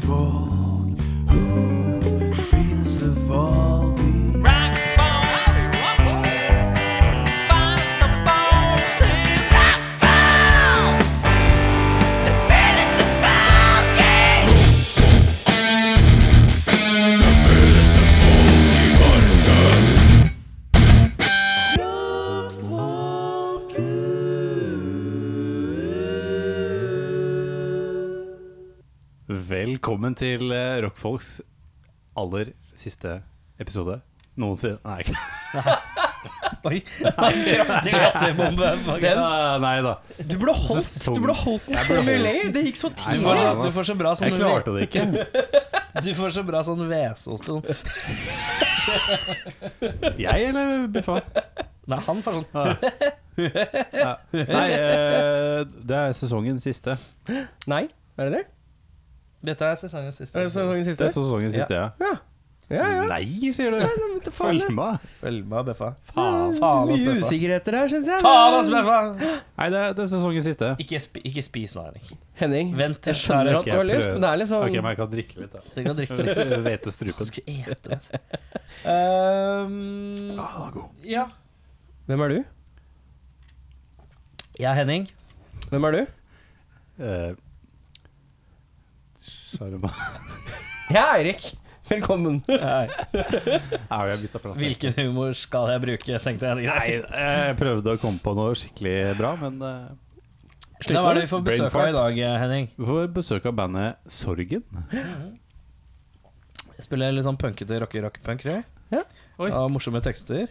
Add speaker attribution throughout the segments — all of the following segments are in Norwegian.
Speaker 1: folk? Who feels the fall beat?
Speaker 2: Velkommen til eh, Rockfolks aller siste episode noensinne. Nei, ikke-
Speaker 3: Oi, kraftig gatebombe.
Speaker 2: Eh,
Speaker 3: Den.
Speaker 2: nei da.
Speaker 3: Du burde holdt,
Speaker 2: Sesong.
Speaker 3: du burde holdt den
Speaker 2: Jeg
Speaker 3: så
Speaker 2: burde
Speaker 3: mye
Speaker 2: holdt-
Speaker 3: lenger. Det gikk så
Speaker 2: Nei,
Speaker 3: tidlig.
Speaker 2: faen, ass.
Speaker 3: Du får så bra sånn
Speaker 2: Jeg klarte det ikke.
Speaker 3: Du får så bra sånn hvese og sånn.
Speaker 2: Jeg eller Biffa?
Speaker 3: Nei, han får sånn
Speaker 2: Ja. Ja. Nei, eh, det er sesongens siste.
Speaker 3: Nei, er det det? Dette er sesongens siste.
Speaker 4: Er det sesongens
Speaker 2: Det er
Speaker 4: siste?
Speaker 2: sesongens siste, ja.
Speaker 4: Ja, ja.
Speaker 2: Nei, sier
Speaker 4: men
Speaker 2: du.
Speaker 4: det faen,
Speaker 2: Følg med.
Speaker 3: Følg med, Beffa.
Speaker 2: Faen.
Speaker 3: Faen ass,
Speaker 4: Mye
Speaker 3: Beffa.
Speaker 4: usikkerheter her, syns jeg.
Speaker 3: Faen altså, ass, Beffa!
Speaker 2: Nei, det er, det er sesongens siste.
Speaker 3: Ikke, sp ikke spis nå, Henrik.
Speaker 4: Henning,
Speaker 3: Vent til
Speaker 4: jeg skjønner
Speaker 3: Sara
Speaker 4: at du har lyst, men det er liksom
Speaker 2: Ok, men jeg kan drikke litt, da.
Speaker 3: Du kan drikke litt.
Speaker 2: Hvetestrupen.
Speaker 3: Du skal ete, ass. Ehm,
Speaker 2: Ah,
Speaker 3: ja.
Speaker 4: Hvem er du?
Speaker 3: Jeg er Henning.
Speaker 4: Hvem er du?
Speaker 2: Eh, Sjarma.
Speaker 4: Jeg er Eirik. Velkommen.
Speaker 3: Hei.
Speaker 2: Au, jeg bytta plass. her.
Speaker 3: Hvilken humor skal jeg bruke, tenkte jeg.
Speaker 2: Nei, eh, jeg prøvde å komme på noe skikkelig bra, men eh,
Speaker 3: Da var det vi får
Speaker 2: Brain
Speaker 3: besøk av
Speaker 2: fart.
Speaker 3: i dag, Henning.
Speaker 2: Vi får besøk av bandet Sorgen.
Speaker 3: Jeg spiller litt sånn punkete rocke-rock-punk.
Speaker 4: Ja.
Speaker 2: Oi.
Speaker 3: Og morsomme tekster.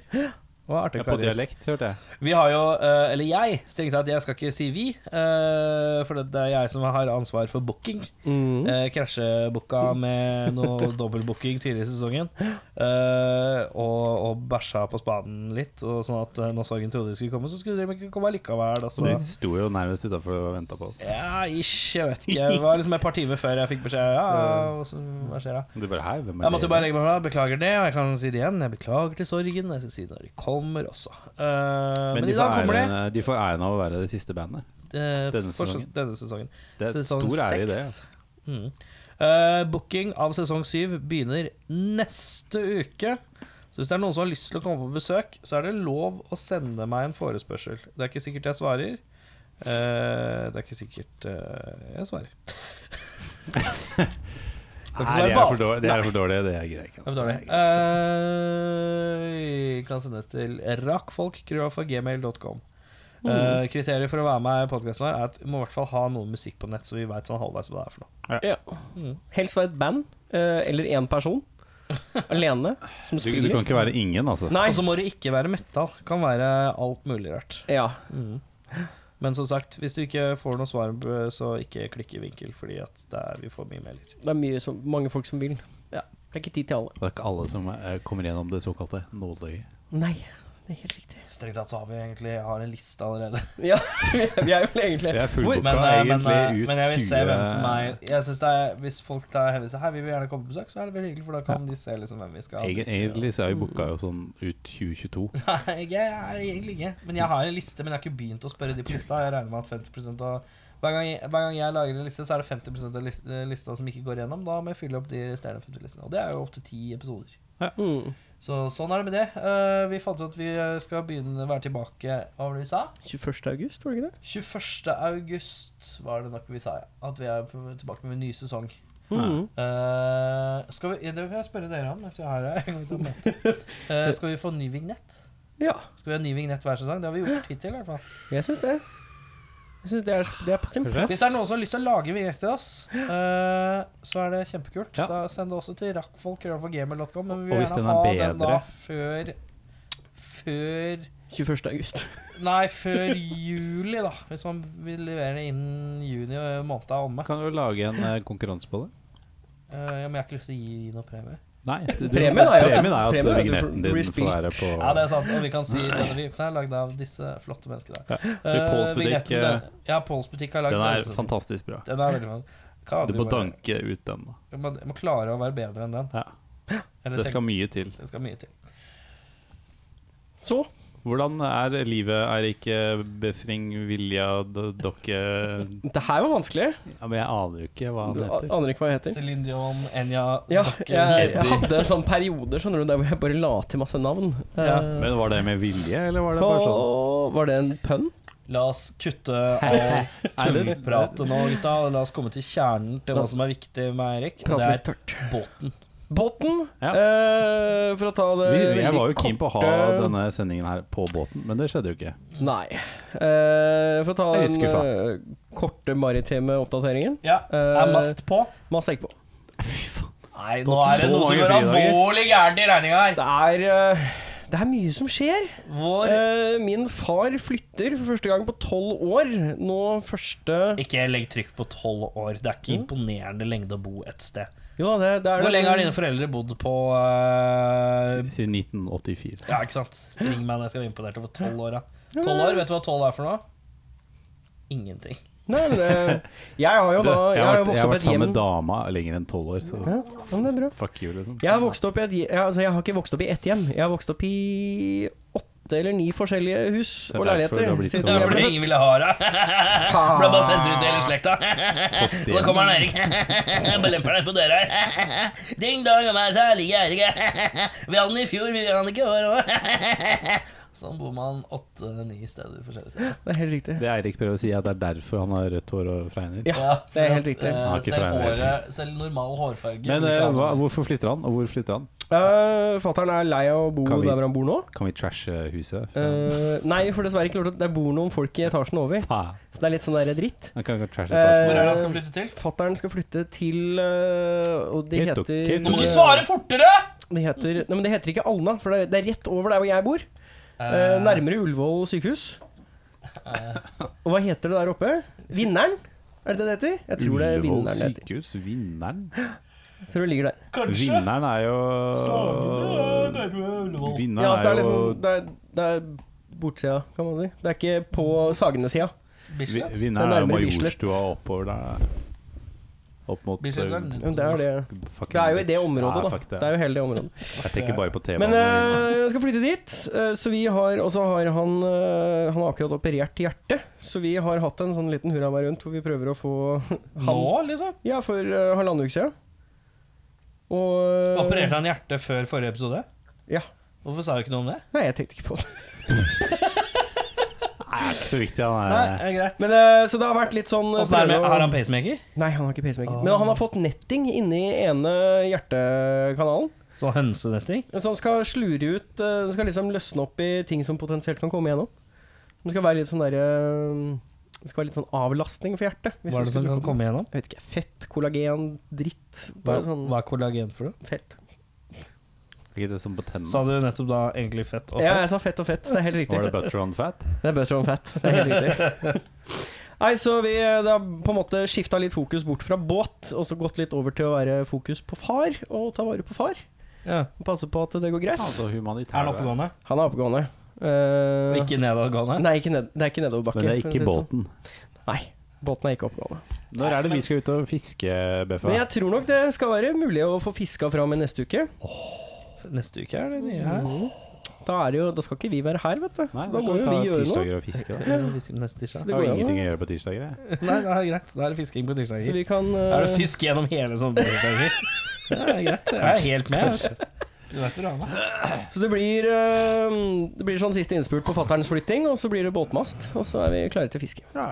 Speaker 3: Og artig
Speaker 2: Ja, på
Speaker 3: karer.
Speaker 2: dialekt, hørte jeg.
Speaker 3: Vi har jo, eh, eller jeg, strengt tatt, jeg skal ikke si vi, eh, for det det er jeg som har ansvar for booking.
Speaker 4: Mm.
Speaker 3: Eh, Krasjebooka med noe dobbeltbooking tidligere i sesongen. Eh, og, og bæsja på spaden litt, og sånn at eh, når sorgen trodde de skulle komme, så skulle de ikke komme likevel. Og
Speaker 2: Og
Speaker 3: så.
Speaker 2: de sto jo nærmest utafor og venta på oss.
Speaker 3: Ja, ish, jeg vet ikke. Det var liksom et par timer før jeg fikk beskjed. Ja, og så, hva skjer da?
Speaker 2: Du bare, hei, hvem er
Speaker 3: Jeg måtte
Speaker 2: dere?»
Speaker 3: bare legge meg fra. Beklager det, og jeg kan si det igjen. Jeg beklager til sorgen. Jeg skal si det når de kommer også. Eh, men,
Speaker 2: Men de
Speaker 3: i
Speaker 2: får,
Speaker 3: dag kommer det.
Speaker 2: æren, de får æren av å være det siste bandet.
Speaker 3: eh,
Speaker 2: denne
Speaker 3: fortsatt-
Speaker 2: sesongen.
Speaker 3: Denne sesongen.
Speaker 2: Det er
Speaker 3: Sesong
Speaker 2: stor ære i det. altså.
Speaker 3: seks. Mm. Eh, booking av sesong syv begynner neste uke. Så hvis det er noen som har lyst til å komme på besøk, så er det lov å sende meg en forespørsel. Det er ikke sikkert jeg svarer. Eh, det er ikke sikkert eh, jeg svarer.
Speaker 2: Nei,
Speaker 3: ikke svare
Speaker 2: det
Speaker 3: på
Speaker 2: er
Speaker 3: alt.
Speaker 2: for dårlig. Det er for dårlig, det greier jeg ikke.
Speaker 3: Det
Speaker 2: altså.
Speaker 3: var dårlig.
Speaker 2: Det er ikke sant.
Speaker 3: Eh, kan sendes til rakkfolk.gmail.com. Eh, kriteriet for å være med i podkasten er at vi må i hvert fall ha noe musikk på nett, så vi veit sånn halvveis hva det er for noe.
Speaker 4: Ja. Helst være et band, eh, eller én person. Alene, som
Speaker 2: Du, du
Speaker 4: spiller.
Speaker 2: kan ikke være ingen, altså.
Speaker 4: Nei.
Speaker 3: Og så må det ikke være metal. Kan være alt mulig rart.
Speaker 4: Ja.
Speaker 3: Men som sagt, hvis du ikke får noe svar, så ikke klikk i vinkel, fordi at det er, vi får mye mailer.
Speaker 4: Det er mye som, mange folk som vil.
Speaker 3: Ja.
Speaker 4: Det er ikke tid til alle.
Speaker 2: Det er ikke alle som eh, kommer gjennom det såkalte nåløyet.
Speaker 4: Nei, det er helt riktig.
Speaker 3: Strengt tatt så har vi egentlig jeg har en liste allerede.
Speaker 4: Ja, vi er vel egentlig
Speaker 2: Vi er
Speaker 3: Men, eh,
Speaker 2: fullbooka
Speaker 3: men,
Speaker 2: egentlig
Speaker 3: eh,
Speaker 2: ut
Speaker 3: men jeg vil se
Speaker 2: 20
Speaker 3: hvem som er Jeg synes det er Hvis folk da hevder seg her, vi vil gjerne komme på besøk, så er det veldig hyggelig, for da kan de se liksom hvem vi skal ha.
Speaker 2: Egen- Egentlig så er vi booka jo sånn ut 2022.
Speaker 3: Nei, jeg er egentlig ikke. Men jeg har en liste, men jeg har ikke begynt å spørre de på lista. Jeg regner med at 50 av hver gang, jeg, hver gang jeg lager en liste, så er det 50 av lis- eh, lista som ikke går gjennom. Da må jeg fylle opp de resterende 50 listene. Og det er jo ofte ti episoder.
Speaker 4: Mm.
Speaker 3: Så sånn er det med det. Eh, vi fant ut at vi eh, skal begynne å være tilbake Hva var det vi sa?
Speaker 4: 21. august, var det ikke det?
Speaker 3: 21. august var det nok vi sa, ja. At vi er på- tilbake med en ny sesong.
Speaker 4: Mm.
Speaker 3: Eh, skal vi, det vil jeg spørre dere om. mens vi har her. Jeg kan ikke ta med. Eh, skal vi få ny vignett?
Speaker 4: Ja,
Speaker 3: Skal vi ha ny vignett hver sesong? Det har vi gjort hittil. i hvert fall
Speaker 4: jeg syns det. Jeg syns det er, det er på sin plass.
Speaker 3: Hvis det er noen som har lyst til å lage vignett til oss, eh, så er det kjempekult.
Speaker 2: Ja.
Speaker 3: Da Send det også til rakkfolk.gmail.com. Men vi
Speaker 2: Og
Speaker 3: vil
Speaker 2: hvis den
Speaker 3: gjerne
Speaker 2: er
Speaker 3: ha den da
Speaker 2: bedre-
Speaker 3: før Før
Speaker 4: 21. august.
Speaker 3: Nei, før juli, da. Hvis man vil levere det innen juni og måneden er omme.
Speaker 2: Kan du lage en eh, konkurranse på det?
Speaker 3: Eh, ja, men jeg har ikke lyst til å gi noe premie.
Speaker 2: Nei. du-
Speaker 4: Premien er jo-
Speaker 2: premien er
Speaker 4: premien
Speaker 2: at
Speaker 4: er at du
Speaker 2: vignetten
Speaker 4: blir
Speaker 2: din får
Speaker 4: spilt.
Speaker 2: være på
Speaker 3: Ja, det er sant. Og vi kan si denne vignetten er lagd av disse flotte menneskene.
Speaker 2: Ja,
Speaker 3: Eh,
Speaker 2: Pauls butikk,
Speaker 3: vignetten,
Speaker 2: eh,
Speaker 3: den- Ja, Pauls butikk har lagd
Speaker 2: Den er
Speaker 3: den.
Speaker 2: fantastisk bra.
Speaker 3: Den er veldig fan. Kan
Speaker 2: Du
Speaker 3: vi
Speaker 2: må
Speaker 3: bare-
Speaker 2: danke ut den. da.
Speaker 3: Jeg må, jeg må klare å være bedre enn den.
Speaker 2: Ja.
Speaker 3: Eller
Speaker 2: Det
Speaker 3: tenk-
Speaker 2: skal mye til.
Speaker 3: det skal mye til.
Speaker 4: Så
Speaker 2: Hvordan er livet, Eirik eh, Befring, Vilja, D- Dokke ja,
Speaker 4: Det her var vanskelig.
Speaker 2: Men jeg aner jo ikke hva han
Speaker 4: Du a-
Speaker 2: heter.
Speaker 4: aner ikke hva jeg heter.
Speaker 3: Céline Dion, Enya
Speaker 4: Ja,
Speaker 3: Dokken,
Speaker 4: jeg,
Speaker 3: Eddie.
Speaker 4: jeg hadde en sånn perioder skjønner du, der hvor jeg bare la til masse navn.
Speaker 3: Ja.
Speaker 4: Eh,
Speaker 2: Men var det med vilje, eller var det bare sånn?
Speaker 4: og- var det en pønn?
Speaker 3: La oss kutte alt tullpratet nå, gutta. og La oss komme til kjernen til hva som er viktig med Eirik. Og det
Speaker 4: Prate litt
Speaker 3: er
Speaker 4: tørt.
Speaker 3: båten.
Speaker 4: Båten,
Speaker 2: Ja.
Speaker 4: eh, for å ta det
Speaker 2: Vi, jeg
Speaker 4: veldig
Speaker 2: var jo keen på å ha
Speaker 4: korte-
Speaker 2: denne sendingen her på båten, men det skjedde jo ikke.
Speaker 4: Nei. Eh, for å ta
Speaker 2: Jeg er litt
Speaker 4: den
Speaker 2: skuffa.
Speaker 4: eh, korte maritime oppdateringen.
Speaker 3: Ja, er must på.
Speaker 4: Masse tenk på.
Speaker 2: Fy faen.
Speaker 3: Nei, nå er det
Speaker 2: Så
Speaker 3: noe som
Speaker 2: mange
Speaker 3: går
Speaker 2: fridager.
Speaker 3: alvorlig gærent i regninga her.
Speaker 4: Det er, eh, det er mye som skjer.
Speaker 3: Vår
Speaker 4: Eh, min far flytter for første gang på tolv år. Nå første
Speaker 3: Ikke legg trykk på tolv år. Det er ikke imponerende lengde å bo et sted.
Speaker 4: Jo da, det, det er
Speaker 3: Hvor lenge har dine foreldre bodd på eh,
Speaker 2: Siden 1984.
Speaker 3: Ja, ikke sant? Ring meg når jeg skal være imponert over tolv år. da. 12 år, Vet du hva tolv er for noe? Ingenting.
Speaker 4: Nei, men det, jeg har jo
Speaker 2: eh, Du,
Speaker 4: da
Speaker 2: jeg
Speaker 4: Jeg
Speaker 2: har
Speaker 4: har jo
Speaker 2: vært, jeg
Speaker 4: vokst
Speaker 2: har
Speaker 4: opp i
Speaker 2: vært
Speaker 4: et
Speaker 2: sammen
Speaker 4: hjem
Speaker 2: med dama lenger enn tolv år, så
Speaker 4: ja, men det er bra.
Speaker 2: fuck you, liksom.
Speaker 4: Jeg har vokst opp i et jeg, altså, jeg har ikke vokst opp i ett hjem. Jeg har vokst opp i åtte eller ni forskjellige hus
Speaker 2: er
Speaker 4: og
Speaker 2: derfor det
Speaker 4: leiligheter.
Speaker 2: har blitt
Speaker 4: siden
Speaker 2: sånn.
Speaker 4: jeg
Speaker 3: Det var
Speaker 2: Ja,
Speaker 4: ble
Speaker 3: fordi
Speaker 4: født.
Speaker 3: ingen ville ha deg. Ble bare sendt ut til hele slekta.
Speaker 4: Eh,
Speaker 3: Og da kommer han Erik. Belemper deg på døra. Ding dong, og meg så ligger Erik. Vi hadde den i fjor, vi hadde den ikke i år òg. Sånn bor man åtte-ni steder forskjellige steder.
Speaker 4: Det er helt riktig.
Speaker 2: Det Eirik prøver å si, er at det er derfor han har rødt hår og fregner.
Speaker 4: Ja, det er helt riktig.
Speaker 2: Han har
Speaker 3: eh,
Speaker 2: ikke
Speaker 3: selv,
Speaker 2: forandret.
Speaker 3: håret, selv normal hårfarge
Speaker 2: Men
Speaker 3: vil
Speaker 2: eh,
Speaker 3: ikke ha
Speaker 2: hva,
Speaker 3: noe.
Speaker 2: hvorfor flytter han, og hvor flytter han?
Speaker 4: Uh, Fattern er lei av å bo
Speaker 2: Kan vi-
Speaker 4: der hvor han bor nå.
Speaker 2: Kan vi trashe huset?
Speaker 4: Eh, nei, for dessverre ikke lov til Det bor noen folk i etasjen over,
Speaker 2: Faen.
Speaker 4: så det er litt sånn der dritt.
Speaker 2: Han kan ikke trashe
Speaker 4: Eh,
Speaker 3: Hvor er
Speaker 2: etasjen.
Speaker 3: det han skal flytte til?
Speaker 4: Fattern skal flytte til eh, Og de
Speaker 2: Keto-
Speaker 4: heter
Speaker 2: Keto-
Speaker 3: Nå må du svare fortere!
Speaker 4: De heter, nei, men det heter ikke Alna, for det, er- det er rett over der hvor jeg bor. Eh, nærmere Ullevål sykehus. Og hva heter det der oppe? Vinneren? Er det det det heter? Jeg tror det er
Speaker 2: Ullevål
Speaker 4: Vinneren det heter.
Speaker 2: sykehus, vinneren?
Speaker 4: Jeg tror det ligger der.
Speaker 3: Kanskje.
Speaker 2: Vinneren er jo
Speaker 3: Sagene er nærme Ullevål.
Speaker 2: Vinneren
Speaker 4: Ja, altså, det er
Speaker 2: er jo
Speaker 4: liksom Det er, det er bortsida, kan man si. Det er ikke på Sagene-sida.
Speaker 2: vi-
Speaker 3: Bislett.
Speaker 2: Vinneren
Speaker 4: Det er
Speaker 2: er jo
Speaker 4: nærmere Bislett.
Speaker 2: Majorstua oppover der. Opp mot
Speaker 3: Bislett er den.
Speaker 2: eh,
Speaker 4: Men Det er det.
Speaker 2: fucking-
Speaker 4: Det er jo i det området,
Speaker 2: Ja,
Speaker 4: da.
Speaker 2: fuck det.
Speaker 4: Det er jo hele det området.
Speaker 2: Jeg tenker bare på
Speaker 4: Men
Speaker 2: T-banen.
Speaker 4: eh, jeg skal flytte dit. eh, så vi har Og så har han eh, Han har akkurat operert hjertet. Så vi har hatt en sånn liten hurra meg rundt hvor vi prøver å få
Speaker 3: Nå, liksom?
Speaker 4: Ja, for uh, halvannen uke siden. Og
Speaker 3: Opererte han hjertet før forrige episode?
Speaker 4: Ja.
Speaker 3: Hvorfor sa du ikke noe om det?
Speaker 4: Nei, jeg tenkte ikke på det.
Speaker 2: Nei, det er ikke så viktig, han
Speaker 3: Nei,
Speaker 2: er
Speaker 3: er greit.
Speaker 4: Men, eh, så det har vært litt sånn eh,
Speaker 3: Åssen er det med
Speaker 4: prøve å-
Speaker 3: Har han pacemaker?
Speaker 4: Nei, han har ikke pacemaker.
Speaker 3: Ah.
Speaker 4: Men han har fått netting inni ene hjertekanalen.
Speaker 3: Sånn hønsenetting?
Speaker 4: Så han skal slure ut eh, Den skal liksom løsne opp i ting som potensielt kan komme igjennom. Den skal være litt sånn derre Det skal være litt sånn avlastning for hjertet. hvis
Speaker 3: Hva er
Speaker 4: du
Speaker 3: det som
Speaker 4: skulle-
Speaker 3: kan komme igjennom?
Speaker 4: Jeg vet ikke. Fett, kollagen, dritt.
Speaker 3: Hva,
Speaker 4: Bare sånn
Speaker 3: hva er kollagen for noe?
Speaker 4: fett.
Speaker 2: Ikke det som på
Speaker 3: Mm. Sa
Speaker 4: Sånn.
Speaker 2: tennene.
Speaker 3: du nettopp da egentlig fett og
Speaker 4: Ja,
Speaker 3: fett?
Speaker 4: jeg sa fett og fett. Det er helt riktig.
Speaker 2: Var det butter on fat?
Speaker 4: Det er butter on fat. Det er helt riktig. Nei, så vi eh, det har på en måte skifta litt fokus bort fra båt, og så gått litt over til å være fokus på far, og ta vare på far.
Speaker 3: Ja.
Speaker 4: Passe på at det går greit.
Speaker 2: Altså humanitær.
Speaker 3: Er han oppegående?
Speaker 4: Han er oppegående. Eh,
Speaker 3: Ikke nedadgående?
Speaker 4: Nei, ikke ned, det er ikke nedoverbakke.
Speaker 2: Men det er
Speaker 4: for å si
Speaker 2: ikke
Speaker 4: sånn.
Speaker 2: båten.
Speaker 4: Nei, båten er ikke oppegående.
Speaker 2: Når er det vi skal ut og fiske, Beffa?
Speaker 4: Men jeg tror nok det skal være mulig å få fiska fram i neste uke.
Speaker 3: Neste uke er det nye her.
Speaker 4: Da, er det jo, da skal ikke vi være her, vet du.
Speaker 2: Nei,
Speaker 4: så
Speaker 2: da
Speaker 4: da må jo
Speaker 2: ta
Speaker 4: vi gjøre noe.
Speaker 2: tirsdager og fiske, da.
Speaker 3: Neste tirsdag.
Speaker 4: Så
Speaker 2: Jeg
Speaker 4: det går
Speaker 2: har
Speaker 4: jo
Speaker 2: jo
Speaker 4: an.
Speaker 2: ingenting å gjøre på tirsdager, jeg.
Speaker 3: Nei, det er greit. Da er det fisking på tirsdager.
Speaker 4: Så vi kan eh,
Speaker 3: Er det fisk gjennom hele sommerdagen? Ja, det er greit. Jeg er helt med. altså. Du vet hvor du har meg.
Speaker 4: Så det blir, eh, det blir sånn siste innspurt på fatterns flytting, og så blir det båtmast. Og så er vi klare til fiske.
Speaker 2: Ja.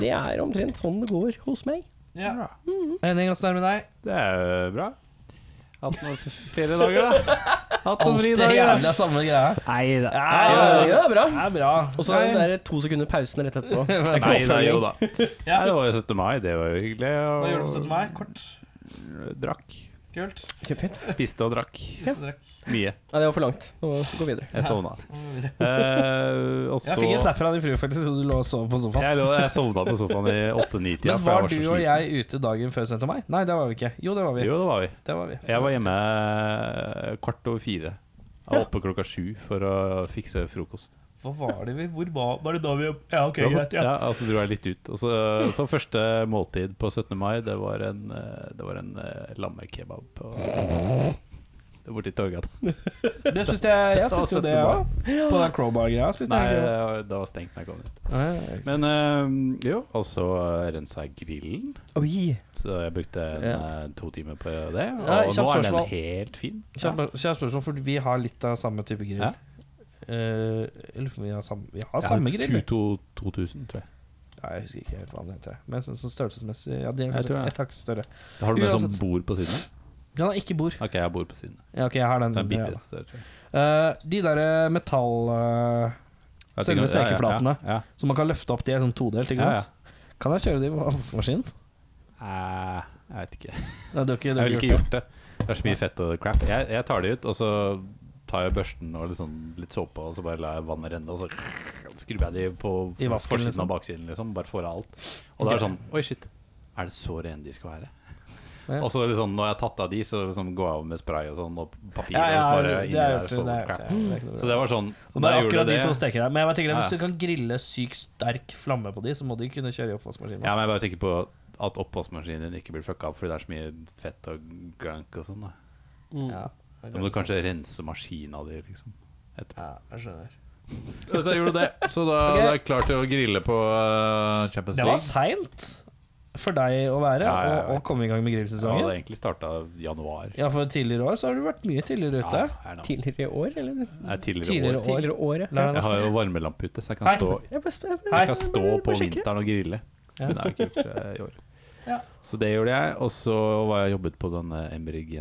Speaker 4: Det er omtrent sånn det går hos meg.
Speaker 2: Bra.
Speaker 3: Henning, åssen er det med deg?
Speaker 2: Det er jo bra. Hatt noen f- feriedager, da. Hatt noen fridager. da.
Speaker 3: jævla samme greia.
Speaker 2: Nei da.
Speaker 3: Ja,
Speaker 4: Ja,
Speaker 3: ja,
Speaker 4: det er bra.
Speaker 3: Det er bra.
Speaker 4: Og så den der to sekunder pausen rett etterpå. Det er ikke
Speaker 2: Nei da,
Speaker 4: oppfølging.
Speaker 2: jo da. Nei, det var jo 17. mai, det var jo hyggelig.
Speaker 3: Hva
Speaker 2: og-
Speaker 3: gjorde du på 17. mai? Kort?
Speaker 2: Drakk.
Speaker 3: Kult?
Speaker 4: Kjempefint.
Speaker 2: Spiste og drakk.
Speaker 3: Siste drekk.
Speaker 2: Mye.
Speaker 4: Nei, det var for langt. Nå går vi videre.
Speaker 2: Jeg sovna. Eh, og så
Speaker 3: Jeg fikk en snap fra din frue faktisk, så du lå og sov på sofaen.
Speaker 2: Jeg, lå, jeg sovna på sofaen i 8-9-tida.
Speaker 3: Men
Speaker 2: for
Speaker 3: var
Speaker 2: jeg så
Speaker 3: du og
Speaker 2: sliten.
Speaker 3: jeg ute dagen før 17. mai? Nei, det var vi ikke. Jo, det var vi.
Speaker 2: Jo, det var vi.
Speaker 3: Det var vi.
Speaker 2: Jeg var hjemme eh, kvart over fire. Jeg var oppe klokka sju for å fikse frokost.
Speaker 3: Hva var det vi Hvor var, var det da vi Ja, ok,
Speaker 2: Ja,
Speaker 3: greit. Ja.
Speaker 2: Ja, og så dro jeg litt ut. Og så, så første måltid på 17. mai, det var en, eh, det var en eh, lammekebab. På, Det er borti Torgata.
Speaker 3: Det spiste jeg. Jeg spiste jo det, jeg òg. På den crowbar-greia spiste
Speaker 2: Nei,
Speaker 3: jeg egentlig det.
Speaker 2: det var stengt da jeg kom dit.
Speaker 3: Nei,
Speaker 2: Men eh, jo, og så eh, rensa jeg grillen.
Speaker 4: Oi.
Speaker 2: Så jeg brukte en, eh, to timer på det, og
Speaker 3: Ja,
Speaker 2: nå
Speaker 3: kjapt
Speaker 2: er den
Speaker 3: spørsmål.
Speaker 2: helt fin.
Speaker 3: Kjempe, kjempe spørsmål, for vi har litt av samme type grill.
Speaker 2: Ja.
Speaker 3: Eh, jeg lurer på om vi har samme, vi har
Speaker 2: Jeg
Speaker 3: samme
Speaker 2: har
Speaker 3: grill. vi.
Speaker 2: Q2 2000, tror jeg.
Speaker 3: Nei, jeg husker ikke helt hva den heter. Men sånn sånn størrelsesmessig Ja, de er
Speaker 2: Jeg tror
Speaker 3: kanskje
Speaker 2: det.
Speaker 3: et hakk større.
Speaker 2: Har du med sånn
Speaker 3: Uansett.
Speaker 2: bord på siden? av?
Speaker 3: Den har ikke bord.
Speaker 2: Ok, jeg har bord på siden. av.
Speaker 3: Ja, ok, jeg har den.
Speaker 2: Det er bitte
Speaker 3: ja.
Speaker 2: litt større, tror jeg.
Speaker 3: Eh, de der eh, metall... eh, Selve
Speaker 2: Jeg tenker- ja, ja,
Speaker 3: stekeflatene.
Speaker 2: Ja,
Speaker 3: som man kan løfte opp, de er sånn todelt, ikke
Speaker 2: ja. ja,
Speaker 3: sant? Kan jeg kjøre de på vaskemaskinen?
Speaker 2: ja. Eh, Jeg vet ikke.
Speaker 3: Nei, du har ikke, du
Speaker 2: Jeg
Speaker 3: har ikke
Speaker 2: ville ikke
Speaker 3: gjort det.
Speaker 2: gjort det. Det er så mye fett og crap. Jeg, jeg tar det ut, og så tar jeg børsten og litt, sånn, litt såpe, og så bare lar jeg vannet renne, og så skrubber jeg de på
Speaker 3: I vasken,
Speaker 2: forsiden
Speaker 3: liksom.
Speaker 2: og baksiden, liksom. Bare får av alt. Og da er det sånn Oi, shit. Er det så rene de skal være?
Speaker 3: Ja.
Speaker 2: Og så liksom, når jeg har tatt av de, så liksom går jeg over med spray og sånn, og papir
Speaker 3: Ja, ja,
Speaker 2: og så bare
Speaker 3: det
Speaker 2: inni
Speaker 3: har jeg
Speaker 2: der,
Speaker 3: gjort, det
Speaker 2: så
Speaker 3: har jeg gjort,
Speaker 2: crap.
Speaker 3: ja, det er ikke noe
Speaker 2: Så det var sånn
Speaker 3: Og det
Speaker 2: Da
Speaker 3: er
Speaker 2: gjorde
Speaker 3: akkurat de
Speaker 2: jeg
Speaker 3: to
Speaker 2: det.
Speaker 3: stekerne. Men jeg bare tenker at
Speaker 2: Ja,
Speaker 3: hvis
Speaker 2: ja.
Speaker 3: du kan grille sykt sterk flamme på de, så må de kunne kjøre i oppvaskmaskinen.
Speaker 2: Ja, men jeg bare tenker på at oppvaskmaskinen din ikke blir fucka opp fordi det er så mye fett og gunk og sånn. da
Speaker 3: Ja.
Speaker 2: Da må du kanskje rense maskina di, liksom.
Speaker 3: Ja, jeg skjønner.
Speaker 2: Så jeg gjorde det. Så da
Speaker 3: Ok.
Speaker 2: da er jeg klar til å grille på eh, Champions
Speaker 3: Det
Speaker 2: League.
Speaker 3: var seint for deg å være
Speaker 2: Ja, ja, jeg
Speaker 3: og, og
Speaker 2: vet.
Speaker 3: komme i gang med
Speaker 2: Ja, det
Speaker 3: grillsesongen.
Speaker 2: hadde egentlig starta januar.
Speaker 3: Ja, for tidligere år så har du vært mye tidligere ute.
Speaker 2: er nå.
Speaker 4: Tidligere år, eller?
Speaker 2: Nei, tidligere,
Speaker 3: Tidligere
Speaker 2: år.
Speaker 3: år.
Speaker 4: Tidligere år, ja.
Speaker 3: La-
Speaker 2: Jeg har jo varmelampe ute, så jeg kan
Speaker 3: Hei.
Speaker 2: stå,
Speaker 4: Jeg bare spør.
Speaker 3: Hei.
Speaker 2: jeg kan stå på vinteren og grille.
Speaker 3: Ja.
Speaker 2: Men det har jeg ikke gjort eh, i år.
Speaker 3: Ja.
Speaker 2: Så det gjorde jeg. Og så var jeg jobbet på denne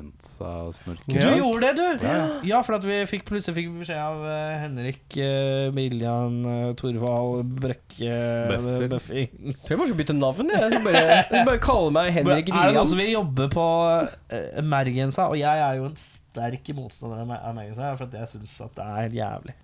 Speaker 2: Emergenza-snorken.
Speaker 3: Du
Speaker 4: Ja.
Speaker 3: gjorde det, du! Ja, for at vi fikk, plutselig fikk vi beskjed av eh, Henrik eh, Miljan eh, Thorvald Brekke eh,
Speaker 2: Bøffing.
Speaker 3: Bøffing.
Speaker 4: Jeg tror jeg bare skal bytte navn. Jeg. Jeg skal bare, bare kalle meg Henrik
Speaker 3: Er det noen
Speaker 4: William.
Speaker 3: som vil jobbe på eh, Mergensa? Og jeg er jo en sterk motstander av Mer- av Mergensa, for at jeg syns at det er helt jævlig.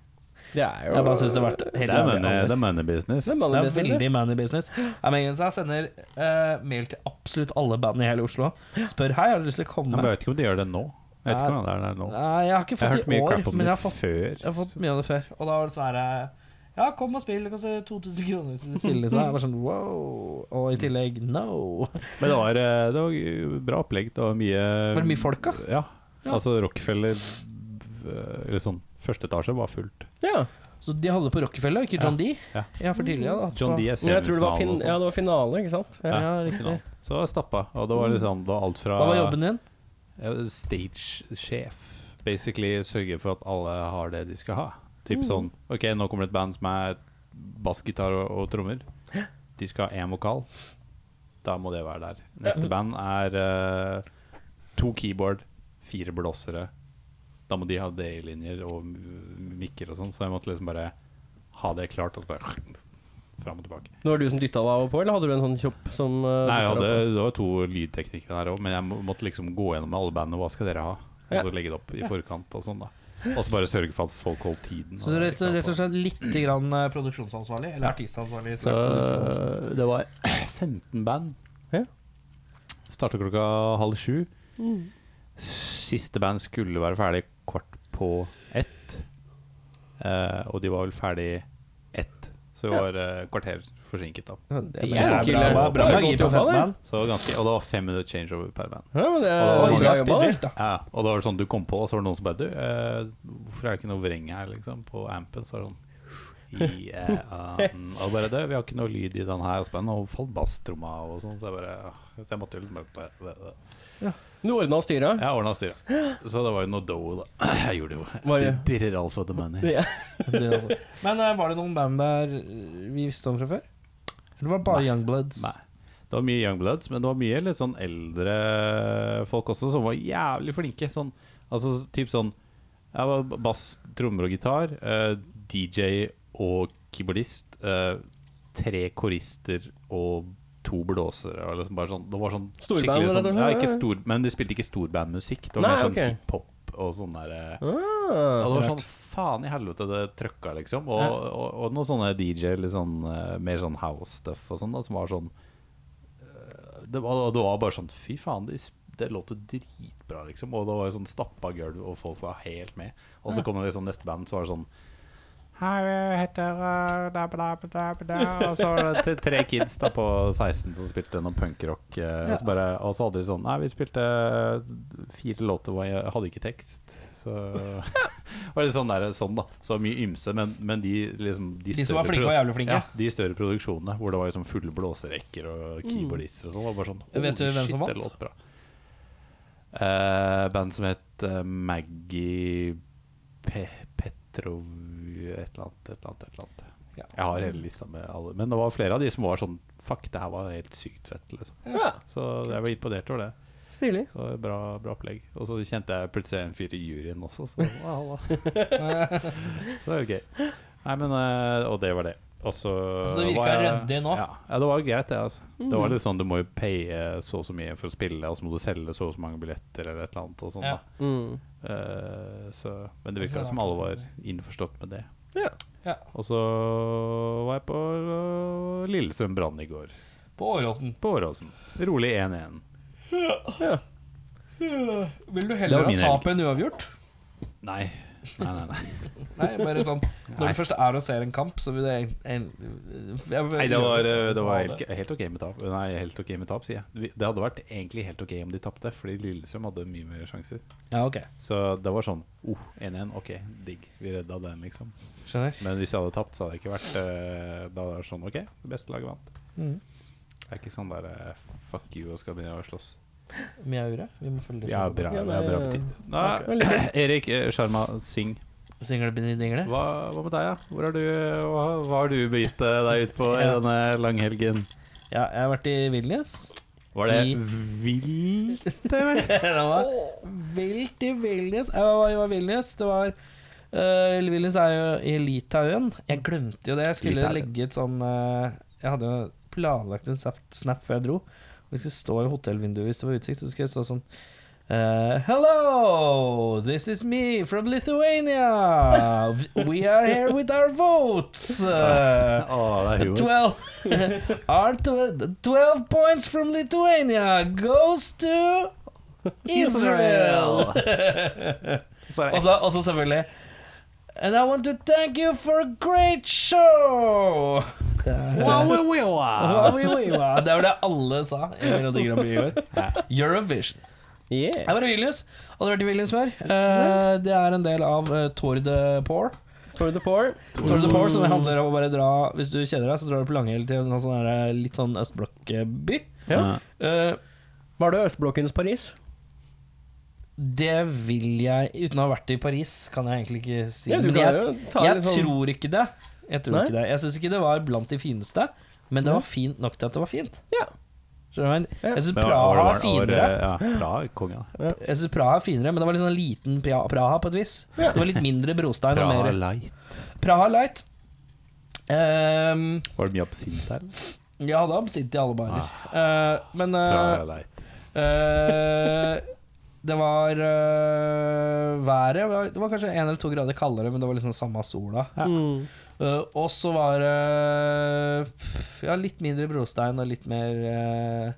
Speaker 4: Det er jo
Speaker 3: Jeg bare syns det har vært helt
Speaker 2: Det er money, det
Speaker 3: jævlig.
Speaker 2: er money business.
Speaker 4: Det er
Speaker 3: Det
Speaker 4: mannen
Speaker 3: er
Speaker 4: best,
Speaker 3: veldig man i business. Mergensa sender eh, mail til absolutt alle bandene i hele Oslo. Spør hei, har du lyst til å
Speaker 2: Men
Speaker 3: komme?
Speaker 2: jeg vet ikke om de gjør det nå. Jeg vet ikke hvordan det er der nå.
Speaker 3: Nei, jeg har ikke
Speaker 2: Jeg har
Speaker 3: fått
Speaker 2: hørt mye
Speaker 3: i år,
Speaker 2: crap om
Speaker 3: men
Speaker 2: det
Speaker 3: jeg har fått
Speaker 2: før.
Speaker 3: Jeg har fått mye av det før. Og da var det sånn her eh, Ja, kom og spill. Det koster 2000 kroner hvis du vil spille. Liksom. Jeg var sånn wow. Og i tillegg no.
Speaker 2: Men det var, eh, det var bra opplegg. Det var mye
Speaker 3: Var det mye folk, da?
Speaker 2: Ja.
Speaker 3: Ja.
Speaker 2: Altså Rockefeller eh, Eller sånn Første etasje var fullt.
Speaker 4: Ja.
Speaker 3: Så de hadde det på Rockefeller, ikke John D?
Speaker 2: Ja.
Speaker 3: Ja, for tidligere hadde hatt
Speaker 2: John
Speaker 3: på-
Speaker 2: D. er
Speaker 4: Men Jeg tror det var, fin
Speaker 2: semifinale
Speaker 4: ja,
Speaker 2: og sånn.
Speaker 4: det var finale, ikke sant? Ja.
Speaker 3: Ja, riktig.
Speaker 2: Finale. Så det var stappa. Og det var liksom det var alt fra
Speaker 3: Hva var jobben din?
Speaker 2: ja, Stagesjef. Basically sørge for at alle har det de skal ha. Typ sånn OK, nå kommer det et band som er bassgitar og, og trommer. De skal ha én vokal. Da må det være der. Neste band er eh, to keyboard, fire blåsere. Da må de ha D-linjer og m- mikker og sånn, så jeg måtte liksom bare ha det klart. Og så bare fram og tilbake.
Speaker 4: Nå var det du som dytta deg på, eller hadde du en sånn kjopp som uh,
Speaker 2: Nei, jeg
Speaker 4: dyttet
Speaker 2: hadde,
Speaker 4: deg opp?
Speaker 2: det var to lydteknikere her òg, men jeg må- måtte liksom gå gjennom alle bandene. Hva skal dere ha? Og så legge det opp i forkant og sånn, da. Og så bare sørge for at folk holdt tiden.
Speaker 3: Så du er rett, rett og slett litt grann eh, produksjonsansvarlig? Eller artistansvarlig?
Speaker 2: Så det var 15 band.
Speaker 4: Ja.
Speaker 2: Starta klokka halv sju.
Speaker 3: Mm.
Speaker 2: Siste band skulle være ferdig kvart på ett. Eh, og de var vel ferdig ett, så vi var eh, kvarter forsinket, da.
Speaker 3: Det
Speaker 4: er bra.
Speaker 3: bra, bra, bra,
Speaker 4: Det er
Speaker 3: magi
Speaker 4: godt
Speaker 3: på
Speaker 4: jobba, det.
Speaker 3: Fatman.
Speaker 2: Så ganske, og det var fem minutter changeover per band.
Speaker 4: Ja, men det er
Speaker 2: Og det var
Speaker 4: bra
Speaker 3: Mange
Speaker 4: jobba, det.
Speaker 3: spiller, da.
Speaker 2: Ja, og da var det sånn du kom på, og så var det noen som bare Du, eh, hvorfor er det ikke noe vreng her, liksom, på ampen? Så var det sånn yeah, um, Og bare det, vi har ikke noe lyd i den her. Og så bare, nå falt basstromma og sånn, så jeg bare Så jeg måtte jo liksom bare
Speaker 4: Du ordna og styra.
Speaker 2: Jeg ordna styret. Så det var jo noe dough, da. Jeg gjorde jo
Speaker 4: Var
Speaker 2: det.
Speaker 4: det-
Speaker 2: Dirrer all for the money.
Speaker 4: Ja.
Speaker 3: Men eh, var det noen band der eh, vi visste om fra før? Eller var det bare Youngbloods?
Speaker 2: Nei. Det var mye Young Bloods, men det var mye litt sånn eldre folk også som var jævlig flinke. Sånn, altså typ sånn Jeg var bass, trommer og gitar. eh, DJ og keyboardist. eh, tre korister og to blåsere. Og liksom bare sånn, det var sånn
Speaker 4: Storband,
Speaker 2: skikkelig
Speaker 4: rett og
Speaker 2: sånn,
Speaker 4: slett,
Speaker 2: ja,
Speaker 4: ja,
Speaker 2: ikke
Speaker 4: ja.
Speaker 2: stor, Men de spilte ikke storbandmusikk. Det var
Speaker 4: Nei,
Speaker 2: mer sånn
Speaker 4: ok.
Speaker 2: hiphop og sånn der eh,
Speaker 4: Ah,
Speaker 2: ja, det var sånn faen i helvete det trøkka, liksom. Og, og, og noen sånne DJ, litt sånn eh, mer sånn house-stuff og sånn, da, som var sånn eh, det var, det var bare sånn fy faen, det, det låter dritbra, liksom. Og det var jo sånn stappa gulv, og folk var helt med. Og så kom det liksom neste band, så var det sånn Hei, jeg heter eh, da, da, da, da. Og så var det t- tre kids da på 16 som spilte noe punkrock. eh, Og så bare, og så hadde de sånn Nei, vi spilte eh, fire låter hvor jeg hadde ikke tekst. Så det var litt sånn, der, sånn da. Så mye ymse, men, men de liksom
Speaker 3: De som
Speaker 2: større
Speaker 3: var flinke,
Speaker 2: produ-
Speaker 3: var jævlig flinke.
Speaker 2: Ja, de større produksjonene hvor det var liksom fulle blåserekker og keyboardister og sånn. Det var bare sånn
Speaker 3: Vet du
Speaker 2: holy
Speaker 3: hvem som
Speaker 2: shit, det
Speaker 3: vant?
Speaker 2: låt bra. Eh, band som het eh, Maggie Pe Petrov et eller annet, et eller annet. Et eller annet.
Speaker 3: Ja.
Speaker 2: Jeg har hele lista med alle. Men det var flere av de som var sånn Fuck, det her var helt sykt fett. Liksom.
Speaker 4: Ja,
Speaker 2: Så jeg var imponert over det.
Speaker 4: Stilig.
Speaker 2: Så det var bra, bra opplegg. Og så kjente jeg plutselig en fyr i juryen også, så wow. Så det var gøy. Nei, men, eh, og det var det. Og så
Speaker 3: Altså, det virka
Speaker 2: var jeg-
Speaker 3: ryddig nå? Mhm.
Speaker 2: Ja, ja, det var greit, det. Altså. Det var litt sånn, Du må jo paye så og så mye for å spille, og så må du selge så og så mange billetter eller et eller annet. Og sånn,
Speaker 3: Ja.
Speaker 2: da.
Speaker 4: Mm.
Speaker 2: Eh, så, men det virka
Speaker 3: Det er
Speaker 2: som
Speaker 3: rart.
Speaker 2: alle var innforstått med det.
Speaker 4: Ja.
Speaker 3: Ja.
Speaker 2: Og så var jeg på eh, Lillestrøm Brann i går.
Speaker 3: På Åråsen.
Speaker 2: På Åråsen. Rolig 1-1.
Speaker 3: Øh, Vil du
Speaker 2: Det var
Speaker 3: heller ha
Speaker 2: min
Speaker 3: tap enn uavgjort?
Speaker 2: Nei. Nei, nei, nei.
Speaker 3: Nei, bare sånn Når
Speaker 2: Nei.
Speaker 3: du først er og ser en kamp, så vil det en, en, jeg-
Speaker 2: Nei, det var, eh, det
Speaker 3: Så
Speaker 2: var
Speaker 3: ha
Speaker 2: helt, helt ok med tap. Nei, helt ok med tap, sier jeg. Vi- Det hadde vært egentlig helt ok om de tapte, fordi Lillestrøm hadde mye mer sjanser.
Speaker 3: Ja, ok
Speaker 2: Så det var sånn oh, 1-1, ok, digg. Vi redda den, liksom.
Speaker 3: Skjønner.
Speaker 2: Men hvis jeg hadde tapt, så hadde det ikke vært eh, Da hadde det vært sånn OK, det beste laget vant.
Speaker 4: Mm.
Speaker 3: Mhm.
Speaker 2: Det er ikke sånn der eh, fuck you og skal begynne å slåss.
Speaker 3: Mjaure. Vi må følge
Speaker 2: Vi har bra,
Speaker 4: Ja,
Speaker 2: vi har bra
Speaker 4: det-
Speaker 2: tid. Nei, Erik eh, Sharma Singh,
Speaker 3: Single-bingle-dingle.
Speaker 2: hva, hva med deg, da? Hvor er du, eh, hva, hva har du begitt eh, deg ut på i
Speaker 3: Ja.
Speaker 2: denne langhelgen?
Speaker 3: Ja, jeg har vært i Vilnius.
Speaker 2: Var det
Speaker 3: I-
Speaker 2: vilt?
Speaker 3: det var vilt i Vilnius. Jeg var, jeg var i Vilnius. Det var eh, Vilnius er jo i Litauen. Jeg glemte jo det. Jeg skulle
Speaker 2: Litauen.
Speaker 3: legge ut sånn eh, Jeg hadde jo planlagt en snap, snap før jeg dro. Vi skulle stå i hotellvinduet hvis det var utsikt. Så skulle jeg stå sånn eh, hello, this is me from Lithuania. We are here with our votes. Eh,
Speaker 2: Å, det er humor.
Speaker 3: 12, our tw- 12 points from Lithuania goes to Israel.
Speaker 2: Så er
Speaker 3: og,
Speaker 2: det-
Speaker 3: så, og så selvfølgelig And I want to thank you for a great show! Det er- Wow, wow, wow. Det var det alle sa i Melodi Grand Prix i år. Eurovision.
Speaker 4: Yeah.
Speaker 3: Jeg var i Vilnius. Hadde vært i Vilnius før. Eh, det er en del av uh, Tour de Poor.
Speaker 4: Tour de Poor.
Speaker 3: Tour de Port, som handler om å bare dra Hvis du kjeder deg, så drar du på Langhell til en sånn der, litt sånn østblokkby.
Speaker 4: Ja.
Speaker 3: Eh,
Speaker 4: Var det østblokkens Paris?
Speaker 3: det vil jeg Uten å ha vært i Paris, kan jeg egentlig ikke si.
Speaker 4: Ja, du
Speaker 3: men
Speaker 4: kan
Speaker 3: jeg,
Speaker 4: jo ta
Speaker 3: jeg
Speaker 4: litt sånn-
Speaker 3: tror ikke det. Jeg tror
Speaker 4: Nei?
Speaker 3: ikke det Jeg syns ikke det var blant de fineste, men det var fint nok til at det var fint.
Speaker 4: Ja.
Speaker 3: Skjønner du hva jeg mener? Jeg syns
Speaker 2: Men
Speaker 3: Praha
Speaker 2: var-
Speaker 3: er
Speaker 2: var- var-
Speaker 3: finere.
Speaker 2: Ja, Praha, kongen.
Speaker 3: Jeg synes Praha er finere, men det var litt sånn liten Praha, Praha på et vis. Det var litt mindre brostein og
Speaker 2: Praha
Speaker 3: mer
Speaker 2: Light.
Speaker 3: Praha light. Ehm,
Speaker 2: Var det mye absint her? eller?
Speaker 3: jeg hadde absint i alle barer. Eh, men eh,
Speaker 2: Praha Light.
Speaker 3: Eh, det var eh, været var- Det var kanskje én eller to grader kaldere, men det var liksom samme sola.
Speaker 4: Mm.
Speaker 3: Eh, og så var det pff, ja, litt mindre brostein og litt mer eh,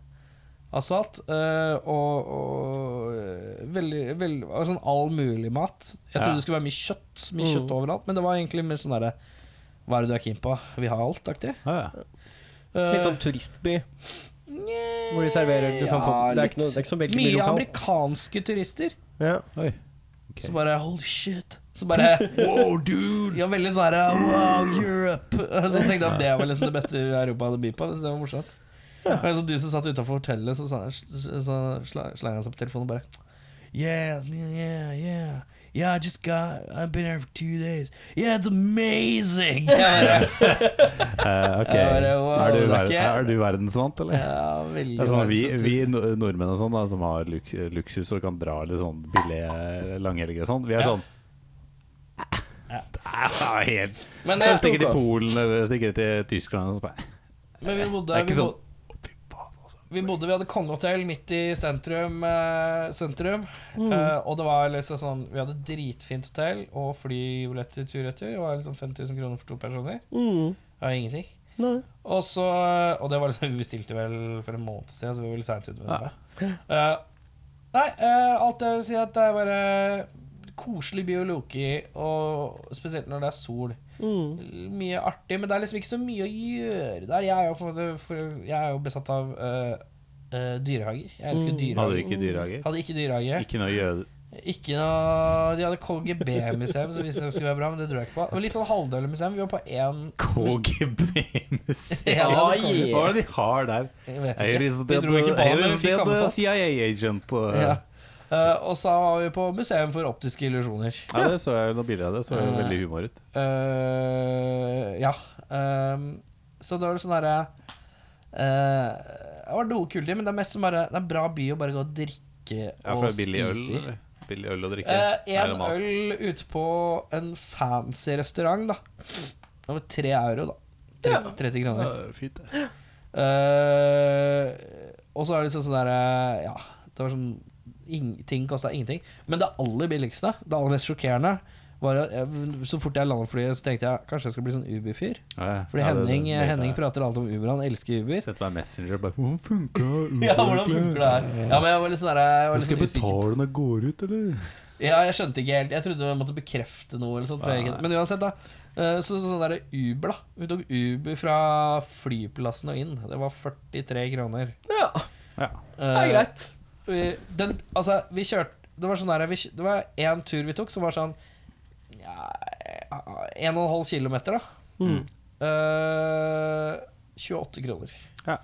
Speaker 3: asfalt. Eh, og og eh, veldig, veldig det var sånn all mulig mat. Jeg trodde
Speaker 2: Ja.
Speaker 3: det skulle være mye kjøtt, mye
Speaker 4: Mm.
Speaker 3: kjøtt overalt, men det var egentlig mer sånn derre Hva er det du er keen på? Vi har alt-aktig.
Speaker 2: Ja, ja.
Speaker 3: Eh,
Speaker 4: Litt sånn turistby. Hvor de serverer du kan få Det er ikke, noe, det er ikke så veldig mye
Speaker 3: mye
Speaker 4: lokalt.
Speaker 3: amerikanske turister.
Speaker 4: Ja.
Speaker 2: Oi.
Speaker 3: Så bare holy shit. Så bare wow, dude! Ja, veldig sånn her wow, Europe. Så jeg tenkte jeg at det var liksom det beste Europa hadde å by på. Det synes jeg var morsomt. Men så du som satt utenfor hotellet, så, sa- så sla- slang han seg på telefonen og bare Yeah, yeah, yeah. Yeah, I just got I've been here for two days. Yeah, it's amazing! Jeg bare,
Speaker 2: Eh, ok.
Speaker 3: Ja, bare, wow,
Speaker 2: er, du
Speaker 3: det er
Speaker 2: ver
Speaker 3: ikke-
Speaker 2: er du verdensvant, eller?
Speaker 3: Ja, veldig altså.
Speaker 2: Det er sånn, vi,
Speaker 3: morsomt.
Speaker 2: vi no- nordmenn og sånn da, som har luk luksus og kan dra litt sånn billige langhelger og sånn, vi er
Speaker 3: Ja.
Speaker 2: sånn Ja, helt
Speaker 3: Men eh, det
Speaker 2: Jeg
Speaker 3: er
Speaker 2: stikker til
Speaker 3: ok.
Speaker 2: Polen eller stikker til Tyskland og sånn. bare,
Speaker 3: Men vi bodde,
Speaker 2: Det er ikke
Speaker 3: vi
Speaker 2: sånn
Speaker 3: bodde
Speaker 2: Å, fy faen, altså.
Speaker 3: Vi bodde, vi hadde kongehotell midt i sentrum. Eh, sentrum eh, og det var liksom sånn Vi hadde dritfint hotell og flybilletter tur-retur. Det var liksom 5000 kroner for to personer.
Speaker 4: Mm.
Speaker 3: Det var ingenting.
Speaker 4: Nei.
Speaker 3: Og så Og det var liksom Vi bestilte vel for en måned siden, så vi var litt seint ute med det. Eh, nei, eh, alt jeg vil si, er at det er bare koselig by å loke i, og spesielt når det er sol. mye artig, men det er liksom ikke så mye å gjøre der. Jeg er jo, på en måte, for, jeg er jo besatt av øh, øh, dyrehager. Jeg elsker
Speaker 2: Hadde
Speaker 3: dyrehager.
Speaker 2: dere ikke dyrehager?
Speaker 3: Hadde ikke dyrehage.
Speaker 2: Ikke noe jøde...
Speaker 3: Ikke noe De hadde KGB-museum, som visste det skulle være bra, men det dro jeg ikke på. Det var litt sånn halvdøle museum. Vi var på én
Speaker 2: KGB-museet?
Speaker 3: Ja,
Speaker 2: Hva
Speaker 3: det kan-
Speaker 2: er det de har der? liksom
Speaker 3: Jeg vet
Speaker 2: Her
Speaker 3: ikke.
Speaker 2: is
Speaker 3: Vi
Speaker 2: that,
Speaker 3: dro ikke på den, men
Speaker 2: here
Speaker 3: vi
Speaker 2: is
Speaker 3: fikk
Speaker 2: that, uh,
Speaker 3: anbefalt.
Speaker 2: CIA agent. uh,
Speaker 3: Ja. Eh, og så var vi på museum for optiske illusjoner.
Speaker 2: Ja, det så jeg noen bilder av det. Så jo veldig humor ut.
Speaker 3: Eh, ja. ehm, så det var sånn herre eh, Det var noe kult i, men det er mest som bare Det er en bra by å bare gå og drikke
Speaker 2: Ja,
Speaker 3: og
Speaker 2: for billig øl,
Speaker 3: spise i.
Speaker 2: eller? billig øl å drikke.
Speaker 3: Eh,
Speaker 2: Eller
Speaker 3: En
Speaker 2: mat.
Speaker 3: øl ute på en fancy restaurant, da. Det var tre euro, da. Tre, 30
Speaker 2: Ja,
Speaker 3: kroner.
Speaker 2: det er fint, det.
Speaker 3: Eh, og så er det liksom sånn derre Ja, det var sånn ing- Ting kosta ingenting. Men det aller billigste, det aller mest sjokkerende, var at jeg, så fort jeg landet flyet, så tenkte jeg kanskje jeg skal bli sånn Uber-fyr.
Speaker 2: Ja, ja.
Speaker 3: Fordi
Speaker 2: Ja, det-
Speaker 3: Henning, eh,
Speaker 2: det- det-
Speaker 3: Henning prater alltid om Uber, han elsker Uber.
Speaker 2: Sendte meg en messenger bare 'Hvordan funka Uber?'
Speaker 3: Ja, hvordan funker det her? Ja, men jeg var litt sånn der, jeg var litt
Speaker 2: Skal
Speaker 3: sånn
Speaker 2: jeg
Speaker 3: usikker.
Speaker 2: betale når jeg går ut, eller?
Speaker 3: Ja, jeg skjønte ikke helt. Jeg trodde jeg måtte bekrefte noe. eller sånt for jeg ikke- Men uansett, da. eh, Så sånn der Uber, da. Vi tok Uber fra flyplassen og inn. Det var 43 kroner. Eh,
Speaker 4: Ja,
Speaker 2: Ja.
Speaker 4: det er greit.
Speaker 3: vi, den, altså, vi kjørte Det var sånn der, vi, kj- Det var én tur vi tok som var sånn ja, eh, 1,5 km, da.
Speaker 4: Mm.
Speaker 3: Eh, 28 kroner.
Speaker 2: Ja.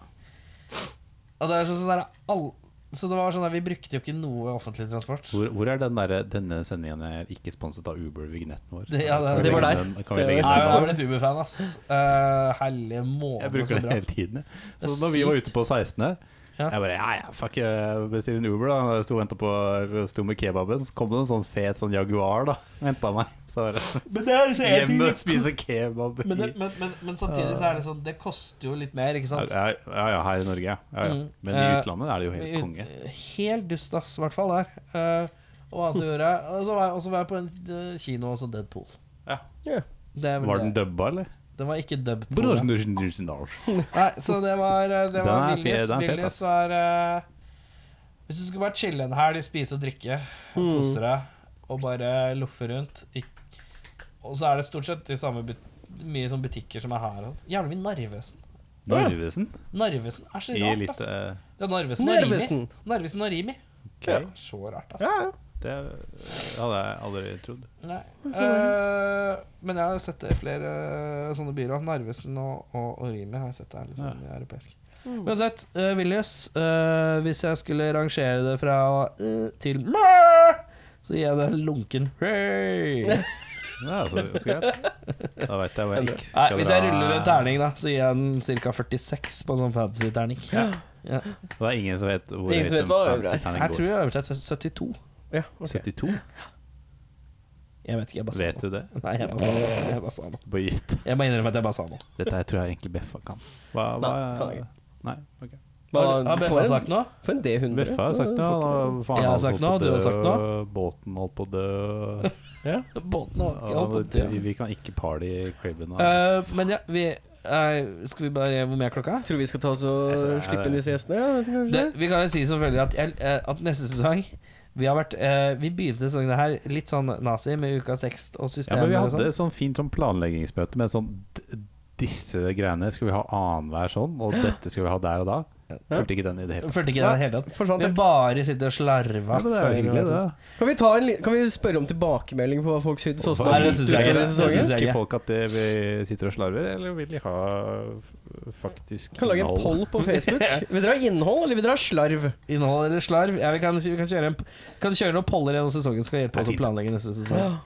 Speaker 3: Og det er sånn, sånn der, all, så det var sånn der, vi brukte jo ikke noe offentlig transport.
Speaker 2: Hvor, hvor er den der, denne sendingen er ikke sponset av Uber-vignetten vår?
Speaker 3: Det- ja, det-
Speaker 2: Kan vi
Speaker 4: Det var
Speaker 2: legge
Speaker 4: der.
Speaker 2: Den, kan vi
Speaker 4: Det-
Speaker 2: legge
Speaker 3: Nei, men jeg
Speaker 2: den
Speaker 3: ble et Uber-fan, ass. Uh, Hellige måned,
Speaker 2: jeg bruker
Speaker 3: så
Speaker 2: den
Speaker 3: bra.
Speaker 2: hele tiden. jeg.
Speaker 3: Det er
Speaker 2: Så når vi var
Speaker 3: sykt.
Speaker 2: ute på 16 her
Speaker 3: Ja.
Speaker 2: Jeg bare ja, ja, fuck, jeg bestiller en Uber, da. Jeg Sto og ventet på Sto med kebaben. Så kom det en sånn fet sånn Jaguar, da. Henta meg. Så bare
Speaker 3: Men det er liksom en ting-
Speaker 2: hjem og spise kebab.
Speaker 3: men,
Speaker 2: i-
Speaker 3: det, men, men, men samtidig så er det sånn Det koster jo litt mer, ikke sant?
Speaker 2: Ja, ja, ja, her i Norge, ja. ja, ja.
Speaker 3: Mm.
Speaker 2: Men i
Speaker 3: Eh,
Speaker 2: utlandet er det jo helt
Speaker 3: Ut-
Speaker 2: konge.
Speaker 3: Helt dust, ass, i hvert fall der. Eh, og annet å gjøre. Og så var jeg, og så var jeg på en eh, kino, også Deadpool.
Speaker 2: Ja.
Speaker 4: Ja.
Speaker 3: Det er vel
Speaker 2: Var den
Speaker 3: det.
Speaker 2: dubba, eller?
Speaker 3: Den var ikke Deadpool. ja.
Speaker 2: Ja,
Speaker 3: Nei, så det var, eh, det
Speaker 2: Den
Speaker 3: var
Speaker 2: er fe-
Speaker 3: Willys.
Speaker 2: den er fet,
Speaker 3: Willys
Speaker 2: ass.
Speaker 3: var eh, Hvis du skulle bare chille en helg, spise og drikke,
Speaker 4: Mm.
Speaker 3: kose deg og bare loffe rundt ikk- Og så er det stort sett de samme but mye sånn butikker som er her. og sånt. Jævlig mye Narvesen.
Speaker 2: Narvesen?
Speaker 3: Narvesen er så
Speaker 2: I
Speaker 3: rart,
Speaker 2: litt
Speaker 3: ass.
Speaker 2: eh,
Speaker 3: Ja, Narvesen,
Speaker 4: Narvesen.
Speaker 3: og Rimi. Narvesen og Rimi.
Speaker 2: ok.
Speaker 3: Ja. Så rart, ass.
Speaker 4: Ja, ja.
Speaker 2: Det hadde jeg aldri trodd.
Speaker 3: Nei. Eh, men jeg har sett det i flere eh, sånne byer. også. Narvesen og, og, og Rimi har jeg sett det er litt sånn europeisk. Uansett, uh, Vilnius eh, Hvis jeg skulle rangere det fra eh, til mæ, så gir jeg det en lunken hey. Nei,
Speaker 2: Ja, så, så greit. Da veit jeg hva jeg ikke
Speaker 3: Hvis jeg ruller en terning, da, så gir jeg den ca. 46 på en sånn fantasy-terning. Ja.
Speaker 2: Det er ingen som vet hvor
Speaker 4: Ingen
Speaker 2: høyt
Speaker 4: som vet
Speaker 2: en
Speaker 4: hva
Speaker 2: fancy
Speaker 4: øvre er.
Speaker 2: terning
Speaker 3: Jeg tror
Speaker 2: går.
Speaker 3: jeg øvde til 72.
Speaker 4: Ja, ok.
Speaker 2: 72?
Speaker 3: Jeg vet ikke, jeg bare sa
Speaker 2: Vet du det?
Speaker 3: noe. Nei, jeg bare sa noe. Jeg bare sa noe.
Speaker 2: Bare gitt.
Speaker 3: Jeg må innrømme at jeg bare sa noe.
Speaker 2: Dette her tror jeg egentlig Beffa kan. Hva, hva
Speaker 4: Nei, kan jeg ikke.
Speaker 2: Nei, ok.
Speaker 4: Hva-
Speaker 3: Har
Speaker 4: for
Speaker 3: Beffa
Speaker 4: en-
Speaker 3: sagt noe?
Speaker 4: For en D100.
Speaker 2: Beffa har sagt noe. han har- faen,
Speaker 3: Jeg har
Speaker 2: han
Speaker 3: sagt
Speaker 2: holdt på
Speaker 3: noe,
Speaker 2: å
Speaker 3: du har
Speaker 2: dø,
Speaker 3: sagt noe.
Speaker 2: Båten holdt på å dø.
Speaker 3: Båten har ikke
Speaker 2: Ja,
Speaker 3: holdt på
Speaker 2: vi, vi kan ikke party i Caribbean. da.
Speaker 3: Eh, men ja, vi eh, Skal vi bare Hvor mye er klokka?
Speaker 4: Tror vi skal ta oss og
Speaker 2: Jeg ser-
Speaker 4: slippe inn disse gjestene? Ja, vet du kanskje
Speaker 3: Det,
Speaker 4: det?
Speaker 3: vi kan jo si selvfølgelig at, jeg- eh, at neste sesong Vi har vært eh, Vi begynte sesongen her litt sånn nazi med ukas tekst og
Speaker 2: Ja,
Speaker 3: system.
Speaker 2: men vi
Speaker 3: og sånn.
Speaker 2: hadde sånn fint sånn planleggingsmøte med sånn d- Disse greiene skal vi ha annenhver sånn, og dette skal vi ha der og da. Fulgte ikke den i det hele tatt.
Speaker 3: sånn. Følte ikke det i det hele tatt.
Speaker 4: Forsvant
Speaker 3: Vi
Speaker 4: helt.
Speaker 3: bare sitter og slarver.
Speaker 2: Ja, men det er jo hyggelig, det.
Speaker 4: Kan vi, ta en, li- kan vi spørre om tilbakemelding på hva folk syns? og hvordan
Speaker 3: Nei,
Speaker 4: de
Speaker 3: det synes jeg
Speaker 4: liker
Speaker 3: ikke.
Speaker 4: denne
Speaker 3: Det
Speaker 4: sesongen?
Speaker 3: synes jeg
Speaker 2: Liker
Speaker 3: ikke.
Speaker 2: folk at det, vi sitter og slarver, eller vil de ha f- faktisk
Speaker 4: Kan lage en poll på Facebook. Vil dere ha innhold, eller vil dere ha slarv?
Speaker 3: Innhold eller slarv? Ja, vi kan, vi kan kjøre en, kan kjøre noen poller gjennom sesongen. Skal hjelpe
Speaker 2: Det er
Speaker 3: oss å
Speaker 2: fint.
Speaker 3: planlegge neste sesong.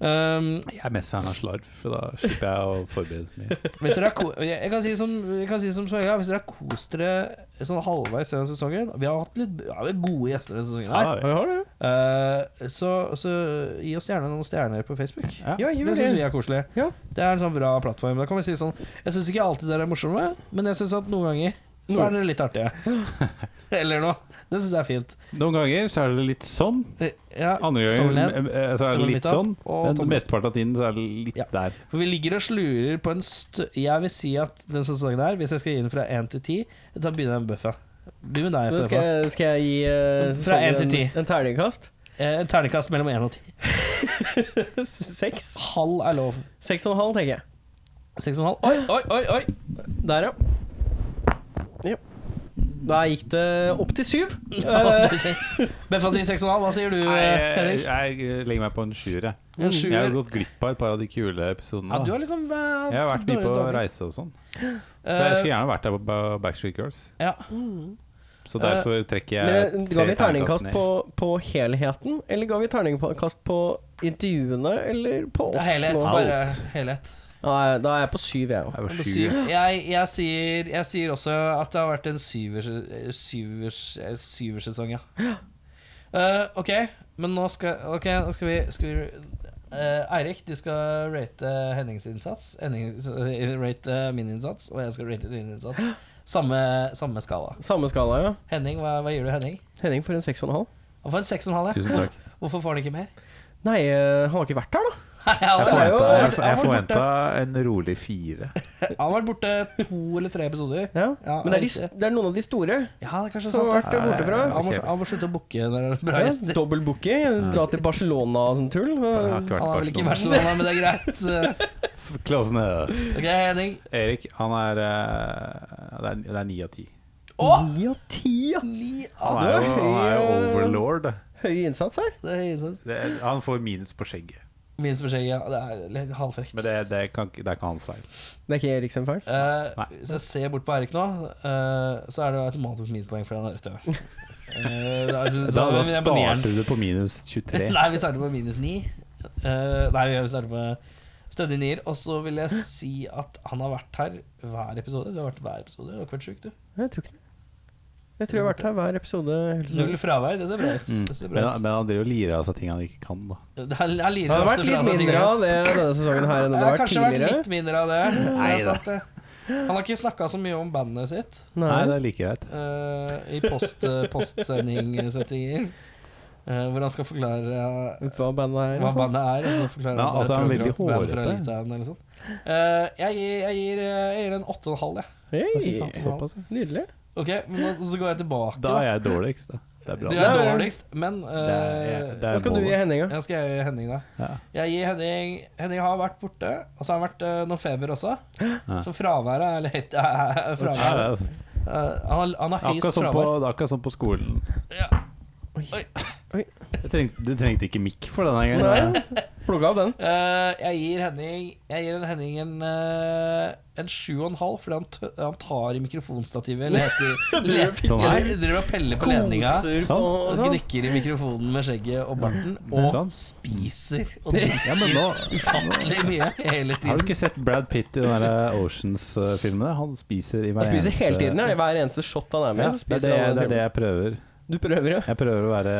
Speaker 3: Um,
Speaker 2: Jeg er mest fan av slarv, for da slipper jeg å forberede så mye.
Speaker 3: Hvis dere har ko jeg jeg kan si som, jeg kan si som Sverre, hvis dere har kost dere sånn halvveis gjennom sesongen Vi har hatt litt ja, vi har gode gjester denne sesongen.
Speaker 2: Ja,
Speaker 3: her
Speaker 2: vi har det.
Speaker 3: Eh, så, så gi oss gjerne noen stjerner på Facebook.
Speaker 2: Ja.
Speaker 4: Ja,
Speaker 3: Det
Speaker 4: gjør
Speaker 3: syns vi
Speaker 4: det.
Speaker 3: er koselig.
Speaker 4: Ja.
Speaker 3: Det er en sånn bra plattform. Da kan vi si sånn Jeg syns ikke alltid dere er morsomme, men jeg syns at noen ganger så er dere litt artige. Eller noe. Det syns jeg er fint.
Speaker 2: Noen ganger så er det litt sånn,
Speaker 3: Ja,
Speaker 2: andre ganger
Speaker 3: Tommelen.
Speaker 2: eh, eh, så er det
Speaker 3: Tommelen
Speaker 2: litt
Speaker 3: midt opp,
Speaker 2: sånn,
Speaker 3: og
Speaker 2: men
Speaker 3: tommelen.
Speaker 2: mesteparten av tiden så er det litt
Speaker 3: Ja.
Speaker 2: der.
Speaker 3: For vi ligger og slurer på en stø... Jeg vil si at denne sesongen her, hvis jeg skal gi den fra 1 til 10, da begynner jeg med Bøffa. Begynn med deg,
Speaker 4: Men
Speaker 3: Bøffa.
Speaker 4: skal, jeg- skal jeg gi eh,
Speaker 3: Fra
Speaker 4: sesongen
Speaker 3: en til ti.
Speaker 4: en, en terningkast?
Speaker 3: Eh, En terningkast mellom 1 og 10.
Speaker 4: Seks.
Speaker 3: Halv er lov.
Speaker 4: Seks og en halv, tenker jeg.
Speaker 3: 6,5. Oi, oi, oi! oi
Speaker 4: Der, ja. ja. Da gikk det opp til syv. Eh,
Speaker 3: Beffa sier 6,5. Hva sier du,
Speaker 2: Nei,
Speaker 3: eh,
Speaker 2: jeg,
Speaker 3: Henrik?
Speaker 2: jeg legger meg på en sjuer, jeg.
Speaker 3: En sjuer.
Speaker 2: Jeg har gått glipp av et par av de kule episodene.
Speaker 3: Ja,
Speaker 2: da.
Speaker 3: du har liksom eh,
Speaker 2: Jeg har vært mye
Speaker 3: dårlig
Speaker 2: på
Speaker 3: dager.
Speaker 2: reise og sånn. Så jeg skulle gjerne vært der på Ba- Backstreet Girls.
Speaker 3: Ja.
Speaker 2: Så
Speaker 3: Eh,
Speaker 2: derfor trekker jeg
Speaker 4: Men eh,
Speaker 2: tre
Speaker 4: Ga vi terningkast
Speaker 2: ned.
Speaker 4: på, på helheten, eller ga vi terningkast på intervjuene, eller på
Speaker 3: Det er
Speaker 4: oss
Speaker 3: helhet.
Speaker 4: nå?
Speaker 3: Bare
Speaker 2: Alt.
Speaker 3: helhet.
Speaker 4: Nei, da er jeg på syv, jeg òg.
Speaker 2: Jeg var
Speaker 3: På
Speaker 2: sju.
Speaker 3: syv. Jeg, jeg, sier, jeg sier også at det har vært en syvers, syvers, eh, syversesong, ja. Eh, ok, men nå skal, ok, nå skal vi, skal vi eh, Eirik, du skal rate Hennings innsats. Hennings, eh, rate eh, min innsats, og jeg skal rate din innsats. Samme, samme skala.
Speaker 4: Samme skala, ja.
Speaker 3: Henning, hva, hva gir du Henning?
Speaker 4: Henning får en seks og en halv.
Speaker 3: Han får en 6,5. ja.
Speaker 2: Tusen takk.
Speaker 3: Hvorfor får han ikke mer?
Speaker 4: Nei, eh, han har ikke vært her, da.
Speaker 3: Nei, han,
Speaker 2: Jeg
Speaker 4: det er jo- jeg
Speaker 2: forventa, jeg, jeg
Speaker 4: har vært
Speaker 2: forventa en rolig fire.
Speaker 3: han har vært borte to eller tre episoder.
Speaker 4: Ja.
Speaker 3: Ja,
Speaker 4: Men det er, de,
Speaker 3: riktig.
Speaker 4: det er noen av de store
Speaker 3: Ja, det er kanskje
Speaker 4: som
Speaker 3: sant.
Speaker 4: har
Speaker 3: da.
Speaker 4: vært eh, borte fra.
Speaker 2: Ja,
Speaker 3: Han må,
Speaker 2: Ok.
Speaker 3: han må slutte å booke når det er bra
Speaker 4: Ja,
Speaker 3: gjester.
Speaker 4: Dobbeltbooking. Dra til Barcelona og sånn tull.
Speaker 2: Jeg har
Speaker 3: Han
Speaker 2: ikke
Speaker 3: er vel
Speaker 2: vært
Speaker 3: ikke i Barcelona,
Speaker 2: Barcelona.
Speaker 3: men det er greit.
Speaker 2: Close ned.
Speaker 3: Ok, Henning.
Speaker 2: Erik, han er eh, Det er- det er ni av ti.
Speaker 3: Å!
Speaker 4: Ni av ti, ja!
Speaker 3: Ni av
Speaker 2: Han er jo han er jo
Speaker 4: høy, eh,
Speaker 2: overlord.
Speaker 4: Høy innsats her.
Speaker 3: det er innsats.
Speaker 2: Det er, han får minus på skjegget.
Speaker 3: Min som skjer, ja. Det er litt halvfrekt.
Speaker 2: Men det, det, kan, ikke- det er ikke hans feil.
Speaker 4: Det er ikke Erik sin feil.
Speaker 3: Eh,
Speaker 2: Nei.
Speaker 3: hvis jeg ser bort på Eirik nå, eh, så er det jo automatisk minuspoeng fordi han er rødt. ja. Eh, det er- så-
Speaker 2: Da, da
Speaker 3: vi er på nieren.
Speaker 2: starter du på minus 23.
Speaker 3: Nei, vi starter på minus ni. Eh, nei, vi starter på stødig nier. Og så vil jeg si at han har vært her hver episode. Du har vært hver episode. Du har ikke vært sjuk, du.
Speaker 4: Jeg tror ikke det. Jeg tror jeg har vært her hver episode. hele
Speaker 3: Null
Speaker 4: tiden.
Speaker 3: fravær. Det ser bra ut.
Speaker 2: Mm.
Speaker 3: Det ser
Speaker 2: Men,
Speaker 3: bra
Speaker 2: han-
Speaker 3: ut.
Speaker 2: men han driver og lirer av seg ting han ikke kan. da
Speaker 3: Det er, det er lirer
Speaker 4: Det har
Speaker 3: ofte
Speaker 4: vært
Speaker 3: fra
Speaker 4: litt
Speaker 3: seg ting,
Speaker 4: mindre
Speaker 3: ja.
Speaker 4: av det denne sesongen her enn det
Speaker 3: Det
Speaker 4: har
Speaker 3: har
Speaker 4: vært
Speaker 3: kanskje vært
Speaker 4: tidligere.
Speaker 3: litt mindre av det. det
Speaker 2: Nei
Speaker 3: er
Speaker 2: da.
Speaker 3: sant, det. Han har ikke snakka så mye om bandet sitt
Speaker 2: Nei, det
Speaker 4: Nei,
Speaker 2: er like greit.
Speaker 3: eh, i post, postsendingsettinger. eh, hvor han skal forklare eh,
Speaker 4: hva bandet er.
Speaker 3: hva
Speaker 4: og sånn.
Speaker 3: bandet er. Og så forklare
Speaker 2: Ja,
Speaker 3: at det
Speaker 2: altså, han er veldig
Speaker 3: prog-rock band fra
Speaker 2: hårete.
Speaker 3: Litauen eller sånt. Eh, jeg, gir- jeg, gir, eh, jeg gir en 8,5, jeg.
Speaker 4: Hei,
Speaker 2: Fy faen, såpass, ja.
Speaker 4: Nydelig.
Speaker 3: Ok, men da, så går jeg tilbake.
Speaker 2: Da
Speaker 3: Da.
Speaker 2: er jeg dårligst, da. Det er bra.
Speaker 3: Du
Speaker 2: Det
Speaker 3: er
Speaker 4: Nei,
Speaker 3: dårligst, men eh,
Speaker 2: er- det er
Speaker 4: Hva skal du
Speaker 2: målet.
Speaker 4: gi Henning, da?
Speaker 3: ja, skal jeg gi Henning, da?
Speaker 2: Ja.
Speaker 3: Jeg gir Henning Henning har vært borte, og så har han vært eh, noe feber også.
Speaker 2: Ja.
Speaker 3: Så fraværet er litt er
Speaker 2: Ja, det
Speaker 3: fraværet.
Speaker 2: er altså-
Speaker 3: Eh, han, har, han har
Speaker 2: Akkurat
Speaker 3: høyest
Speaker 2: som
Speaker 3: fravær.
Speaker 2: på, akkurat som på skolen.
Speaker 3: Ja.
Speaker 2: Jeg trengte, du trengte ikke mikk for denne gangen.
Speaker 4: Nei, plukka av den.
Speaker 3: Eh, jeg gir Henning Jeg gir en Henning en, eh, en sju og en halv, fordi han, t han tar i mikrofonstativet. Eller heter, le,
Speaker 2: Sånn her?
Speaker 3: eller driver og peller på ledninga.
Speaker 4: Koser
Speaker 2: Sånn.
Speaker 4: på-
Speaker 3: Og
Speaker 4: sånn.
Speaker 3: gnikker i mikrofonen med skjegget og barten.
Speaker 2: Sånn.
Speaker 3: Og spiser og
Speaker 2: Ja, men
Speaker 3: drikker
Speaker 2: nå
Speaker 3: ufattelig mye hele
Speaker 2: Har du
Speaker 3: tiden.
Speaker 2: ikke sett Brad Pitt i den der eh, Oceans-filmene? Han spiser i hver
Speaker 4: Han spiser hele tiden, ja.
Speaker 2: ja.
Speaker 4: I hver eneste shot han er med.
Speaker 2: Ja,
Speaker 4: så
Speaker 2: det, er
Speaker 4: spiser
Speaker 2: det, jeg-
Speaker 4: han
Speaker 2: det er
Speaker 4: hele
Speaker 2: det jeg prøver.
Speaker 4: tiden. Du prøver, ja.
Speaker 2: Jeg prøver å være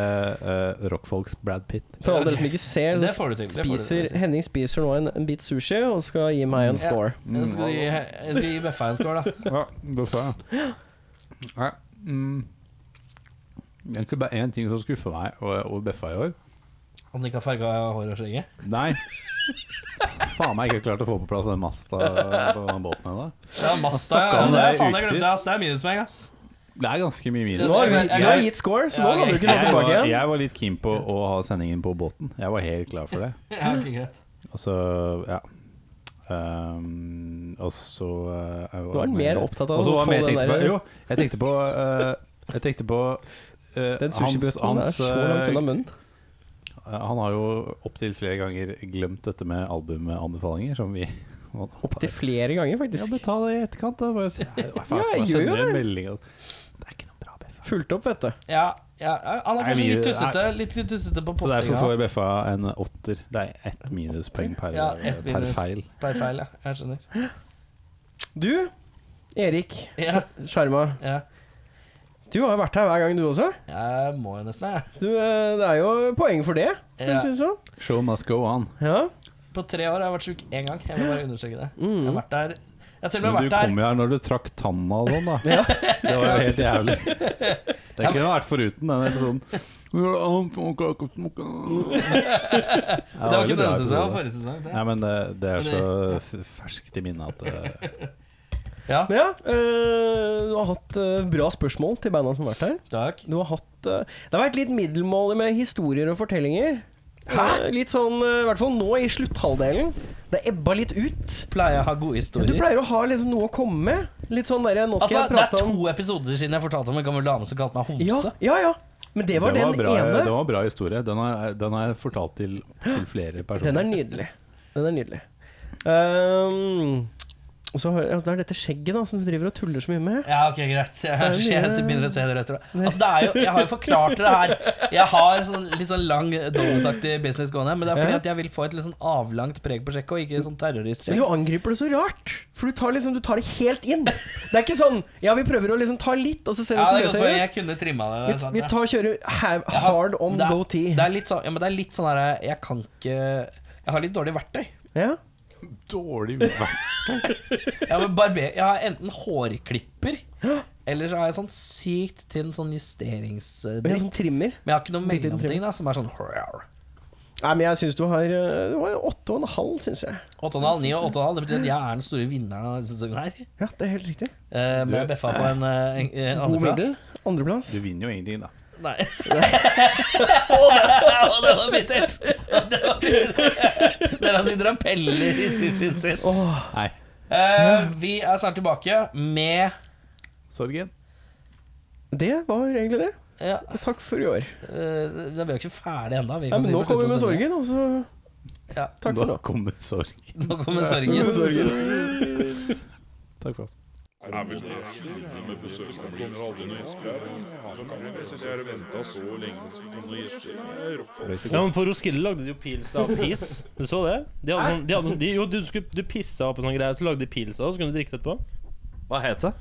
Speaker 2: eh, rockfolks Brad Pitt.
Speaker 4: For alle dere som ikke ser,
Speaker 3: Det
Speaker 4: så
Speaker 3: får du til. Det får du til. altså.
Speaker 4: spiser Henning spiser nå en, en bit sushi og skal gi meg en
Speaker 3: Ja.
Speaker 4: score.
Speaker 3: Jeg skal gi, jeg skal gi Beffa en skål, da.
Speaker 2: Ja, det sa jeg. Nei, mm. Egentlig bare én ting som skuffer meg over over Beffa i år.
Speaker 3: Han ikke har farga hår og skjegget.
Speaker 2: Nei. Faen meg ikke klart å få på plass den masta på den båten ennå.
Speaker 3: Ja, Masta,
Speaker 2: Han
Speaker 3: ja.
Speaker 2: snakket om
Speaker 3: Det
Speaker 2: det
Speaker 3: er
Speaker 2: i
Speaker 3: faen jeg
Speaker 2: ukevis.
Speaker 3: glemte. ass. Det er minuspoeng, ass.
Speaker 2: Det er ganske mye
Speaker 4: Nå
Speaker 2: minus.
Speaker 4: har
Speaker 3: Jeg-
Speaker 4: du,
Speaker 3: jeg-
Speaker 4: du har gitt score, så nå
Speaker 3: Ja,
Speaker 4: kan du
Speaker 3: ok.
Speaker 4: ikke ta
Speaker 2: Jeg var,
Speaker 4: tilbake igjen.
Speaker 2: jeg var litt keen på å ha sendingen på båten. Jeg var helt klar for det.
Speaker 3: Ja, ok, greit.
Speaker 2: Og så, ja. Um, og så eh, jeg
Speaker 4: Du var mer opptatt av
Speaker 2: Og så
Speaker 4: å
Speaker 2: var
Speaker 4: få
Speaker 2: mer jeg
Speaker 4: den
Speaker 2: tenkte
Speaker 4: der-
Speaker 2: på, Jo, jeg tenkte på eh, Jeg tenkte på eh,
Speaker 4: Den
Speaker 2: hans,
Speaker 4: sushibøtten er
Speaker 2: hans
Speaker 4: så langt
Speaker 2: eh,
Speaker 4: unna munnen.
Speaker 2: Han har jo opptil flere ganger glemt dette med albumanbefalinger, som vi
Speaker 4: Opptil flere ganger,
Speaker 2: Ja,
Speaker 4: faktisk.
Speaker 2: men ta det i etterkant, da. Bare si Nei, faen, skal
Speaker 4: jeg
Speaker 2: jeg
Speaker 4: gjør jo
Speaker 2: sende en melding? altså. og- Det er ikke noe bra, Beffa.
Speaker 4: Fulgt opp, vet du.
Speaker 3: Ja, ja, ja, han er
Speaker 2: Nei,
Speaker 3: kanskje
Speaker 2: mye-
Speaker 3: litt tussete, litt tussete på
Speaker 2: Så derfor
Speaker 3: postinga.
Speaker 2: får Beffa en åtter. Det er ett minuspoeng per,
Speaker 3: Ja, ett
Speaker 2: per
Speaker 3: minus.
Speaker 2: feil.
Speaker 3: Per feil, ja. Jeg skjønner.
Speaker 4: Du, Erik
Speaker 3: Ja,
Speaker 4: Sjarma,
Speaker 3: ja.
Speaker 4: du har jo vært her hver gang, du også.
Speaker 3: Jeg må jo nesten, jeg.
Speaker 4: Du, eh, det er jo poeng for det, for å
Speaker 3: Ja.
Speaker 4: si det sånn.
Speaker 2: Show must go on.
Speaker 4: Ja.
Speaker 3: På tre år har jeg vært sjuk én gang. Jeg vil bare understreke det. Jeg har
Speaker 4: Mm.
Speaker 3: vært der Jeg har til og
Speaker 2: Men
Speaker 3: med
Speaker 2: du
Speaker 3: vært
Speaker 2: kom
Speaker 3: der
Speaker 2: jo her når du trakk tanna og sånn, da. Det var jo helt jævlig. Det kunne vært foruten den episoden.
Speaker 3: Det var ikke denne sesongen, det var forrige sesong.
Speaker 2: Nei,
Speaker 3: Det.
Speaker 2: men det, det er så f- ferskt i minnet at eh,
Speaker 3: Ja,
Speaker 4: Men ja, eh, du har hatt eh, bra spørsmål til banda som har vært her.
Speaker 3: takk.
Speaker 4: Du har hatt at eh, Det har vært litt middelmådig med historier og fortellinger. Eh, Litt sånn, eh, i hvert fall nå i slutthalvdelen. Det ebba litt ut.
Speaker 5: Pleier jeg å ha gode
Speaker 4: Men Du
Speaker 5: historier?
Speaker 4: pleier å ha liksom noe å komme med. Litt sånn derre Nå
Speaker 5: Altså,
Speaker 4: skal jeg
Speaker 5: Det er
Speaker 4: prate om
Speaker 5: to episoder siden jeg fortalte om en gammel dame som kalte meg homse.
Speaker 4: ja, ja, ja. Men det var, den
Speaker 2: bra,
Speaker 4: ene.
Speaker 2: det var bra historie. Den har, den har jeg fortalt til, til flere personer.
Speaker 4: Den er nydelig. Den er nydelig. Ehm, og så har, ja, det er dette skjegget da som du driver og tuller så mye med.
Speaker 5: Ja, ok, greit. Jeg,
Speaker 4: Det er mye-
Speaker 5: jeg begynner å se det rødt. Altså, det er jo, jeg har jo forklart dere her. Jeg har sånn, litt sånn lang dobbeltaktig business gående, men det er fordi
Speaker 4: Ja.
Speaker 5: at jeg vil få et litt sånn avlangt preg på sjekket, og ikke sånn
Speaker 4: Men du
Speaker 5: terroristpreg.
Speaker 4: angriper det så rart. For du tar, liksom, du tar det helt inn. Det er ikke sånn Ja, vi prøver å liksom ta litt, og så ser vi
Speaker 5: Ja, det er
Speaker 4: hvordan det
Speaker 5: godt
Speaker 4: ser
Speaker 5: poeng.
Speaker 4: ut.
Speaker 5: Jeg kunne trimma det.
Speaker 4: Vi,
Speaker 5: det er sant,
Speaker 4: vi
Speaker 5: ja.
Speaker 4: tar kjører ha-
Speaker 5: Jeg har-
Speaker 4: hard on
Speaker 5: det er-
Speaker 4: goatee.
Speaker 5: Det er litt sånn, ja, men det er litt sånn her Jeg kan ikke Jeg har litt dårlig verktøy.
Speaker 4: Ja.
Speaker 2: Dårlig vær.
Speaker 5: Jeg, har barber, jeg har enten hårklipper, eller så har jeg sånn sykt tynn sånn
Speaker 4: Men det er
Speaker 5: justeringsdritt.
Speaker 4: sånn trimmer.
Speaker 5: Men jeg har ikke noen
Speaker 4: Bitte liten
Speaker 5: mellomting da, som er sånn rar.
Speaker 4: Nei, men jeg syns du har eh, Du var åtte og en halv, syns jeg.
Speaker 5: 8,5, 9 og 8,5. Det betyr at jeg er den store vinneren av denne sesongen her.
Speaker 4: Ja, det er helt riktig.
Speaker 5: Eh, men jeg beffa på en, eh, en, en
Speaker 4: God middel.
Speaker 5: andreplass.
Speaker 4: Andreplass.
Speaker 2: Du vinner jo ingenting, da.
Speaker 5: Nei. Å, det var bittert! Det var bittert. Dere sitter og peller i sushien sin.
Speaker 4: Åh,
Speaker 2: Nei.
Speaker 5: Eh, vi er snart tilbake med
Speaker 2: Sorgen.
Speaker 4: det var egentlig det.
Speaker 5: ja,
Speaker 4: Takk for i år.
Speaker 5: eh, Vi er jo ikke ferdig ennå.
Speaker 4: Nei, men nå kommer vi med sorgen, og så
Speaker 5: Ja.
Speaker 4: Takk for nå.
Speaker 2: Da kommer sorgen.
Speaker 5: Nå kommer sorgen.
Speaker 2: Takk for oss.
Speaker 6: Ja, men På Roskilde lagde de jo pils av piss. Du så det? De hadde sånn, de hadde sånn, de, jo, du, skulle, du pissa på sånn greie, så lagde de pils av det, så kunne du drikke det etterpå.
Speaker 2: Hva het det?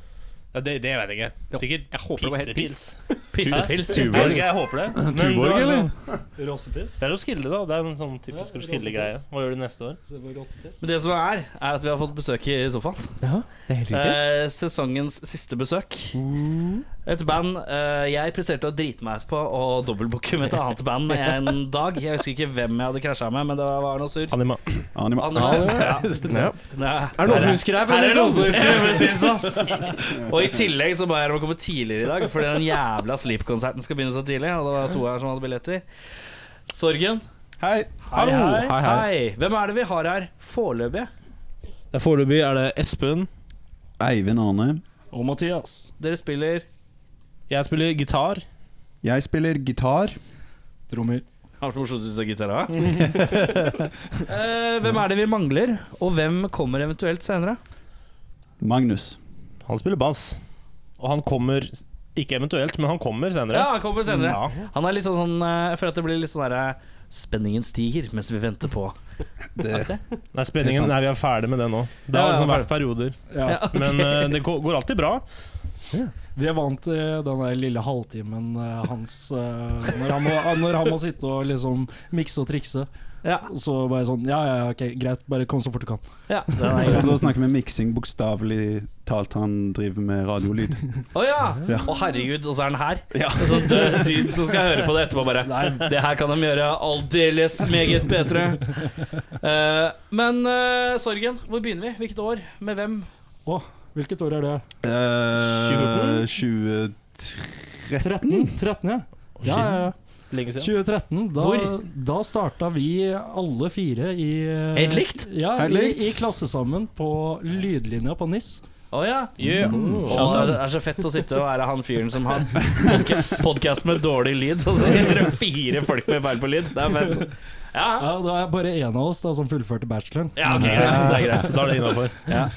Speaker 6: Ja, det, det vet jeg ikke. Sikkert
Speaker 2: Jeg håper det var helt
Speaker 6: pissepils.
Speaker 2: Pissepils.
Speaker 6: Jeg, vet ikke, jeg håper det. Men det
Speaker 2: Tuborg,
Speaker 6: var
Speaker 2: eller?
Speaker 6: sånn- Det er Roskilde, da. Det er en sånn typisk Roskilde-greie. Hva gjør du neste år?
Speaker 3: Men det som er, er at vi har fått besøk i sofaen.
Speaker 4: Ja, det er helt riktig.
Speaker 3: Eh, sesongens siste besøk.
Speaker 4: Uh.
Speaker 3: Et band eh, jeg presterte å drite meg ut på å dobbeltbooke med et annet band en dag. Jeg husker ikke hvem jeg hadde krasja med, men det var noe surr.
Speaker 6: Anima.
Speaker 3: Anima.
Speaker 4: Ja. Er
Speaker 3: Ja.
Speaker 4: det noen som husker deg?
Speaker 3: Her er det noen som husker det, for å si det sånn. Og i tillegg så ba jeg dem å komme tidligere i dag, fordi den jævla Sleep-konserten skal begynne så tidlig. Og det var to her som hadde billetter. Sorgen.
Speaker 2: Hei.
Speaker 3: Hallo. Hei,
Speaker 2: Hei,
Speaker 3: hei.
Speaker 2: hei.
Speaker 3: Hvem er det vi har her foreløpig?
Speaker 6: Foreløpig er det Espen.
Speaker 7: Eivind Arne.
Speaker 3: Og Mathias. Dere spiller
Speaker 6: Jeg spiller gitar.
Speaker 7: Jeg spiller gitar.
Speaker 3: Har så morsomt du sa gitar da. Eh, hvem er det vi mangler, og hvem kommer eventuelt senere?
Speaker 7: Magnus.
Speaker 6: Han spiller bass. Og han kommer Ikke eventuelt, men han kommer senere.
Speaker 3: Ja, han kommer senere.
Speaker 6: Ja.
Speaker 3: Han er litt sånn sånn eh, Jeg føler at det blir litt sånn derre Spenningen stiger mens vi venter på
Speaker 7: Det,
Speaker 6: Nei, spenningen
Speaker 7: Det er sant.
Speaker 6: Nei, vi er ferdig med det nå. Det har
Speaker 3: Ja, ja,
Speaker 6: liksom
Speaker 3: ferdig.
Speaker 6: vært perioder.
Speaker 8: Ja.
Speaker 3: Ja, ok.
Speaker 6: Men eh, det går, går alltid bra.
Speaker 8: Vi er vant til den der lille halvtimen eh, hans eh, når, han må, når han må sitte og liksom mikse og trikse.
Speaker 3: Ja,
Speaker 8: Så bare sånn Ja, ja, ok, greit, bare kom så fort du kan.
Speaker 3: ja.
Speaker 7: altså, da snakker vi miksing, bokstavelig talt. Han driver med radiolyd.
Speaker 3: Å ja! Å
Speaker 7: Ja.
Speaker 3: herregud, og så er han her. En sånn død dyd som skal høre på det etterpå, bare. Det her kan de gjøre aldeles meget bedre. Eh, men eh, Sorgen, hvor begynner vi? Hvilket år? Med hvem?
Speaker 8: Hvilket år er det?
Speaker 7: Eh, 2013
Speaker 8: 13? 13 ja. Ja, ja, ja.
Speaker 6: Lenge siden.
Speaker 8: 2013. Da,
Speaker 3: Hvor?
Speaker 8: da starta vi alle fire i eh,
Speaker 3: Helt likt?
Speaker 8: Ja,
Speaker 7: Helt
Speaker 8: i,
Speaker 7: likt.
Speaker 8: i klasse sammen på lydlinja på NIS.
Speaker 3: Å ja.
Speaker 7: Mm.
Speaker 3: Og
Speaker 8: Skjønner.
Speaker 3: det er så fett å sitte og være han fyren som har podca- podcast med dårlig lyd, og så sitter det fire folk med beil på lyd. Det er fett. Ja,
Speaker 8: Ja, det var bare én av oss da som fullførte bacheloren. Eh,
Speaker 3: ja ok, greit. Det er greit.
Speaker 6: Så da er det innafor.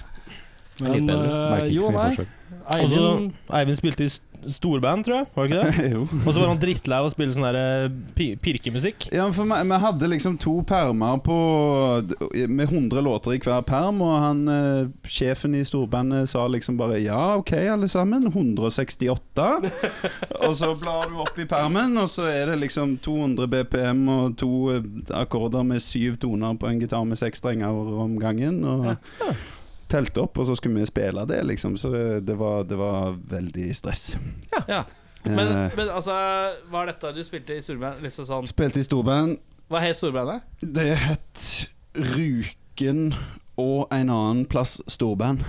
Speaker 8: Men eh,
Speaker 2: Merker ikke
Speaker 8: jo,
Speaker 2: så mye
Speaker 8: nei.
Speaker 2: forskjell.
Speaker 6: Og så
Speaker 8: Eivind
Speaker 6: Eivind spilte i st- storband, tror jeg. Var det ikke det?
Speaker 7: jo.
Speaker 6: Og så var han drittlei av å spille sånn der eh, pi pirkemusikk.
Speaker 7: Ja, for vi, vi hadde liksom to permer på med 100 låter i hver perm, og han eh, sjefen i storbandet sa liksom bare Ja, OK, alle sammen. 168. og så blar du opp i permen, og så er det liksom 200 BPM og to eh, akkorder med syv toner på en gitar med seks strenger om gangen. Og telte opp, og så skulle vi spille det, liksom. Så det, det, var, det var veldig stress. Eh,
Speaker 3: Ja. Men,
Speaker 7: Men,
Speaker 3: men altså, hva er dette du spilte i storband? Liksom sånn
Speaker 7: Spilte i storband.
Speaker 3: Hva het storbandet?
Speaker 7: Det het Ruken og en annen plass storband.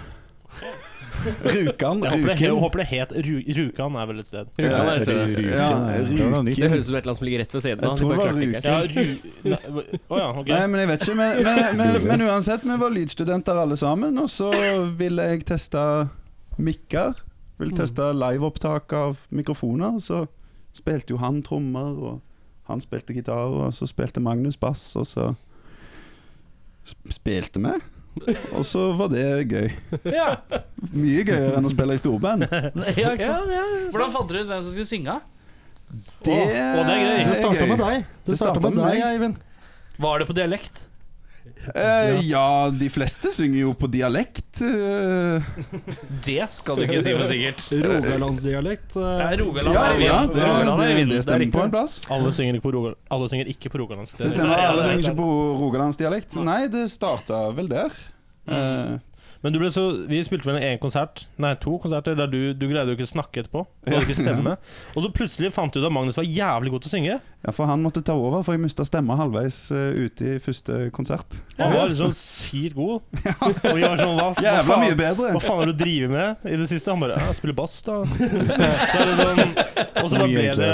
Speaker 7: Rjukan.
Speaker 6: Jeg håper det, jeg
Speaker 7: Rjuken.
Speaker 6: håper det het Ru Rjukan er vel et sted.
Speaker 3: Rjukan er et sted.
Speaker 7: Ja, Rjuken.
Speaker 3: Det høres ut som et eller annet som ligger rett ved siden av.
Speaker 7: Jeg tror
Speaker 3: de
Speaker 7: det
Speaker 3: bare
Speaker 7: var
Speaker 3: klarte det ikke
Speaker 6: Ja,
Speaker 3: helt.
Speaker 6: Ru... Nei, hva- Å ja, ok.
Speaker 7: Nei, men jeg vet ikke. Men, men, men, men uansett, vi var lydstudenter alle sammen, og så ville jeg teste mikker.
Speaker 6: Mm.
Speaker 7: Ville teste liveopptak av mikrofoner, og så spilte jo han trommer, og han spilte gitar, og så spilte Magnus bass, og så sp- spilte vi. Og så var det gøy.
Speaker 3: Ja.
Speaker 7: Mye gøyere enn å spille i storband.
Speaker 3: Ja, ikke sant? Hvordan fant dere ut hvem som skulle synge?
Speaker 7: Det,
Speaker 6: å, det er gøy.
Speaker 8: Det starta med deg. Det
Speaker 7: Det startet
Speaker 8: startet med
Speaker 7: med
Speaker 8: deg,
Speaker 7: meg.
Speaker 8: Eivind.
Speaker 3: Var det på dialekt?
Speaker 7: Eh, ja, de fleste synger jo på dialekt. eh.
Speaker 3: Det skal du ikke si for sikkert.
Speaker 8: Rogalandsdialekt.
Speaker 3: Det
Speaker 8: eh,
Speaker 3: er Rogaland.
Speaker 7: ja,
Speaker 3: er i
Speaker 7: ja,
Speaker 3: vinden.
Speaker 7: det,
Speaker 3: Rogaland er i
Speaker 7: det,
Speaker 3: vinden.
Speaker 7: det
Speaker 3: er
Speaker 7: stemmer
Speaker 3: riktig.
Speaker 7: på en plass.
Speaker 6: Alle synger ikke på Rogaland Alle synger ikke på Rogalandsk.
Speaker 7: Det stemmer, alle synger ikke på rogalandsdialekt. Nei, det starta vel der.
Speaker 3: Mm.
Speaker 7: Eh,
Speaker 6: Men du ble så, vi spilte vel en konsert, nei to konserter, der du, du greide jo ikke å snakke etterpå. Du hadde ikke stemme. Og så plutselig fant du ut at Magnus var jævlig god til å synge.
Speaker 7: ja, for han måtte ta over, for jeg mista stemma halvveis eh, ute i første konsert.
Speaker 6: Og han var liksom sykt god. Og vi var sånn, hva, hva
Speaker 7: Jævla mye
Speaker 6: faen?
Speaker 7: bedre!
Speaker 6: Hva faen har du drevet med i det siste? Han bare ja, jeg 'Spiller bass, da'. Så er det sånn, og så bare ble det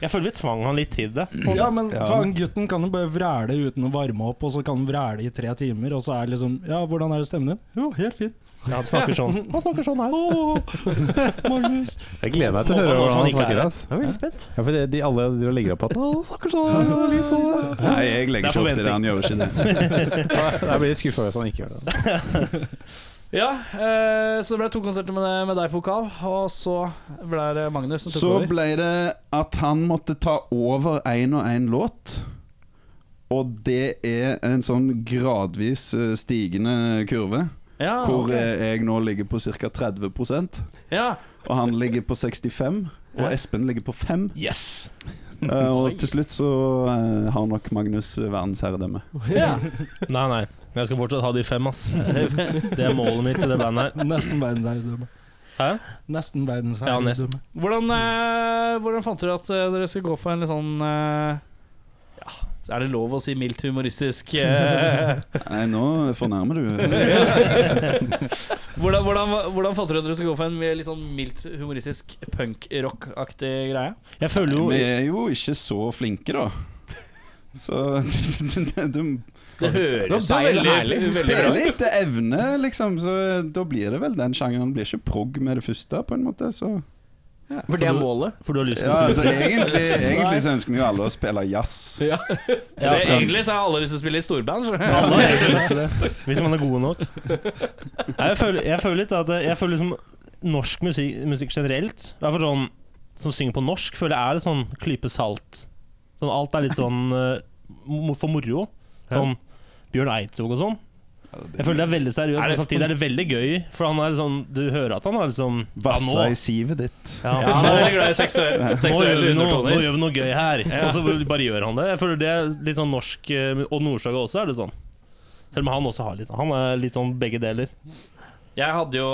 Speaker 6: Jeg føler vi tvang han litt til det.
Speaker 8: Ja, men
Speaker 7: Ja.
Speaker 8: faen, gutten kan jo bare vræle uten å varme opp, og så kan han vræle i tre timer, og så er det liksom Ja, hvordan er det stemmen din? Jo, helt fin.
Speaker 6: Ja, han snakker sånn. Han snakker sånn her.
Speaker 8: Magnus.
Speaker 2: Jeg gleder meg til å høre
Speaker 6: Nå- nå som
Speaker 2: hvordan
Speaker 6: han ikke
Speaker 2: han
Speaker 6: er
Speaker 2: snakker.
Speaker 6: her.
Speaker 2: ass.
Speaker 3: Jeg er veldig spent.
Speaker 2: Ja, for det, de alle driver og legger opp at Å, han snakker sånn, og lyser sånn.
Speaker 7: Nei, jeg legger ikke opp til det. Han gjør ikke det.
Speaker 2: Jeg blir litt skuffa hvis han ikke gjør det.
Speaker 3: Ja, eh, så det ble to konserter med, med deg, Pokal. Og så ble det Magnus som tok
Speaker 7: Så
Speaker 3: over.
Speaker 7: ble det at han måtte ta over én og én låt. Og det er en sånn gradvis eh, stigende kurve,
Speaker 3: Ja,
Speaker 7: hvor
Speaker 3: Ah, ok.
Speaker 7: eh, jeg nå ligger på ca. 30
Speaker 3: ja.
Speaker 7: Og han ligger på 65, og Espen ligger på 5.
Speaker 3: Yes!
Speaker 7: Eh, og til slutt så eh, har nok Magnus eh, verdensherredømme.
Speaker 3: Ja.
Speaker 6: Nei, nei. Jeg skal fortsatt ha de fem, ass. Det er målet mitt i det bandet her.
Speaker 8: Nesten verdensherredømme.
Speaker 6: Hæ?
Speaker 8: Nesten
Speaker 6: Ja, nesten.
Speaker 8: verdensherredømme.
Speaker 3: Hvordan, eh, hvordan fant dere at eh, dere skulle gå for en litt sånn eh, Ja, så er det lov å si mildt humoristisk eh,
Speaker 7: Nei, nå fornærmer du.
Speaker 3: hvordan, hvordan, hvordan fant dere at dere skulle gå for en mer litt sånn mildt humoristisk punk-rock-aktig greie?
Speaker 6: Jeg føler jo
Speaker 7: Vi er jo ikke så flinke, da. Så du
Speaker 3: Det høres jo
Speaker 5: beil
Speaker 3: veldig,
Speaker 5: ærlig.
Speaker 3: veldig bra
Speaker 7: spiller etter evne, liksom. Så da blir det vel den sjangeren. Blir ikke prog med det første, på en måte. Så.
Speaker 3: For det er målet?
Speaker 6: For du har lyst til å
Speaker 7: Ja,
Speaker 6: spille
Speaker 7: altså, egentlig, egentlig så ønsker vi jo alle å spille jazz.
Speaker 6: Ja,
Speaker 3: det,
Speaker 6: ja.
Speaker 3: egentlig så har alle lyst til å spille i storband. så-
Speaker 6: Alle har egentlig lyst til det, hvis man er gode nok. Nei, jeg, føler, jeg føler litt at Jeg føler liksom norsk musikk, musikk generelt i hvert fall sånn, Som synger på norsk, føler jeg er litt sånn klype salt. Sånn, alt er litt sånn eh, mo- for moro. Sånn Bjørn Eidsvåg og sånn. Jeg føler det er veldig seriøst, men samtidig er det veldig gøy. For han er sånn Du hører at han har liksom ja, nå,
Speaker 7: Vassa i sivet ditt.
Speaker 6: ja,
Speaker 3: Ja, han
Speaker 6: nå,
Speaker 3: er veldig glad i seksuell,
Speaker 6: nå, gjør vi
Speaker 3: seksuelle
Speaker 6: noe, nå
Speaker 3: undertoner.
Speaker 6: gjør vi noe gøy her. Og så bare gjør han det. Jeg føler det er litt sånn norsk eh, Og Nordstoga også er det sånn. Selv om han også har litt Han er litt sånn begge deler.
Speaker 3: Jeg hadde jo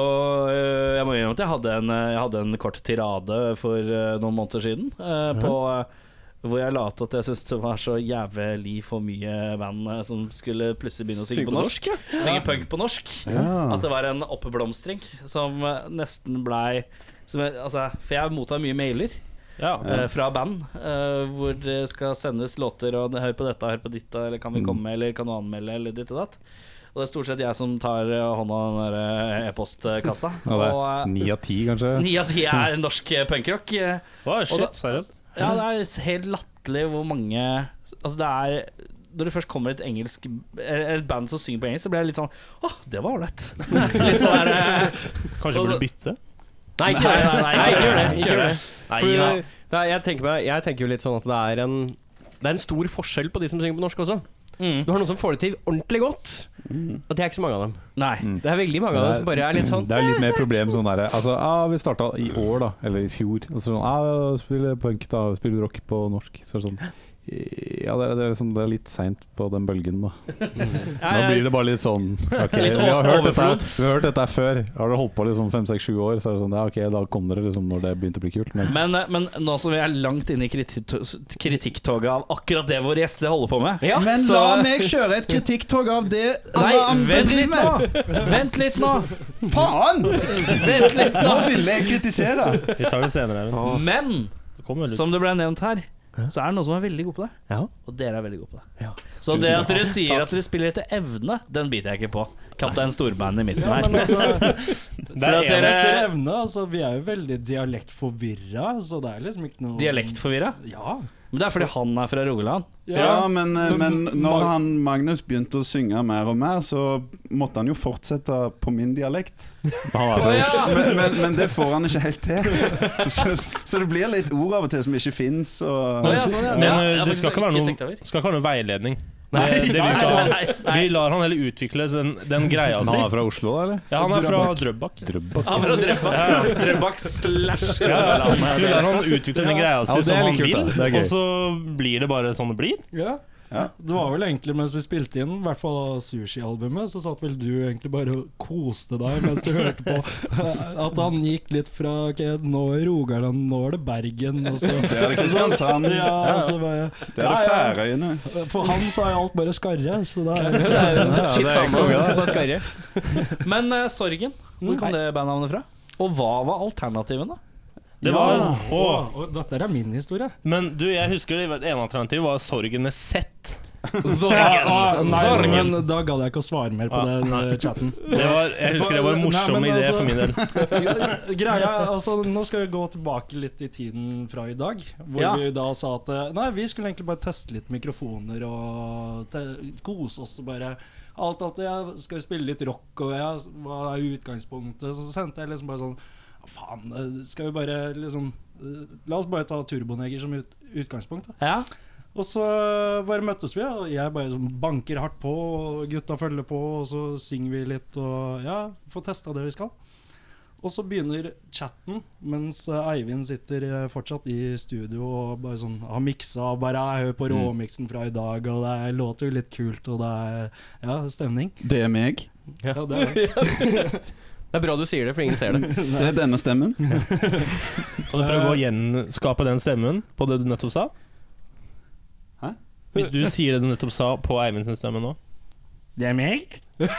Speaker 3: øh, Jeg må innrømme at jeg hadde en, øh, jeg hadde en kort tirade for øh, noen måneder siden. øh, på,
Speaker 6: Mhm.
Speaker 3: øh, hvor jeg la til at jeg syntes det var så jævlig for mye band øh, som skulle plutselig begynne å synge på norsk. Synge punk på norsk. At det var en oppblomstring som øh, nesten blei som jeg, altså, For jeg mottar mye mailer
Speaker 6: Ja.
Speaker 3: øh, fra band øh, hvor det skal sendes låter og 'hør på dette', 'hør på ditt', eller 'kan vi
Speaker 2: Mm.
Speaker 3: komme', eller 'kan du anmelde', eller ditt og datt. Og det er stort sett jeg som tar eh, hånda av den der eh, e-postkassa.
Speaker 2: Ja, det er
Speaker 3: Og
Speaker 2: Ni av ti, kanskje.
Speaker 3: eh, ni av ti er norsk eh, punkrock. Eh,
Speaker 6: Oi,
Speaker 3: Og da-
Speaker 6: shit, seriøst?
Speaker 3: Ja, det er helt latterlig hvor mange Altså, det er når det først kommer et engelsk eller et band som synger på engelsk, så blir jeg litt sånn Å, det var ålright. Litt sånn der eh,
Speaker 6: Kanskje jeg burde
Speaker 3: Og så-
Speaker 6: bytte?
Speaker 3: Nei, ikke gjør det. Nei, nei, ikke gjør det. Ikke gjør det.
Speaker 6: Nei,
Speaker 3: For-
Speaker 6: ja.
Speaker 9: Det er, jeg, tenker meg, jeg tenker jo litt sånn at det er en det er en stor forskjell på de som synger på norsk også.
Speaker 3: Mm.
Speaker 9: Du har noen som får det til ordentlig godt. Og det er ikke så mange av dem.
Speaker 3: Nei.
Speaker 2: Mm.
Speaker 9: Det er veldig mange av dem som bare er litt sånn
Speaker 2: Det er litt mer problem sånn derre Altså, ah, vi starta i år, da. Eller i fjor. Og så sånn ah, Spiller punk, da. Spiller rock på norsk. Så er det sånn ja, det er, det, er sånn, det er litt seint på den bølgen, da. Nå
Speaker 3: Ja,
Speaker 2: blir
Speaker 3: ja,
Speaker 2: det bare litt sånn Ok,
Speaker 3: Litt
Speaker 2: vi, har hørt dette, her-
Speaker 3: overflod.
Speaker 2: vi har hørt dette her før. Har dere holdt på liksom fem, seks, sju år, så er det sånn Ja, ok, da kom dere liksom når det begynte å bli kult. Men
Speaker 3: men, eh, men nå som vi er langt inne i kriti- kritikktoget av akkurat det våre gjester holder på med
Speaker 9: Ja,
Speaker 7: Men
Speaker 3: så-
Speaker 7: la meg kjøre et kritikktog av det
Speaker 3: Nei, vent
Speaker 7: bedriver
Speaker 3: litt nå! Vent litt nå! Faen! Vent litt nå!
Speaker 7: ville jeg kritisere!
Speaker 6: Vi tar det senere. Eivind.
Speaker 3: Men
Speaker 6: Det kommer vel ut.
Speaker 3: som det ble nevnt her, så er det noen som er veldig gode på det.
Speaker 4: Ja.
Speaker 3: Og dere er veldig gode på det.
Speaker 4: Ja.
Speaker 3: Så det at dere sier at dere spiller etter evne, den biter jeg ikke på. Kaptein Storbein i midten her.
Speaker 8: Men altså,
Speaker 6: Det er
Speaker 3: at
Speaker 6: en-
Speaker 8: etter evne, altså, vi er jo veldig dialektforvirra, så det er liksom ikke noe
Speaker 3: Dialektforvirra?
Speaker 8: Ja.
Speaker 3: Men det er fordi han er fra Rogaland.
Speaker 7: Ja, men, eh, men
Speaker 8: Men-
Speaker 7: når
Speaker 8: Mag-
Speaker 7: han Magnus begynte å synge mer og mer, så måtte han jo fortsette på min dialekt. Men, men, men det får han ikke helt til. Så, så det blir litt ord av og til som ikke fins. Og...
Speaker 3: Å, ja, sånn, ja.
Speaker 6: Men
Speaker 3: Ja,
Speaker 6: eh,
Speaker 3: jeg har
Speaker 6: det skal
Speaker 3: faktisk
Speaker 6: ikke være
Speaker 3: ikke
Speaker 6: noen,
Speaker 3: tenkt over.
Speaker 6: skal ikke være noen veiledning.
Speaker 7: Nei,
Speaker 6: Det, det vil vi ikke ha.
Speaker 3: Nei, nei.
Speaker 6: Vi lar han heller utvikle den, den greia
Speaker 2: Men
Speaker 6: si.
Speaker 2: han er fra Oslo, da, eller?
Speaker 6: Ja, han er fra Drøbak.
Speaker 2: Drøbak.
Speaker 3: Han er fra Drøbak. Drøbak slash
Speaker 6: Ja, ja.
Speaker 3: Rogaland.
Speaker 6: Så vi lar han utvikle den greia
Speaker 2: Ja,
Speaker 6: si
Speaker 2: det er
Speaker 6: som
Speaker 2: litt
Speaker 6: han
Speaker 2: kult,
Speaker 6: vil,
Speaker 2: da. Det er gøy.
Speaker 6: og så blir det bare sånn det blir.
Speaker 8: Ja.
Speaker 7: Ja.
Speaker 8: Det var vel egentlig mens vi spilte inn i hvert fall sushialbumet, så satt vel du egentlig bare og koste deg mens du hørte på at han gikk litt fra ok, nå er Rogaland, nå er det Bergen, og så
Speaker 7: Det er det Kristiansand,
Speaker 8: ja, og så
Speaker 7: det er
Speaker 8: Ja,
Speaker 7: det
Speaker 8: ja.
Speaker 7: Færøyene.
Speaker 8: bare, For han så er alt bare skarre, så det er
Speaker 9: Shit, samme.
Speaker 3: Men eh, Sorgen, hvor kom det bandnavnet fra? Og hva var alternativene?
Speaker 6: Det var,
Speaker 7: Ja.
Speaker 6: Åh.
Speaker 8: Og dette er min historie.
Speaker 6: Men du, jeg husker det ene alternativet var Sorgen med Z.
Speaker 8: Ah, nei,
Speaker 6: Sorgen.
Speaker 8: men da gadd jeg ikke å svare mer på den eh, chatten.
Speaker 6: Det var, jeg husker det var en
Speaker 8: Nei,
Speaker 6: morsom
Speaker 8: men
Speaker 6: idé
Speaker 8: altså-
Speaker 6: for min del.
Speaker 8: Greia, er, altså Nå skal vi gå tilbake litt i tiden fra i dag. Hvor
Speaker 3: Ja.
Speaker 8: vi da sa at eh, Nei, vi skulle egentlig bare teste litt mikrofoner og te kose oss og bare Alt at ja, Skal vi spille litt rock, og ja, hva er utgangspunktet? Så sendte jeg liksom bare sånn «Ja, Faen, eh, skal vi bare liksom eh, La oss bare ta Turboneger som ut utgangspunkt, da.
Speaker 3: Ja,
Speaker 8: Og så bare møttes vi, og jeg bare sånn banker hardt på, og gutta følger på, og så synger vi litt og ja, får testa det vi skal. Og så begynner chatten, mens eh, Eivind sitter eh, fortsatt i studio og bare sånn har miksa og bare «Jeg hører på råmiksen fra i dag, og det er- låter jo litt kult, og det er ja, stemning.
Speaker 7: Det er meg.
Speaker 8: Ja, det er det.
Speaker 9: Det er bra du sier det, for ingen ser det.
Speaker 7: Det er denne stemmen.
Speaker 6: Og du prøver å gjenskape den stemmen på det du nettopp sa?
Speaker 7: Hæ?
Speaker 6: Hvis du sier det du nettopp sa på Eivind sin stemme nå?
Speaker 8: Det er meg?
Speaker 6: Ja,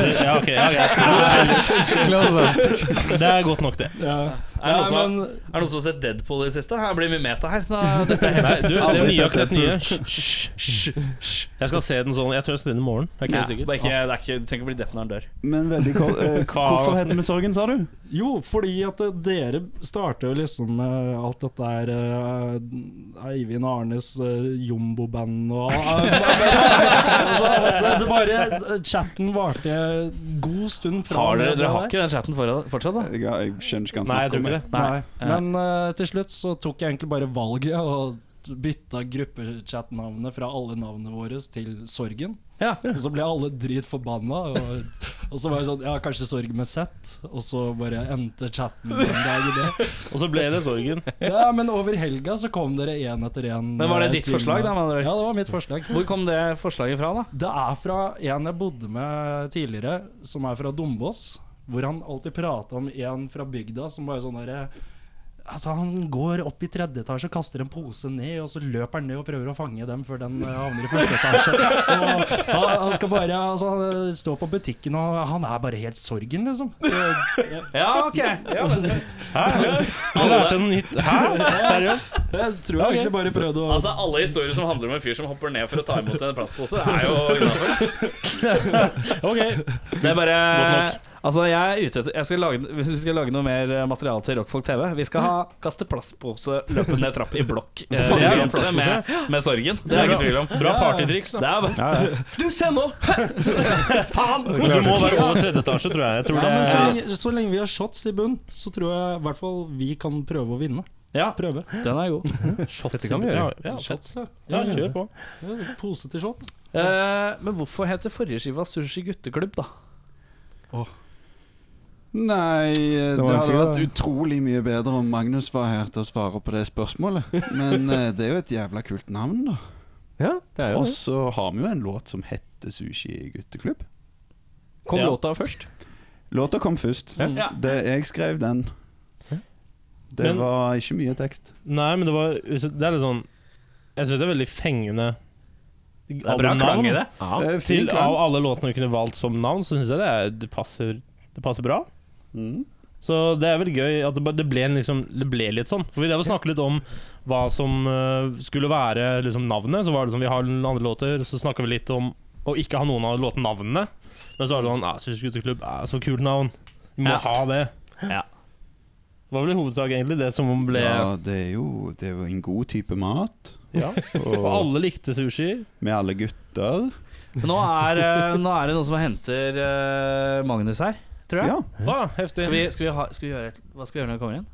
Speaker 6: det, ja ok. Ja, greit. Det er godt nok, det.
Speaker 8: Ja.
Speaker 3: Er det noen som har-
Speaker 8: Nei, men
Speaker 3: Er det noen som har sett Deadpool i det siste? Her blir mye meta her. Da, dette
Speaker 6: Nei,
Speaker 3: er helt
Speaker 6: du, det er
Speaker 7: Aldri
Speaker 6: nye
Speaker 7: sett
Speaker 6: akkurat nye. Hysj, hysj, hysj. Jeg skal se den sånn Jeg tror jeg skal se den i morgen. Jeg er ikke
Speaker 3: Ja,
Speaker 6: helt
Speaker 3: det
Speaker 6: sikker.
Speaker 3: er ikke, det er ikke, du trenger ikke bli depp når han dør.
Speaker 7: Men veldig kort. eh, hvorfor heter vi Sorgen, sa du?
Speaker 8: Jo, fordi at eh, dere starter jo liksom med alt dette her eh, Eivind og Arnes eh, jumbo-band og altså, det, det bare Chatten varte god stund fra
Speaker 3: Har dere,
Speaker 8: det
Speaker 3: dere
Speaker 8: her.
Speaker 3: har ikke den chatten foran- fortsatt, da?
Speaker 7: Jeg, jeg skjønner ikke hva han
Speaker 6: Nei,
Speaker 7: snakker
Speaker 6: jeg tror
Speaker 7: om.
Speaker 6: ikke det.
Speaker 8: Nei.
Speaker 3: Nei.
Speaker 8: Men eh, til slutt så tok jeg egentlig bare valget og t- bytta gruppechat-navnet fra alle navnene våre til Sorgen.
Speaker 3: Ja.
Speaker 8: Og så ble alle dritforbanna. Og, og så var det sånn Ja, kanskje Sorg med Z? Og så bare endte chatten den dagen det.
Speaker 6: Og så ble det sorgen.
Speaker 8: Ja, men over helga så kom dere én etter én.
Speaker 3: Men var det
Speaker 8: eh,
Speaker 3: ditt
Speaker 8: til
Speaker 3: forslag,
Speaker 8: meg.
Speaker 3: da? med andre ord?
Speaker 8: Ja, det var mitt forslag.
Speaker 3: Hvor kom det forslaget fra, da?
Speaker 8: Det er fra en jeg bodde med tidligere, som er fra Dombås. Hvor han alltid prata om en fra bygda som bare sånn derre Altså, han går opp i tredje etasje, kaster en pose ned, og så løper han ned og prøver å fange dem før den eh, havner i første etasje. Og han, han skal bare altså, han står på butikken, og han er bare helt sorgen, liksom.
Speaker 3: Ja, ok. Ja, men,
Speaker 6: Hæ? Jeg lærte en nytt Hæ? Seriøst?
Speaker 8: Jeg tror jeg egentlig bare prøvde å
Speaker 3: altså, alle historier som handler om en fyr som hopper ned for å ta imot en plastpose, er jo innafor.
Speaker 6: Ok.
Speaker 3: Det er bare
Speaker 6: Godt
Speaker 3: Altså, jeg er ute etter jeg skal lage, Hvis vi skal lage noe mer eh, materiale til Rockfolk TV Vi skal ha
Speaker 6: Mm.
Speaker 3: kaste plastpose, løpe ned trapp i blokk. Eh,
Speaker 6: Faen, det er
Speaker 3: konkurranse med, med sorgen. Det er jeg ikke tvil om.
Speaker 6: Bra partytriks, da.
Speaker 3: Det er bare,
Speaker 9: Du, se nå!
Speaker 3: faen!
Speaker 6: Du må være over tredje etasje, tror jeg. jeg tror
Speaker 8: Ja, men så,
Speaker 6: det
Speaker 8: lenge, så lenge vi har shots i bunn, så tror jeg i hvert fall vi kan prøve å vinne.
Speaker 3: Ja,
Speaker 8: Prøve.
Speaker 3: den er god.
Speaker 6: Shots,
Speaker 9: Dette kan vi gjøre.
Speaker 6: Ja, ja,
Speaker 8: Shots, ja.
Speaker 6: ja, kjør på.
Speaker 8: Ja, Pose til shot.
Speaker 3: Eh, men hvorfor heter forrige skiva Sushi gutteklubb, da?
Speaker 7: Nei, eh, det,
Speaker 8: var en
Speaker 7: hadde
Speaker 8: fyr,
Speaker 7: vært
Speaker 8: da.
Speaker 7: utrolig mye bedre om Magnus var her til å svare på det spørsmålet. Men eh, det er jo et jævla kult navn, da.
Speaker 9: Ja, det er jo
Speaker 7: Og
Speaker 9: det.
Speaker 7: så har vi jo en låt som heter Sushi gutteklubb.
Speaker 9: Kom
Speaker 6: Ja.
Speaker 9: låta først.
Speaker 7: Låta kom først.
Speaker 3: Ja.
Speaker 7: Det, jeg skrev den. Det
Speaker 6: Men-
Speaker 7: var ikke mye tekst.
Speaker 6: Nei, men det var Det er litt sånn Jeg syns det er veldig fengende
Speaker 3: Det er bra klang i det.
Speaker 7: Eh,
Speaker 6: Ja. Til, av alle låtene vi kunne valgt som navn, så syns jeg det, er, det, passer, det passer bra.
Speaker 7: Mm.
Speaker 6: Så det er veldig gøy at det, bare- det, ble, en liksom, det ble litt sånn. For Vi drev og snakket litt om hva som eh, skulle være liksom, navnet. Så var det sånn, vi har noen andre låter, så snakka vi litt om å ikke ha noen av låtnavnene. Men så var det sånn «Ah, Syns Gutteklubb er så kult navn. Vi må
Speaker 3: Ja.
Speaker 6: ha det.
Speaker 3: Ja.
Speaker 6: Det var vel i hovedsak egentlig det som ble
Speaker 7: Ja, det er, jo, det er jo en god type mat.
Speaker 6: Ja. Og alle likte sushi.
Speaker 7: Med alle gutter.
Speaker 3: Men Nå er, eh, nå er det noen som henter eh, Magnus her, tror jeg.
Speaker 7: Ja.
Speaker 6: Ah, heftig.
Speaker 3: Skal, vi, skal, vi ha, skal vi gjøre et- Hva skal vi gjøre når han kommer inn?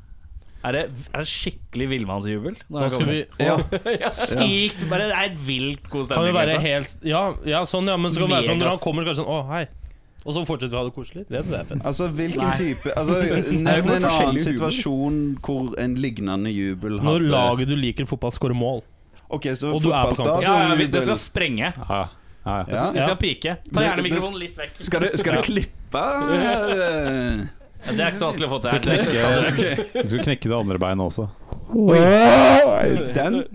Speaker 3: Er det, er det skikkelig villmannsjubel? når
Speaker 6: Da
Speaker 3: han
Speaker 6: skal
Speaker 3: kommer
Speaker 6: vi
Speaker 3: inn? ja, sykt! Bare, det er vilt
Speaker 6: Kan
Speaker 3: god stemning.
Speaker 6: jo være
Speaker 3: liksom.
Speaker 6: helt Ja, ja sånn, ja. Men så kan det være sånn når han
Speaker 3: Megas.
Speaker 6: kommer, kanskje sånn Å, hei. Og så fortsetter vi å ha det koselig. Det synes jeg er fett.
Speaker 7: Altså, hvilken type altså,
Speaker 9: bare
Speaker 7: Nevn en annen
Speaker 9: forskjellige humor.
Speaker 7: situasjon hvor en lignende jubel
Speaker 6: Når
Speaker 7: hadde
Speaker 6: laget du liker fotball, skårer mål.
Speaker 7: Ok, så
Speaker 6: og du er på kampen.
Speaker 3: ja, ja, vi,
Speaker 7: fotballstadion
Speaker 3: Det skal sprenge.
Speaker 2: Ja, ja, ja.
Speaker 3: Vi skal, vi
Speaker 6: Ja.
Speaker 3: skal pike. Ta
Speaker 7: Det-
Speaker 3: gjerne
Speaker 7: det-
Speaker 3: mikrofonen litt vekk.
Speaker 7: Skal det, skal det klippe?
Speaker 3: Ja, det er ikke så vanskelig å få til.
Speaker 2: Så
Speaker 3: her. Det er ikke-
Speaker 2: Du skal knekke det andre beinet også.
Speaker 7: Oi, Den